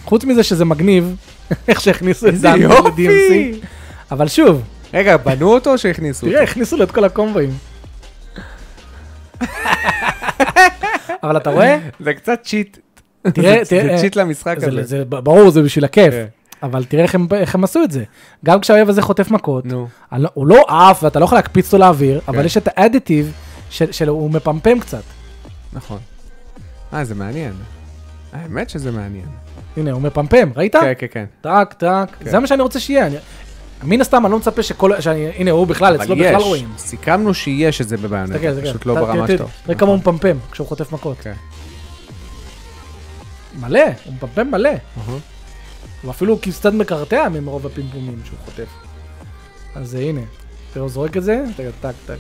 B: חוץ מזה שזה מגניב, איך שהכניסו את
A: איזה
B: דן
A: יופי!
B: ל-DMC, אבל שוב,
A: רגע, בנו אותו או שהכניסו אותו?
B: תראה, הכניסו לו את כל הקומבואים. אבל אתה רואה?
A: זה קצת צ'יט.
B: תראה,
A: זה- זה
B: תראה, אה,
A: צ'יט למשחק
B: זה,
A: הזה.
B: זה ב- ברור, זה בשביל הכיף,
A: כן.
B: אבל תראה איך הם, איך הם עשו את זה. גם כשהאויב הזה חוטף מכות,
A: נו.
B: אני לא- הוא לא עף ואתה לא יכול להקפיץ אותו לאוויר,
A: כן.
B: אבל יש את האדיטיב של, של הוא מפמפם קצת.
A: נכון. אה, זה מעניין. האמת שזה מעניין.
B: הנה, הוא מפמפם, ראית?
A: כן, כן, כן.
B: טק, טק, זה מה שאני רוצה שיהיה. אני... מן הסתם, אני לא מצפה שכל... שאני... הנה, הוא בכלל, אצלו
A: אבל
B: לא בכלל
A: יש,
B: רואים.
A: סיכמנו שיש את זה
B: תסתכל,
A: בביונטה,
B: תסתכל.
A: פשוט לא
B: ת-
A: ברמה
B: ת- ת-
A: שלו.
B: תראה כמה הוא מפמפם כשהוא חוטף מכות.
A: כן.
B: מלא, הוא מפמפם מלא. הוא אפילו קצת מקרטע ממרוב הפמפומים שהוא חוטף. אז אה, הנה, תראה, הוא זורק את זה, תראה, טק, טק.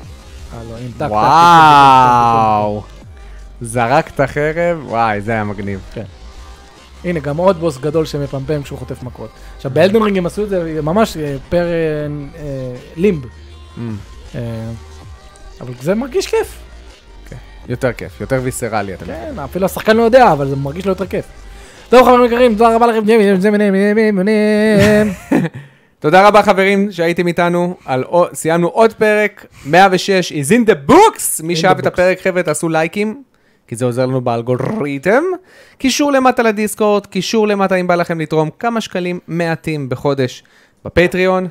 B: אה, לא, הנה, טק, טק.
A: וואו, זרק את החרב, וואי, זה היה מגניב.
B: הנה, גם עוד בוס גדול שמפמפם כשהוא חוטף מכות. עכשיו, באלדן רינג הם עשו את זה ממש אה, פר אה,
A: Mm.
B: אה, לימב. אה, אבל זה מרגיש כיף.
A: יותר כיף, יותר ויסרלי. אתה מבין.
B: כן, אפילו השחקן לא יודע, אבל זה מרגיש לו יותר כיף. טוב חברים יקרים, תודה רבה לכם, ג'מי, זה מנה, מנה, מנה, מנה.
A: תודה רבה חברים שהייתם איתנו, על... עוד- סיימנו עוד פרק, 106 is in the books! מי
B: In the
A: שאהב את
B: books.
A: הפרק חבר'ה תעשו לייקים, כי זה עוזר לנו באלגוריתם. קישור למטה לדיסקורד, קישור למטה אם בא לכם לתרום כמה שקלים מעטים בחודש בפטריון.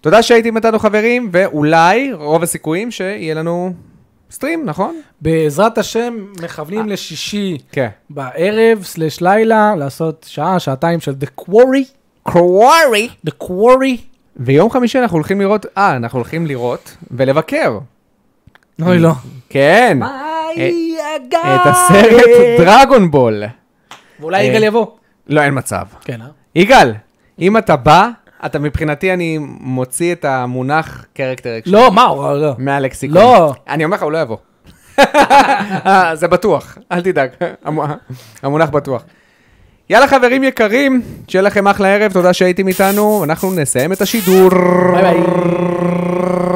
A: תודה שהייתם איתנו חברים, ואולי, רוב הסיכויים שיהיה לנו סטרים, נכון?
B: בעזרת השם, מכוונים לשישי
A: כן.
B: בערב, סלש לילה, לעשות שעה, שעתיים של The Quarry,
A: קווארי!
B: The Quarry.
A: ויום חמישי אנחנו הולכים לראות, אה, אנחנו הולכים לראות ולבקר.
B: אוי לא.
A: כן.
B: ביי,
A: את הסרט דרגון בול.
B: ואולי יגאל יבוא.
A: לא, אין מצב.
B: כן, אה?
A: יגאל, אם אתה בא, אתה מבחינתי, אני מוציא את המונח קרקטר אקשן.
B: לא, מה, הוא- לא.
A: מהלקסיקון.
B: לא.
A: אני אומר לך, הוא לא יבוא. אה, זה בטוח, אל תדאג. המ- המונח בטוח. יאללה חברים יקרים, שיהיה לכם אחלה ערב, תודה שהייתם איתנו, אנחנו נסיים את השידור.
B: ביי ביי.